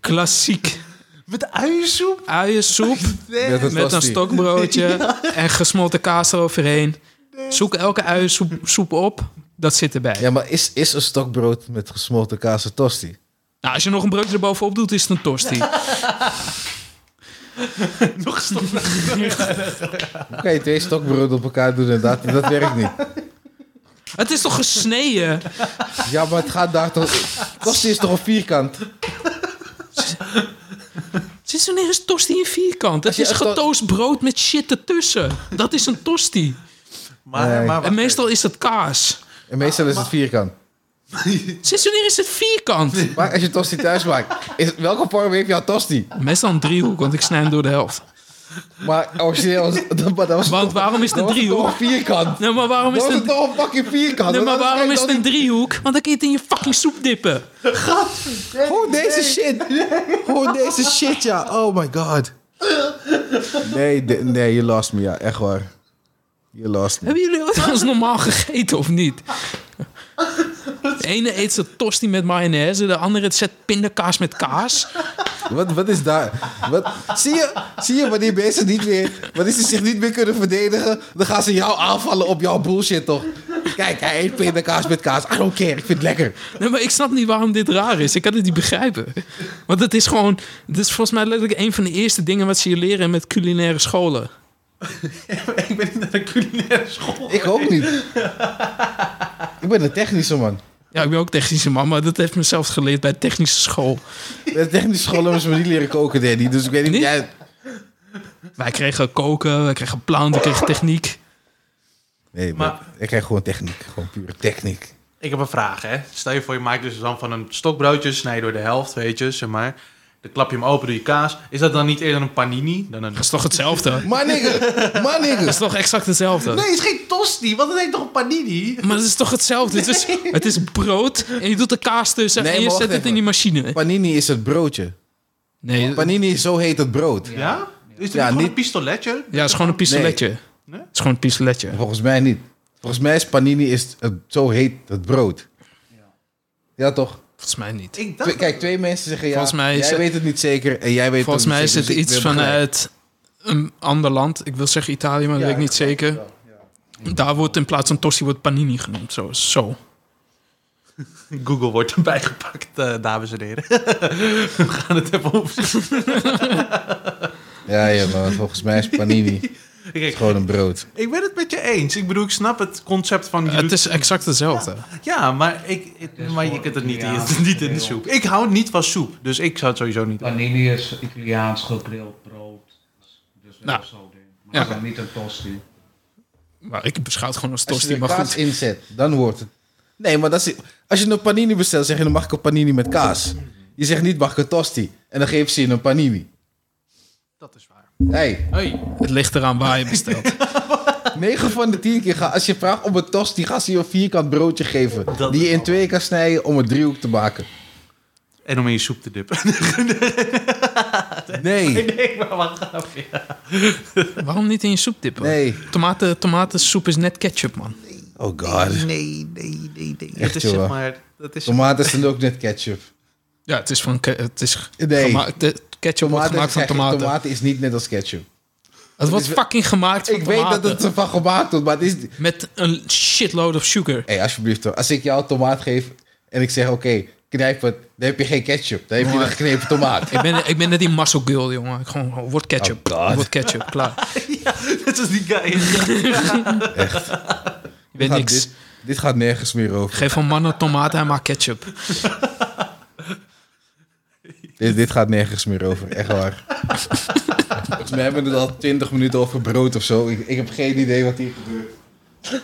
Speaker 1: klassiek.
Speaker 3: Met uiensoep?
Speaker 1: Uiensoep
Speaker 2: Met een,
Speaker 1: met een
Speaker 2: tosti.
Speaker 1: stokbroodje en gesmolten kaas eroverheen. Zoek elke uiensoep soep op. Dat zit erbij.
Speaker 2: Ja, maar is, is een stokbrood met gesmolten kaas een tosti?
Speaker 1: Nou, als je nog een broodje erbovenop doet, is het een tosti.
Speaker 3: Nog stop.
Speaker 2: Hoe kan je twee stokbroden op elkaar doen en dat, dat werkt niet?
Speaker 1: Het is toch gesneden?
Speaker 2: Ja, maar het gaat daar toch... Tosti is toch een vierkant?
Speaker 1: Sinds wanneer is tosti een vierkant? Het
Speaker 2: je
Speaker 1: is
Speaker 2: echt al-
Speaker 1: getoast brood met shit ertussen. Dat is een tosti.
Speaker 3: Maar,
Speaker 2: Nee.
Speaker 3: maar
Speaker 1: En meestal is het kaas.
Speaker 2: En meestal is het vierkant.
Speaker 1: Sinds wanneer is het vierkant?
Speaker 2: Maar als je tosti thuis maakt, is, welke vorm heeft jouw tosti?
Speaker 1: Meestal een driehoek, want ik snij hem door de helft.
Speaker 2: Maar origineel was dat, maar dat was
Speaker 1: Want waarom is het een
Speaker 2: dat was toch
Speaker 1: driehoek?
Speaker 2: een vierkant.
Speaker 1: Nee, maar waarom is
Speaker 2: Dat
Speaker 1: het
Speaker 2: was
Speaker 1: een...
Speaker 2: toch een fucking vierkant.
Speaker 1: Nee, maar
Speaker 2: Dat
Speaker 1: waarom is het een
Speaker 2: geen
Speaker 1: driehoek? Want dan kun je het in je fucking soep dippen.
Speaker 2: tosti. Gewoon deze shit. Gewoon deze shit, ja. Oh my god. Nee, de- nee, je lost me, ja. Echt waar. Je lost me.
Speaker 1: Hebben jullie ooit wel eens normaal gegeten of niet? De ene eet zijn tosti met mayonaise, de andere zet pindakaas met kaas.
Speaker 2: Wat, wat is daar? Wat, zie, je, zie je wanneer mensen niet meer, wanneer ze zich niet meer kunnen verdedigen, dan gaan ze jou aanvallen op jouw bullshit, toch? Kijk, hij eet pindakaas met kaas. I don't care, ik vind het lekker.
Speaker 1: Nee, maar ik snap niet waarom dit raar is. Ik kan het niet begrijpen. Want het is gewoon... Dit is volgens mij letterlijk een van de eerste dingen... wat ze je leren met culinaire scholen.
Speaker 3: ik ben niet naar de culinaire school.
Speaker 2: Ik ook niet. Ik ben een technische man.
Speaker 1: Ja, ik ben ook technische man... maar dat heeft mezelf geleerd bij technische school.
Speaker 2: De technische school hebben ze me niet leren koken, Danny. Dus ik weet niet...
Speaker 1: Niet?
Speaker 2: Ja,
Speaker 1: Wij kregen koken, wij kregen plan, we kregen techniek.
Speaker 2: nee, maar,
Speaker 3: Maar-
Speaker 2: ik krijg gewoon techniek. Gewoon pure techniek.
Speaker 3: Ik heb een vraag, hè. Stel je voor, je maakt dus dan van een stokbroodje, snij je door de helft, weet je, zeg maar. Dan klap je hem open, doe je kaas. Is dat dan niet eerder een panini dan een...
Speaker 1: Dat is toch hetzelfde? Dat
Speaker 2: Maar nigger, maar nigger.
Speaker 1: is toch exact hetzelfde?
Speaker 3: Nee, het is geen tosti, want het heet toch een panini?
Speaker 1: Maar het is toch hetzelfde? Het is, het is brood en je doet de kaas tussen...
Speaker 2: Nee,
Speaker 1: en je
Speaker 2: maar
Speaker 1: zet
Speaker 2: wacht
Speaker 1: het in
Speaker 2: even.
Speaker 1: die machine.
Speaker 2: Panini is het broodje.
Speaker 1: Nee,
Speaker 2: Panini is zo heet het brood.
Speaker 3: Ja? Is
Speaker 2: Ja,
Speaker 3: het niet gewoon
Speaker 2: niet-
Speaker 3: een pistoletje?
Speaker 1: ja, het is gewoon een pistoletje.
Speaker 3: Nee?
Speaker 1: Het is gewoon een pistoletje.
Speaker 2: Volgens mij niet. Volgens mij is panini is het, zo heet het brood. Ja, toch?
Speaker 1: Volgens mij niet.
Speaker 3: Ik dacht...
Speaker 2: Twee- kijk, twee mensen zeggen ja.
Speaker 1: Volgens mij is
Speaker 2: jij
Speaker 1: het-
Speaker 2: weet het niet zeker en jij weet
Speaker 1: Volgens
Speaker 2: het
Speaker 1: mij
Speaker 2: niet
Speaker 1: is
Speaker 2: zeker,
Speaker 1: het
Speaker 2: dus ik
Speaker 1: iets
Speaker 2: wil begrijpen.
Speaker 1: vanuit een ander land. Ik wil zeggen Italië, maar dat
Speaker 2: Ja,
Speaker 1: weet ik niet
Speaker 2: dat
Speaker 1: zeker. Daar wordt in plaats van tosti wordt panini genoemd. Zo. zo.
Speaker 3: Google wordt erbij gepakt, eh, dames en heren. We gaan het even over.
Speaker 1: eh,
Speaker 2: Ja, ja, maar volgens mij is panini. Het is gewoon een brood.
Speaker 3: Ik ben het met je eens. Ik bedoel, ik snap het concept van... je
Speaker 1: Het
Speaker 3: doet-
Speaker 1: is exact hetzelfde.
Speaker 3: Ja, maar, ik,
Speaker 4: is
Speaker 3: maar je
Speaker 4: voor
Speaker 3: kunt het niet,
Speaker 4: Italiaans
Speaker 3: in- niet in de
Speaker 4: gedeelte.
Speaker 3: soep. Ik hou niet van soep, dus ik zou het sowieso niet doen.
Speaker 4: Panini is Italiaans gegrild brood. Dus wel
Speaker 1: Nou.
Speaker 4: zo ding. Maar
Speaker 1: Ja.
Speaker 4: het is dan niet een tosti.
Speaker 1: Maar ik beschouw het gewoon als
Speaker 2: Als je
Speaker 1: tosti,
Speaker 2: er
Speaker 1: maar
Speaker 2: kaas
Speaker 1: goed.
Speaker 2: inzet, dan wordt het... Nee, maar dat is, als je een panini bestelt, zeg je dan mag ik een panini met kaas. Je zegt niet mag ik een tosti. En dan geven ze je een panini.
Speaker 3: Dat is waar.
Speaker 2: Hey,
Speaker 3: Hey.
Speaker 1: Het ligt eraan waar je bestelt.
Speaker 2: 9 van de 10 keer, ga, als je vraagt om een tosti, gaan ze je een vierkant broodje geven.
Speaker 3: Dat
Speaker 2: die je
Speaker 3: is
Speaker 2: in twee kan snijden om een driehoek te maken.
Speaker 3: En om in je soep te dippen.
Speaker 2: Nee,
Speaker 3: nee, maar wat grapje.
Speaker 1: Waarom niet in je soep dippen?
Speaker 2: nee.
Speaker 1: Tomaten, tomatensoep is net ketchup, man.
Speaker 2: Oh god.
Speaker 3: Nee, nee, nee, nee.
Speaker 2: Echt,
Speaker 3: Dat is zeg
Speaker 2: jongen.
Speaker 3: maar... Dat is
Speaker 2: Tomaten zijn ook net ketchup.
Speaker 1: Ja, het is van... ke- Het is
Speaker 2: Nee.
Speaker 1: gemaakt, de ketchup wordt
Speaker 2: Tomaten,
Speaker 1: gemaakt van
Speaker 2: zeg je,
Speaker 1: tomaten.
Speaker 2: tomaten is niet net als ketchup.
Speaker 1: Het wordt
Speaker 2: is-
Speaker 1: fucking gemaakt van
Speaker 2: Ik weet dat het ervan gemaakt wordt, maar het is...
Speaker 1: Met een shitload of sugar.
Speaker 2: Hé, alsjeblieft hoor. Als ik jou tomaat geef en ik zeg, oké, knijp het, dan heb je geen ketchup. Dan heb je een geknepen tomaat.
Speaker 1: Ik ben, ik ben net die muscle girl, jongen. Ik gewoon, oh, word ketchup.
Speaker 2: Oh, God.
Speaker 1: word ketchup, klaar.
Speaker 3: Dat is die guy.
Speaker 1: Je weet
Speaker 2: Gaat
Speaker 1: niks.
Speaker 2: Dit, dit gaat nergens meer over.
Speaker 1: Geef een mannen tomaten en maak ketchup.
Speaker 2: Dit, dit gaat nergens meer over, echt waar. Volgens mij hebben we het al 20 minuten over brood of zo. Ik, ik heb geen idee wat hier gebeurt.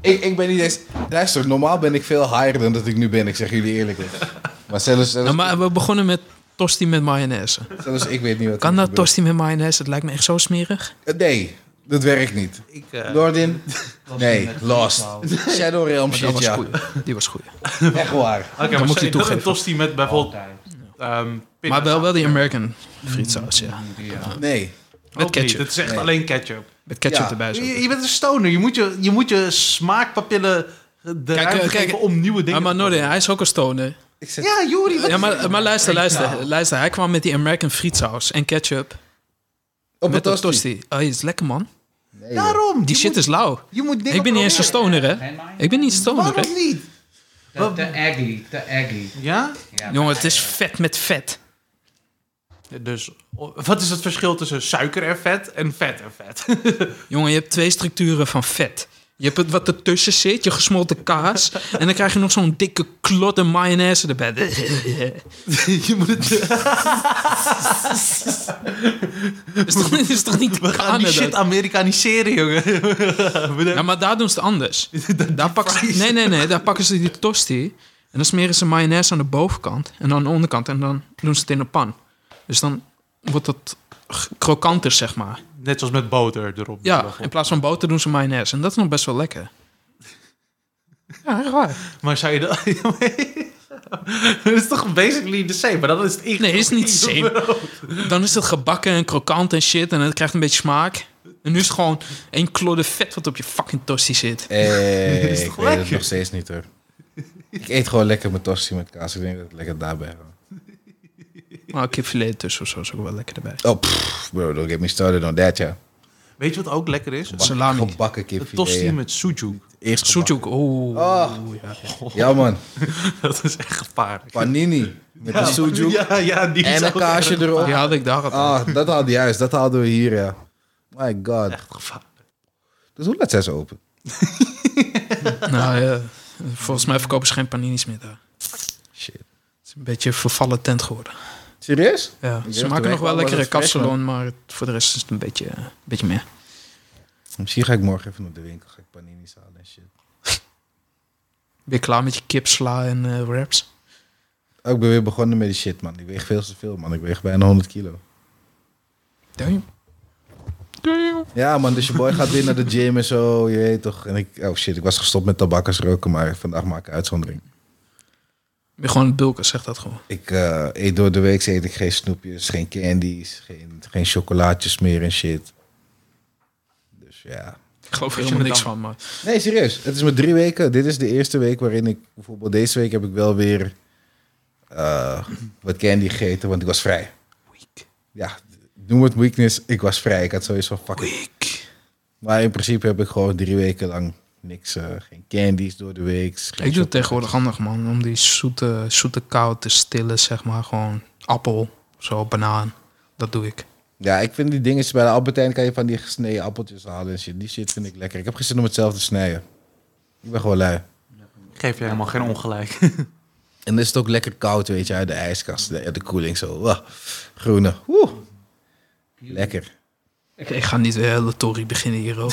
Speaker 2: ik, ik ben niet eens... Luister, normaal ben ik veel higher dan dat ik nu ben. Ik zeg jullie eerlijk. Maar zelfs, zelfs,
Speaker 1: Nou, maar we begonnen met tosti met mayonaise.
Speaker 2: zelfs ik weet niet wat
Speaker 1: Kan
Speaker 2: hier
Speaker 1: dat
Speaker 2: gebeurt.
Speaker 1: tosti met mayonaise? Het lijkt me echt zo smerig.
Speaker 2: Nee, dat werkt niet.
Speaker 3: Ik, eh,
Speaker 2: Nordin?
Speaker 4: Tosti
Speaker 2: Nee,
Speaker 4: met Oh.
Speaker 2: Lost.
Speaker 4: frietsaus.
Speaker 2: Shadow Realm
Speaker 1: Maar dat
Speaker 2: shit,
Speaker 1: was
Speaker 2: ja.
Speaker 1: goeie. Die was goeie.
Speaker 2: Echt waar.
Speaker 3: Oké,
Speaker 1: Dan moet
Speaker 3: maar
Speaker 1: je
Speaker 3: sorry, dat
Speaker 1: toegeven.
Speaker 3: een tosti met bijvoorbeeld
Speaker 4: Altijd.
Speaker 3: ehm
Speaker 1: Maar
Speaker 3: pindasaus.
Speaker 1: wel, wel die American frietsaus, ja.
Speaker 4: Ja.
Speaker 2: Nee.
Speaker 1: Met
Speaker 3: Ook niet,
Speaker 1: ketchup.
Speaker 3: Het is echt
Speaker 2: Nee.
Speaker 3: alleen ketchup.
Speaker 1: Met ketchup
Speaker 2: Ja.
Speaker 1: erbij. Zo.
Speaker 3: Je, je bent een stoner. Je moet je, je, moet je smaakpapillen de ruimte
Speaker 1: eh, kijk,
Speaker 3: geven om nieuwe dingen
Speaker 1: Ah, maar
Speaker 3: te doen.
Speaker 1: Norden, hij is ook een stoner.
Speaker 2: Ik zet...
Speaker 3: Ja, Jori. wat-
Speaker 1: Ja, maar, maar luister, luister, luister. Hij kwam met die American frietsaus en ketchup.
Speaker 2: Op
Speaker 1: Met
Speaker 2: een
Speaker 1: een tosti. Oh, is lekker, man.
Speaker 2: Nee, joh.
Speaker 3: Daarom.
Speaker 1: Die
Speaker 3: je
Speaker 1: shit
Speaker 3: moet,
Speaker 1: is lauw.
Speaker 3: Je moet dingen
Speaker 1: Ik ben niet eens een
Speaker 3: proberen.
Speaker 1: stoner, hè.
Speaker 4: Geen mayo?
Speaker 1: Ik ben niet stoner, hè.
Speaker 3: Waarom niet?
Speaker 4: Te, te aggy, te aggy.
Speaker 3: Ja?
Speaker 4: Ja,
Speaker 1: Jongen, het is vet met vet.
Speaker 3: Dus o- wat is het verschil tussen suiker en vet en vet en vet?
Speaker 1: Jongen, je hebt twee structuren van vet. Je hebt het wat ertussen zit, je gesmolten kaas. en dan krijg je nog zo'n dikke klot en mayonaise erbij.
Speaker 3: je moet het...
Speaker 1: is, toch, niet- is toch niet
Speaker 3: We gaan die shit
Speaker 1: Canada?
Speaker 3: Amerikaniseren, jongen.
Speaker 1: Ja, maar daar doen ze het anders. daar pakken ze, nee, nee, nee. Daar pakken ze die tosti. En dan smeren ze mayonaise aan de bovenkant. En dan aan de onderkant. En dan doen ze het in de pan. Dus dan wordt het g- krokanter, zeg maar.
Speaker 3: Net zoals met boter erop.
Speaker 1: Ja, in plaats van boter doen ze mayonaise. En dat is nog best wel lekker. Ja, echt waar.
Speaker 3: Maar zou je dat... dat is toch basically the same, maar dan is het echt...
Speaker 1: Nee, is niet same. Dan is het gebakken en krokant en shit. En het krijgt een beetje smaak. En nu is het gewoon één klodder vet wat op je fucking tosti zit.
Speaker 2: Eh,
Speaker 3: is
Speaker 2: ik
Speaker 3: toch
Speaker 2: weet het
Speaker 3: lekker?
Speaker 2: nog steeds niet hoor. Ik eet gewoon lekker mijn tosti met kaas. Ik denk dat het lekker daarbij gaat.
Speaker 1: Maar kipfilet tussen of zo is ook wel lekker erbij.
Speaker 2: Oh, pff, bro, don't get me started on that, ja.
Speaker 3: Weet je wat ook lekker is? Een
Speaker 1: Salami.
Speaker 2: Gebakken kipfilet.
Speaker 3: tosti
Speaker 2: ja.
Speaker 3: met sujuk.
Speaker 2: Eerst gebakken.
Speaker 1: Soetjoek. Oeh.
Speaker 2: Oh.
Speaker 1: Ja.
Speaker 2: Ja man,
Speaker 3: Dat is echt gevaarlijk.
Speaker 2: panini. Met een sujuk
Speaker 3: Ja, ja, die is
Speaker 2: en een
Speaker 3: ook
Speaker 2: kaasje
Speaker 3: echt
Speaker 2: erop.
Speaker 1: Die haalde Oh. ik daar al.
Speaker 2: Ah, dat hadden juist. Dat hadden we hier, ja. My god.
Speaker 3: Echt gevaarlijk.
Speaker 2: Dus hoe laat zijn ze open?
Speaker 1: Nou ja, volgens mij verkopen ze geen paninis meer daar.
Speaker 2: Shit.
Speaker 1: Het is een beetje een vervallen tent geworden.
Speaker 2: Serieus?
Speaker 1: Ja.
Speaker 2: Ik
Speaker 1: Ze
Speaker 2: dacht,
Speaker 1: maken
Speaker 2: er
Speaker 1: nog wel
Speaker 2: was
Speaker 1: lekkere
Speaker 2: het vers,
Speaker 1: kapsalon, maar het- voor de rest is het een beetje, eh, een beetje meer.
Speaker 2: Misschien ga ik morgen even naar de winkel. Ga ik panini's halen en shit.
Speaker 1: Ben je klaar met je kip, sla en eh, wraps?
Speaker 2: Oh, ik ben weer begonnen met die shit, man. Ik weeg veel te veel, man. Ik weeg bijna 100 kilo.
Speaker 1: Damn.
Speaker 2: Ja, man, dus je boy gaat weer naar de gym en zo, je weet toch. En ik, oh shit, ik was gestopt met tabakkersroken, maar vandaag maak ik uitzondering.
Speaker 1: Ben je gewoon een bulken, zeg dat gewoon.
Speaker 2: Ik eh, eet door de week eet ik geen snoepjes, geen candies, geen, geen chocolaatjes meer en shit. Dus ja.
Speaker 1: Ik geloof er
Speaker 3: Als je
Speaker 1: helemaal
Speaker 3: me
Speaker 1: niks
Speaker 3: dan-
Speaker 1: van, maar...
Speaker 2: Nee, serieus. Het is maar drie weken. Dit is de eerste week waarin ik, bijvoorbeeld deze week heb ik wel weer eh, wat candy gegeten, want ik was vrij.
Speaker 1: Weak.
Speaker 2: Ja, noem het weakness, ik was vrij. Ik had sowieso van fucking
Speaker 1: Weak.
Speaker 2: Maar in principe heb ik gewoon drie weken lang niks, eh, geen candies door de week. geen
Speaker 1: Ik doe
Speaker 2: chocolade.
Speaker 1: het tegenwoordig handig, man. Om die zoete, zoete kou te stillen, zeg maar. Gewoon appel, zo, banaan. Dat doe ik.
Speaker 2: Ja, ik vind die dingetjes bij de Albert Heijn kan je van die gesneden appeltjes halen en shit. Die shit vind ik lekker. Ik heb gisteren om het zelf te snijden. Ik ben gewoon lui.
Speaker 5: Geef je helemaal geen ongelijk.
Speaker 2: En dan is het ook lekker koud, weet je, uit de ijskast, de, uit de koeling zo. Wah, groene. Oeh, lekker.
Speaker 1: Ik, ik ga niet de hele tory beginnen hier ook.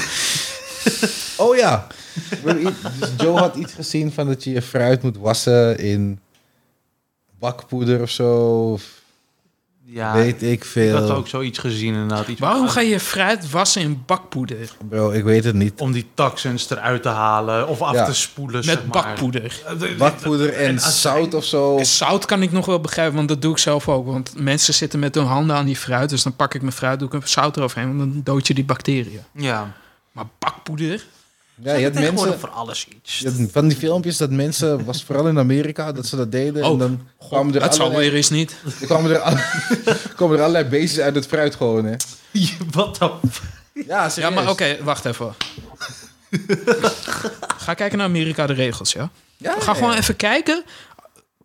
Speaker 2: Oh ja. Dus Joe had iets gezien van dat je je fruit moet wassen in bakpoeder of zo. Of
Speaker 5: Ja,
Speaker 2: weet ik
Speaker 5: ik had
Speaker 2: veel.
Speaker 5: ook zoiets gezien inderdaad. Iets
Speaker 1: Waarom ga je fruit wassen in bakpoeder?
Speaker 2: Bro, ik weet het niet.
Speaker 5: Om die taxens eruit te halen of af
Speaker 2: Ja.
Speaker 5: te spoelen, zeg
Speaker 1: Met
Speaker 5: maar. Eh,
Speaker 1: bakpoeder.
Speaker 2: Bakpoeder en,
Speaker 5: En azijn.
Speaker 2: zout of zo.
Speaker 1: En zout kan ik nog wel begrijpen, want dat doe ik zelf ook. Want mensen zitten met hun handen aan die fruit. Dus dan pak ik mijn fruit, doe ik een zout eroverheen. Want dan dood je die bacteriën.
Speaker 5: Ja.
Speaker 1: Maar bakpoeder?
Speaker 2: Ja, je had mensen...
Speaker 5: Tegenwoordig voor alles iets.
Speaker 2: je had van die filmpjes dat mensen, was vooral in Amerika, dat ze dat deden. en
Speaker 1: Oh,
Speaker 2: dan kwamen er,
Speaker 1: dat zal
Speaker 2: allerlei,
Speaker 1: weer eens niet.
Speaker 2: er kwamen er, alle- kwamen er allerlei beestjes uit het fruit gewoon, hè.
Speaker 5: Wat dan?
Speaker 2: Ja,
Speaker 1: Ja, maar oké, wacht even. Ga kijken naar Amerika de regels, ja? Ga gewoon even kijken.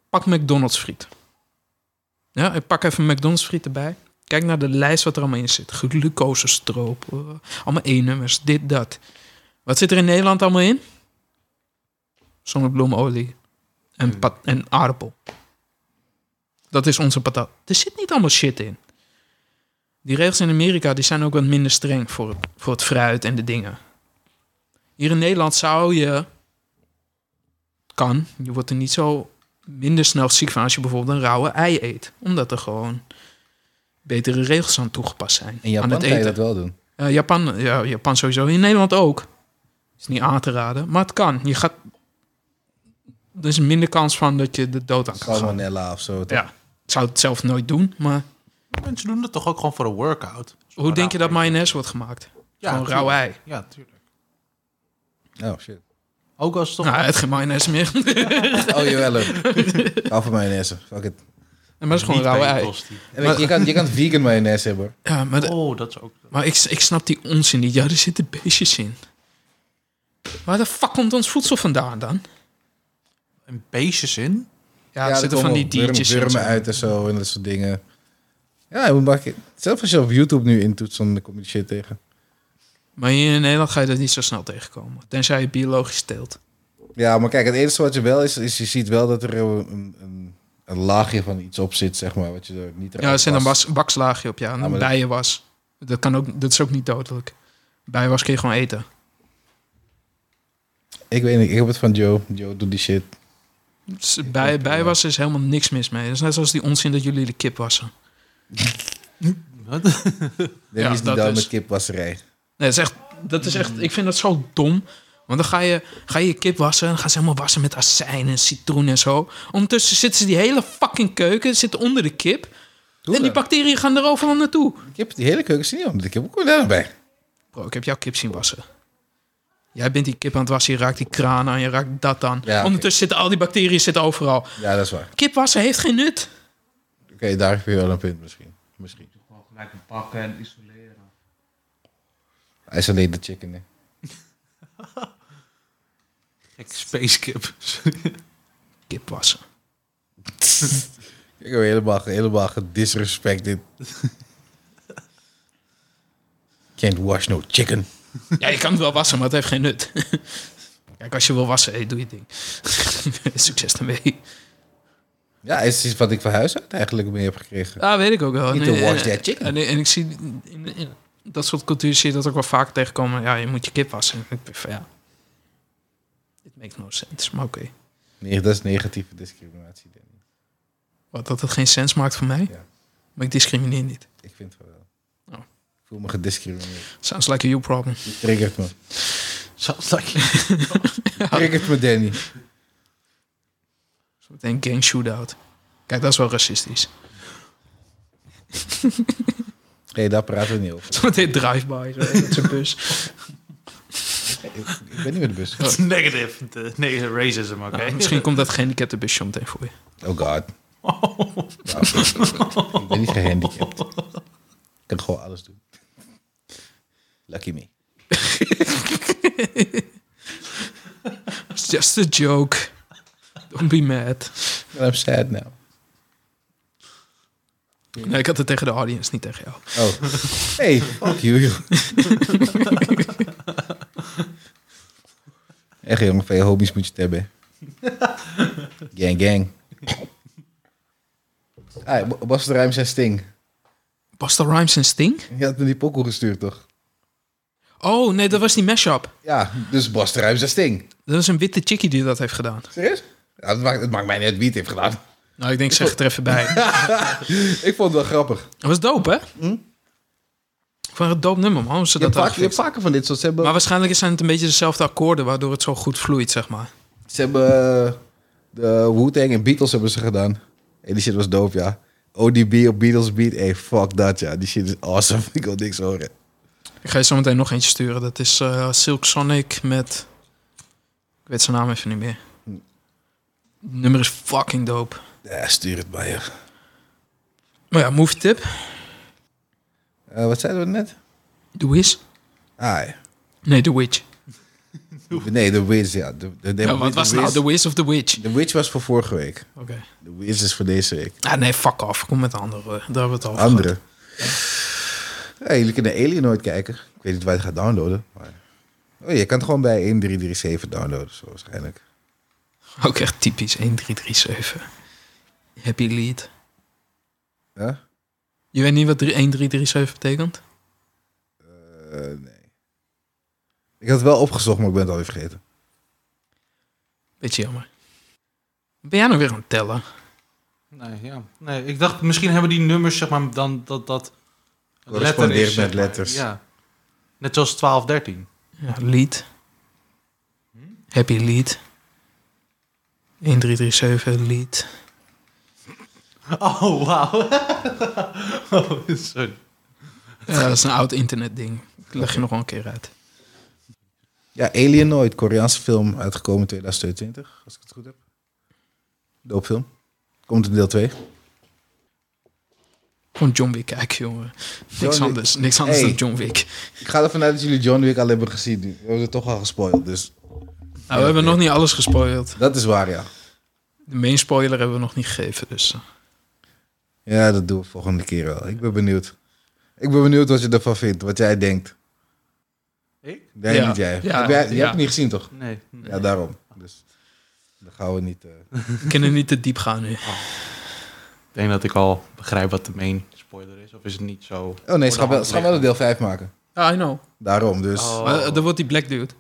Speaker 1: Pak McDonald's friet. Ja, ik pak even McDonald's friet erbij. Kijk naar de lijst wat er allemaal in zit. Glucosestroop, eh, allemaal E-nummers, dit, dat. Wat zit er in Nederland allemaal in? Zonnebloemolie
Speaker 2: Hmm.
Speaker 1: en, pat- en aardappel. Dat is onze patat. Er zit niet allemaal shit in. Die regels in Amerika die zijn ook wat minder streng voor het, voor het fruit en de dingen. Hier in Nederland zou je. Kan. Je wordt er niet zo minder snel ziek van als je bijvoorbeeld een rauwe ei eet. Omdat er gewoon betere regels aan toegepast zijn.
Speaker 2: In Japan
Speaker 1: aan het
Speaker 2: kan je
Speaker 1: eten.
Speaker 2: dat wel doen.
Speaker 1: Eh, Japan, ja, Japan sowieso. In Nederland ook. Is niet aan te raden. Maar het kan. Je gaat. Er is minder kans van dat je de dood aan kan gaan.
Speaker 2: Salmonella of zo. toch?
Speaker 1: Ja. Ik zou het zelf nooit doen, maar
Speaker 5: Mensen doen dat toch ook gewoon voor een workout?
Speaker 1: hoe denk je dat
Speaker 5: maar?
Speaker 1: mayonaise wordt gemaakt?
Speaker 5: Ja,
Speaker 1: Gewoon
Speaker 5: tuurlijk.
Speaker 1: rauw ei.
Speaker 5: Ja, tuurlijk.
Speaker 2: Oh, shit.
Speaker 5: Ook als het toch...
Speaker 1: Nou, het geen mayonaise meer.
Speaker 2: Oh, jawel. Ik hou van mayonaise. Fuck it.
Speaker 1: maar dat is gewoon
Speaker 5: niet
Speaker 1: rauwe
Speaker 5: bij je
Speaker 1: ei.
Speaker 5: tosti.
Speaker 2: En weet je, je, kan, je kan vegan mayonaise hebben. hoor.
Speaker 1: Ja, maar, de-
Speaker 5: Oh, dat is ook...
Speaker 1: maar ik, ik snap die onzin niet. Ja, er zitten beestjes in. Waar de fuck komt ons voedsel vandaan dan?
Speaker 5: Een beestjes in?
Speaker 1: Ja, er
Speaker 2: er
Speaker 1: zitten van
Speaker 2: komen
Speaker 1: die
Speaker 2: worm-
Speaker 1: diertjes in.
Speaker 2: Wormen uit en zo en dat soort dingen. Ja, je moet maar- zelf als je op YouTube nu intoetst, dan kom je die shit tegen.
Speaker 1: Maar hier in Nederland ga je dat niet zo snel tegenkomen. Tenzij je biologisch teelt.
Speaker 2: Ja, maar kijk, het enige wat je wel is, is je ziet wel dat er een, een, een laagje van iets op zit, zeg maar, wat je er niet
Speaker 1: Ja, er zit een
Speaker 2: was.
Speaker 1: was, bakslaagje op, ja. En
Speaker 2: Ja, maar
Speaker 1: een
Speaker 2: dat-
Speaker 1: bijenwas. Dat, kan ook, dat is ook niet dodelijk. Bijenwas kun je gewoon eten.
Speaker 2: Ik weet niet, ik heb het van Joe. Joe doet die shit.
Speaker 1: Dus Bij, bijenwas is helemaal niks mis mee. Dat is net zoals die onzin dat jullie de kip wassen.
Speaker 5: Wat?
Speaker 2: Danny
Speaker 1: Ja,
Speaker 2: is niet
Speaker 1: dat
Speaker 2: down
Speaker 1: is-
Speaker 2: met kipwasserij.
Speaker 1: Nee, dat is echt, dat is echt, ik vind dat zo dom. Want dan ga je, ga je je kip wassen en dan gaan ze helemaal wassen met azijn en citroen en zo. Ondertussen zitten ze die hele fucking keuken, zitten onder de kip.
Speaker 2: Hoe
Speaker 1: en die
Speaker 2: dan?
Speaker 1: bacteriën gaan er overal naartoe.
Speaker 2: De Kip, die hele keuken is niet om. De kip, hoe kom je daar nou bij?
Speaker 1: Bro, ik heb jouw kip zien wassen. Jij bent die kip aan het wassen, je raakt die kraan aan, je raakt dat aan.
Speaker 2: Ja, oké.
Speaker 1: Ondertussen zitten al die bacteriën zitten overal.
Speaker 2: Ja, dat is waar.
Speaker 1: Kip wassen heeft geen nut.
Speaker 2: Oké, daar heb je wel een punt misschien. Misschien.
Speaker 4: Toch gewoon gelijk bakken en isoleren.
Speaker 2: Hij is alleen de chicken, hè.
Speaker 5: Gek spacekip.
Speaker 1: Kip wassen.
Speaker 2: Ik heb helemaal, helemaal gedisrespected. Can't wash no chicken.
Speaker 1: Ja, je kan het wel wassen, maar het heeft geen nut. Kijk, als je wil wassen, hey, doe je ding. Succes daarmee.
Speaker 2: Ja, is iets wat ik van huis uit eigenlijk mee heb gekregen.
Speaker 1: Ah, weet ik ook wel.
Speaker 2: Need
Speaker 1: En-
Speaker 2: to wash
Speaker 1: en-
Speaker 2: that chicken.
Speaker 1: En, en ik zie in, in dat soort cultuur zie je dat ook wel vaak tegenkomen. Ja, je moet je kip wassen. Ik denk van ja. It makes no sense, maar oké.
Speaker 2: Nee, dat is negatieve discriminatie, Danny.
Speaker 1: Wat dat het geen sens maakt voor mij.
Speaker 2: Ja.
Speaker 1: Maar ik discrimineer niet.
Speaker 2: Ik vind het wel.
Speaker 1: Oh.
Speaker 2: Ik voel me gediscrimineerd.
Speaker 1: Sounds like a you problem.
Speaker 2: Je triggert me.
Speaker 5: Sounds like...
Speaker 2: Je triggert me, Danny.
Speaker 1: Zo meteen gang shootout. Kijk, dat is wel racistisch.
Speaker 2: Nee, daar praten we niet over.
Speaker 1: Zo meteen drive-by. zo, met zijn bus.
Speaker 2: Ik, ik ben niet met de bus.
Speaker 5: It's negative. De- Nee, racism, oké.
Speaker 1: Nou, misschien komt dat gehandicaptenbusje zo meteen voor je.
Speaker 2: Oh god. Nou, ik ben niet gehandicapt. Ik kan gewoon alles doen. Lucky me.
Speaker 1: It's just a joke. Don't be mad.
Speaker 2: And I'm sad now.
Speaker 1: Nee, ik had het tegen de audience, niet tegen jou.
Speaker 2: Oh. Hey, fuck you. joh. Echt jongen, veel homies moet je het hebben. Gang, gang. Ah, B- Bas de Ruim zijn Sting.
Speaker 1: Basta Rhymes en Sting?
Speaker 2: Je had me die pokoe gestuurd, toch?
Speaker 1: Oh, nee, dat was die mashup.
Speaker 2: Ja, dus Bas de Ruim zijn Sting.
Speaker 1: Dat is een witte chickie die dat heeft gedaan.
Speaker 2: Serieus? Ja, dat, maakt, dat maakt mij net wie het heeft gedaan.
Speaker 1: Nou, ik denk, zeg het er even bij.
Speaker 2: Ik vond het wel grappig.
Speaker 1: Dat was dope, hè? Ik vond het een dope nummer, man. hoe Ze
Speaker 2: Hm? Je
Speaker 1: dat
Speaker 2: hebt, vaak,
Speaker 1: hadden
Speaker 2: je hebt
Speaker 1: gefixt.
Speaker 2: vaker van dit soort. Ze hebben,
Speaker 1: Maar waarschijnlijk zijn het een beetje dezelfde akkoorden... waardoor het zo goed vloeit, zeg maar.
Speaker 2: ze hebben eh, de Wu-Tang en Beatles hebben ze gedaan. Hey, die shit was dope, ja. ODB op Beatles beat. Hey, fuck dat, ja. Die shit is awesome. Ik wil niks horen.
Speaker 1: Ik ga je zo meteen nog eentje sturen. Dat is eh, Silk Sonic met... Ik weet zijn naam even niet meer.
Speaker 2: Hm.
Speaker 1: Het nummer is fucking dope.
Speaker 2: Ja, stuur het maar, joh.
Speaker 1: Maar ja, movie tip.
Speaker 2: Eh, wat zeiden we net?
Speaker 1: The Wiz?
Speaker 2: Ah, ja.
Speaker 1: Nee, The Witch.
Speaker 2: nee, The Wiz, ja. De, de, de,
Speaker 1: Ja, wat
Speaker 2: de
Speaker 1: was nou
Speaker 2: Wiz-
Speaker 1: The Wiz of The Witch?
Speaker 2: The Witch was voor vorige week.
Speaker 1: Oké.
Speaker 2: The Wiz is voor deze week.
Speaker 1: Ah, nee, fuck af. Kom met de andere. Daar hebben we het over gehad.
Speaker 2: Andere. Ja, jullie kunnen Alien nooit kijken. Ik weet niet waar je het gaat downloaden. Maar... Oh, je kan het gewoon bij 1337 downloaden, zo waarschijnlijk.
Speaker 1: Ook echt typisch 1337. Happy lead.
Speaker 2: Ja?
Speaker 1: Je weet niet wat drie- 1337 betekent?
Speaker 2: Eh, nee. Ik had het wel opgezocht, maar ik ben het alweer vergeten.
Speaker 1: Beetje jammer. Ben jij nou weer aan het tellen?
Speaker 5: Nee, ja. Nee, ik dacht, misschien hebben die nummers, zeg maar, dan dat dat... een
Speaker 2: Correspondeert
Speaker 5: letter is, zeg
Speaker 2: met
Speaker 5: maar.
Speaker 2: letters.
Speaker 5: Ja. Net zoals 12, 13.
Speaker 1: Ja, lead. Happy lead. 1337 lead.
Speaker 5: Oh, wauw. oh, sorry.
Speaker 1: Ja, dat is een oud internetding. Ik leg je nog wel een keer uit.
Speaker 2: Ja, Alien nooit. Koreaanse film uitgekomen in 2022, als ik het goed heb. Doopfilm. Komt in deel 2.
Speaker 1: Gewoon John Wick kijken, jongen.
Speaker 2: John
Speaker 1: Niks
Speaker 2: Wick.
Speaker 1: anders. Niks anders
Speaker 2: Hey.
Speaker 1: dan John Wick.
Speaker 2: Ik ga ervan uit dat jullie John Wick al hebben gezien. nu. We hebben het toch al gespoild, dus
Speaker 1: Nou, we hebben
Speaker 2: oké.
Speaker 1: nog niet alles gespoild.
Speaker 2: dat is waar, ja.
Speaker 1: De main spoiler hebben we nog niet gegeven, dus... eh.
Speaker 2: Ja, dat doen we volgende keer wel. Ik ben benieuwd. Ik ben benieuwd wat je ervan vindt, wat jij denkt.
Speaker 5: Ik?
Speaker 2: Nee,
Speaker 1: Ja.
Speaker 2: niet jij.
Speaker 1: Ja,
Speaker 2: Heb jij- je
Speaker 1: ja.
Speaker 2: hebt het niet gezien, toch?
Speaker 5: Nee.
Speaker 2: Ja, daarom. Dus dan gaan we niet... eh,
Speaker 1: We kunnen niet te diep gaan nu.
Speaker 5: Ik denk dat ik al begrijp wat de main spoiler is. Of is het niet zo...
Speaker 2: Oh nee, ze
Speaker 5: Voor de
Speaker 2: gaan, wel,
Speaker 5: hand
Speaker 2: ze gaan wel een deel 5 maken.
Speaker 1: Ja, I know.
Speaker 2: Daarom, dus...
Speaker 5: Oh.
Speaker 1: Maar, eh, dan wordt die black dude.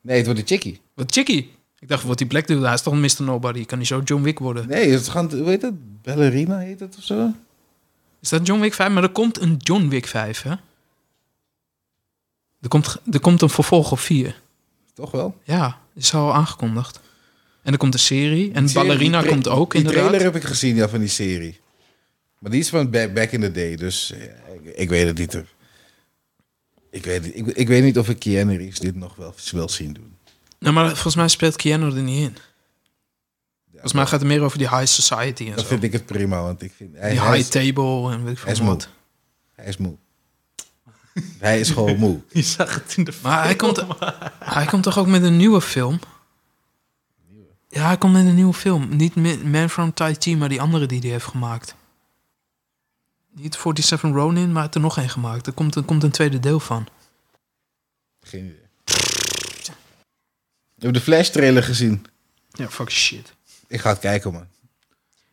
Speaker 2: Nee, het wordt een chickie.
Speaker 1: Wat chickie. Ik dacht, wordt die black dude? Hij is toch een Mr. Nobody? Kan hij zo John Wick worden?
Speaker 2: Nee, het gaan, hoe heet dat? Ballerina heet het of zo?
Speaker 1: Is dat John Wick 5? Maar er komt een John Wick 5, hè? Er komt, er komt een vervolg op 4.
Speaker 2: Toch wel?
Speaker 1: Ja, is al aangekondigd. En er komt een serie. En
Speaker 2: Die serie,
Speaker 1: Ballerina
Speaker 2: die tra-
Speaker 1: komt ook,
Speaker 2: Die
Speaker 1: inderdaad.
Speaker 2: trailer heb ik gezien, ja, van die serie. Maar die is van back, back in the day, dus ja, ik, ik weet het niet. hoor. Ik weet, het- ik, ik weet niet of ik Keanu Reeves dit nog wel wil zien doen.
Speaker 1: Nou, maar volgens mij speelt Keanu er niet in. Volgens mij gaat het meer over die high society en
Speaker 2: Dat
Speaker 1: zo.
Speaker 2: vind ik het prima, want ik vind... Hij,
Speaker 1: die
Speaker 2: hij
Speaker 1: high
Speaker 2: is,
Speaker 1: table en weet ik
Speaker 2: hij is
Speaker 1: veel wat.
Speaker 2: hij is moe. hij is gewoon moe.
Speaker 5: Je zag het in de
Speaker 1: Maar hij komt, hij komt toch ook met een nieuwe film? Ja, hij komt met een nieuwe film. Niet Mi- Man from Tai Chi, maar die andere die hij heeft gemaakt. Niet 47 Ronin, maar hij heeft er nog één gemaakt. Er komt, er komt een tweede deel van.
Speaker 2: Geen idee. Ik heb de Flash trailer gezien.
Speaker 1: Ja, fuck shit.
Speaker 2: Ik ga het kijken, man.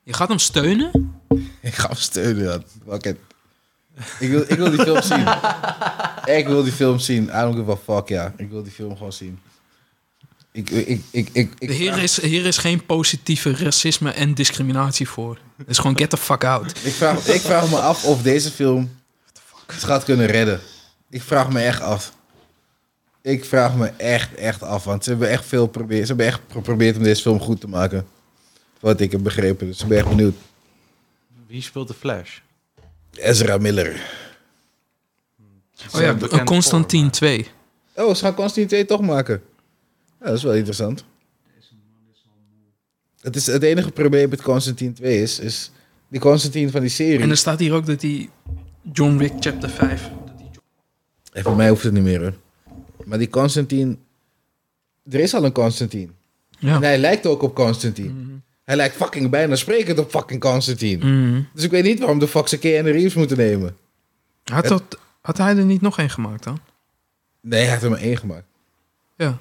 Speaker 1: Je gaat hem steunen?
Speaker 2: Ik ga hem steunen, man. Fuck it. Ik wil, ik wil die film zien. Ik wil die film zien. I don't give a fuck, ja. Ik wil die film gewoon zien. Ik, ik, ik, ik, ik,
Speaker 1: Hier
Speaker 2: vraag,
Speaker 1: is, hier is geen positieve racisme en discriminatie voor. Het is gewoon get the fuck out.
Speaker 2: ik, vraag, ik vraag me af of deze film het gaat kunnen redden. Ik vraag me echt af. Ik vraag me echt, echt af. Want ze hebben echt veel probeer, Ze hebben echt geprobeerd om deze film goed te maken. Wat ik heb begrepen. Dus ik ben echt benieuwd.
Speaker 5: Wie speelt de Flash?
Speaker 2: Ezra Miller.
Speaker 1: Oh ja,
Speaker 5: bekend
Speaker 1: Constantine
Speaker 5: voor,
Speaker 1: 2.
Speaker 2: Oh, ze gaan Constantine 2 toch maken. Ja, dat is wel interessant. Het, is, het enige probleem met Constantine 2 is, is die Constantine van die
Speaker 1: En
Speaker 2: serie.
Speaker 1: er staat hier ook dat die John Wick chapter 5... dat die-
Speaker 2: En voor mij hoeft het niet meer hoor. Maar die Constantine. Er is al een Constantine.
Speaker 1: Ja.
Speaker 2: En hij lijkt ook op Constantine. Hij lijkt fucking bijna sprekend op fucking Constantine.
Speaker 1: Mhm.
Speaker 2: Dus ik weet niet waarom de fuck ze Keanu Reeves moeten nemen.
Speaker 1: Had, dat, had hij er niet nog één gemaakt dan?
Speaker 2: Nee, hij heeft er maar één gemaakt.
Speaker 1: Ja.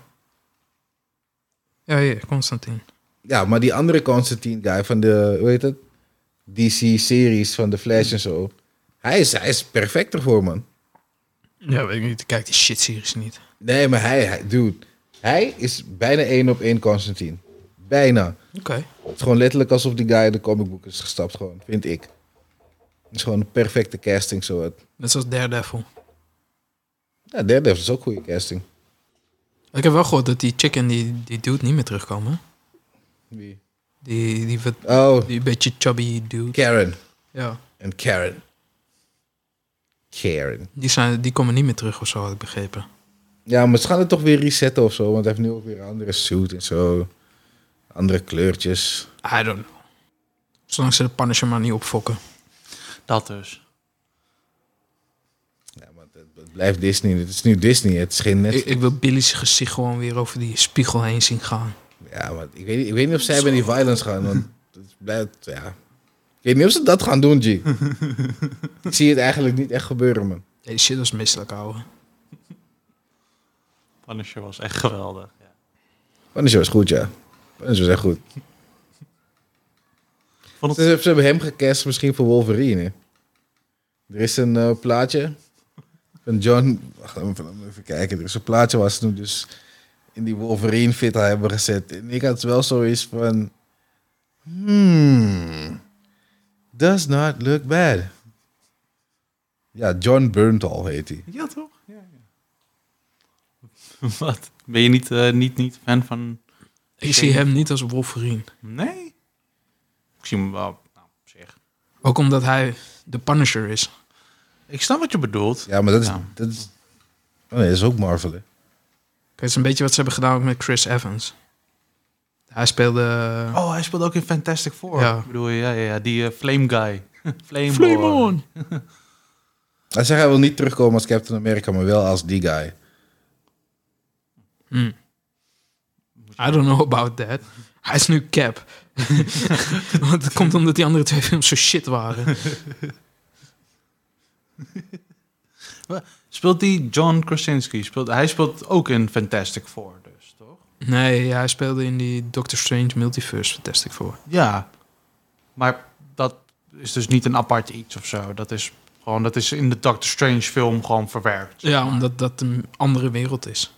Speaker 1: Ja, hier, Constantine.
Speaker 2: Ja, maar die andere Constantine guy van de, hoe heet het? DC-series van The Flash en zo. Hij is, hij is perfect ervoor, man.
Speaker 1: Ja, weet ik niet. Ik kijk die shit-series niet.
Speaker 2: Nee, maar hij, hij dude, hij is bijna één op één Constantine. Bijna.
Speaker 1: Oké.
Speaker 2: Het is gewoon letterlijk alsof die guy in de comicboek is gestapt, gewoon, vind ik. Het is gewoon een perfecte casting, zo. uit.
Speaker 1: Net zoals Daredevil.
Speaker 2: Ja, Daredevil is ook goede casting.
Speaker 1: Ik heb wel gehoord dat die chick en die, die dude niet meer terugkomen.
Speaker 2: Wie?
Speaker 1: Die, die, wat-
Speaker 2: Oh,
Speaker 1: die beetje chubby dude.
Speaker 2: Karen.
Speaker 1: Ja.
Speaker 2: En Karen. Karen.
Speaker 1: Die, zijn, die komen niet meer terug of zo, had ik begrepen.
Speaker 2: Ja, maar ze gaan het toch weer resetten of zo. Want hij heeft nu ook weer een andere suit en zo. Andere kleurtjes.
Speaker 1: I don't know. Zolang ze de Punisher maar niet opfokken.
Speaker 3: Dat dus.
Speaker 2: Ja, maar het, het blijft Disney. Het is nu Disney. Het is geen net.
Speaker 1: Ik, ik wil Billy's gezicht gewoon weer over die spiegel heen zien gaan.
Speaker 2: Ja, maar ik weet, niet- ik weet niet of zij bij die violence gaan. Want het blijft, ja. Ik weet niet of ze dat gaan doen, G. ik zie het eigenlijk niet echt gebeuren, man.
Speaker 1: Nee, die shit was misselijk, ouwe.
Speaker 3: Punisher was echt geweldig. Ja.
Speaker 2: Punisher was goed, ja. Punisher was echt goed.
Speaker 3: Vond
Speaker 2: Ze,
Speaker 3: het,
Speaker 2: ze hebben hem gecast misschien voor Wolverine. hè. Er is een eh, plaatje van John... Wacht even, laat me even kijken. Er is een plaatje waar ze hem dus in die Wolverine fit hebben gezet. En ik had wel zoiets van... Hmm... Does not look bad. Ja, John Berntal heet hij.
Speaker 3: ja, toch? Ja, ja. Wat? Ben je niet, eh, niet, niet fan van...
Speaker 1: Ik zie hem niet als Wolverine.
Speaker 3: Nee? Ik zie hem wel... Nou, op zich.
Speaker 1: Ook omdat hij de Punisher is.
Speaker 3: Ik snap wat je bedoelt.
Speaker 2: Ja, maar dat is...
Speaker 3: Ja.
Speaker 2: Dat is oh nee, dat is ook Marvel, hè?
Speaker 1: Kijk, het is een beetje wat ze hebben gedaan ook met Chris Evans. Hij speelde...
Speaker 3: Oh, hij speelde ook in Fantastic Four.
Speaker 1: Ja.
Speaker 3: Ik bedoel, ja, ja, ja. Die eh, Flame Guy. Flame,
Speaker 1: Flame
Speaker 3: Boy.
Speaker 1: on!
Speaker 2: Hij zegt hij wil niet terugkomen als Captain America, maar wel als die guy.
Speaker 1: Hmm. I don't know about that. Hij is nu cap. Want het komt omdat die andere twee films zo shit waren.
Speaker 3: Speelt die John Krasinski? Speelt, hij speelt ook in Fantastic Four, dus toch?
Speaker 1: Nee, hij speelde in die Doctor Strange Multiverse Fantastic Four.
Speaker 3: Ja. Maar dat is dus niet een apart iets of zo. Dat is gewoon, dat is in de Doctor Strange film gewoon verwerkt.
Speaker 1: Ja, omdat dat een andere wereld is.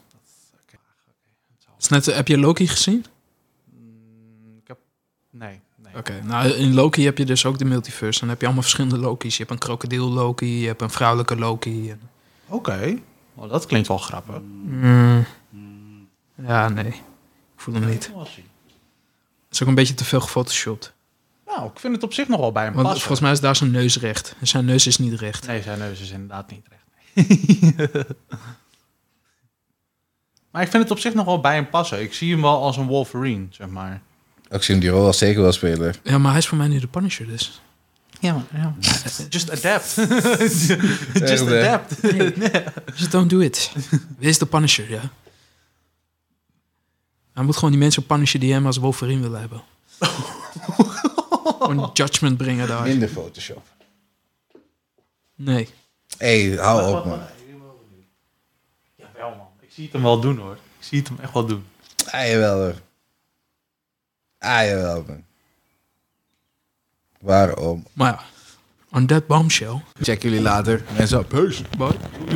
Speaker 1: Het is net, heb je Loki gezien?
Speaker 3: Mm, Ik heb... Nee, nee.
Speaker 1: Oké, nou in Loki heb je dus ook de multiverse. Dan heb je allemaal verschillende Loki's. Je hebt een krokodil Loki, je hebt een vrouwelijke Loki. en-
Speaker 3: Oké. Oh, dat klinkt wel grappig.
Speaker 1: Mm. Ja, nee. Ik voel hem niet. Het is ook een beetje te veel gefotoshopt.
Speaker 3: Nou, ik vind het op zich nog wel bij hem
Speaker 1: Want
Speaker 3: passen.
Speaker 1: volgens mij is daar zijn neus recht. En zijn neus is niet recht.
Speaker 3: Nee, zijn neus is inderdaad niet recht. maar ik vind het op zich nog wel bij hem passen. Ik zie hem wel als een Wolverine, zeg maar.
Speaker 2: Ik zie hem die rol wel zeker wel spelen.
Speaker 1: Ja, maar hij is voor mij nu de Punisher dus.
Speaker 3: Ja, maar... Ja. Just adapt.
Speaker 2: Echt,
Speaker 3: Just
Speaker 2: hè?
Speaker 3: adapt.
Speaker 1: Just Dus don't do it. Wees de Punisher, ja. Hij moet gewoon die mensen punishen die hem als Wolverine willen hebben. Gewoon judgment brengen daar.
Speaker 2: Minder Photoshop.
Speaker 1: Nee.
Speaker 2: Hé, hey, hou op, man.
Speaker 3: Jawel, man. Ik zie het hem wel doen, hoor. Ik zie het hem echt wel doen.
Speaker 2: Ah, jawel hoor. Ah, jawel, man. Waarom?
Speaker 1: Maar ja, on that bombshell.
Speaker 2: Check jullie later. Mensen op. Peace.
Speaker 1: Bye.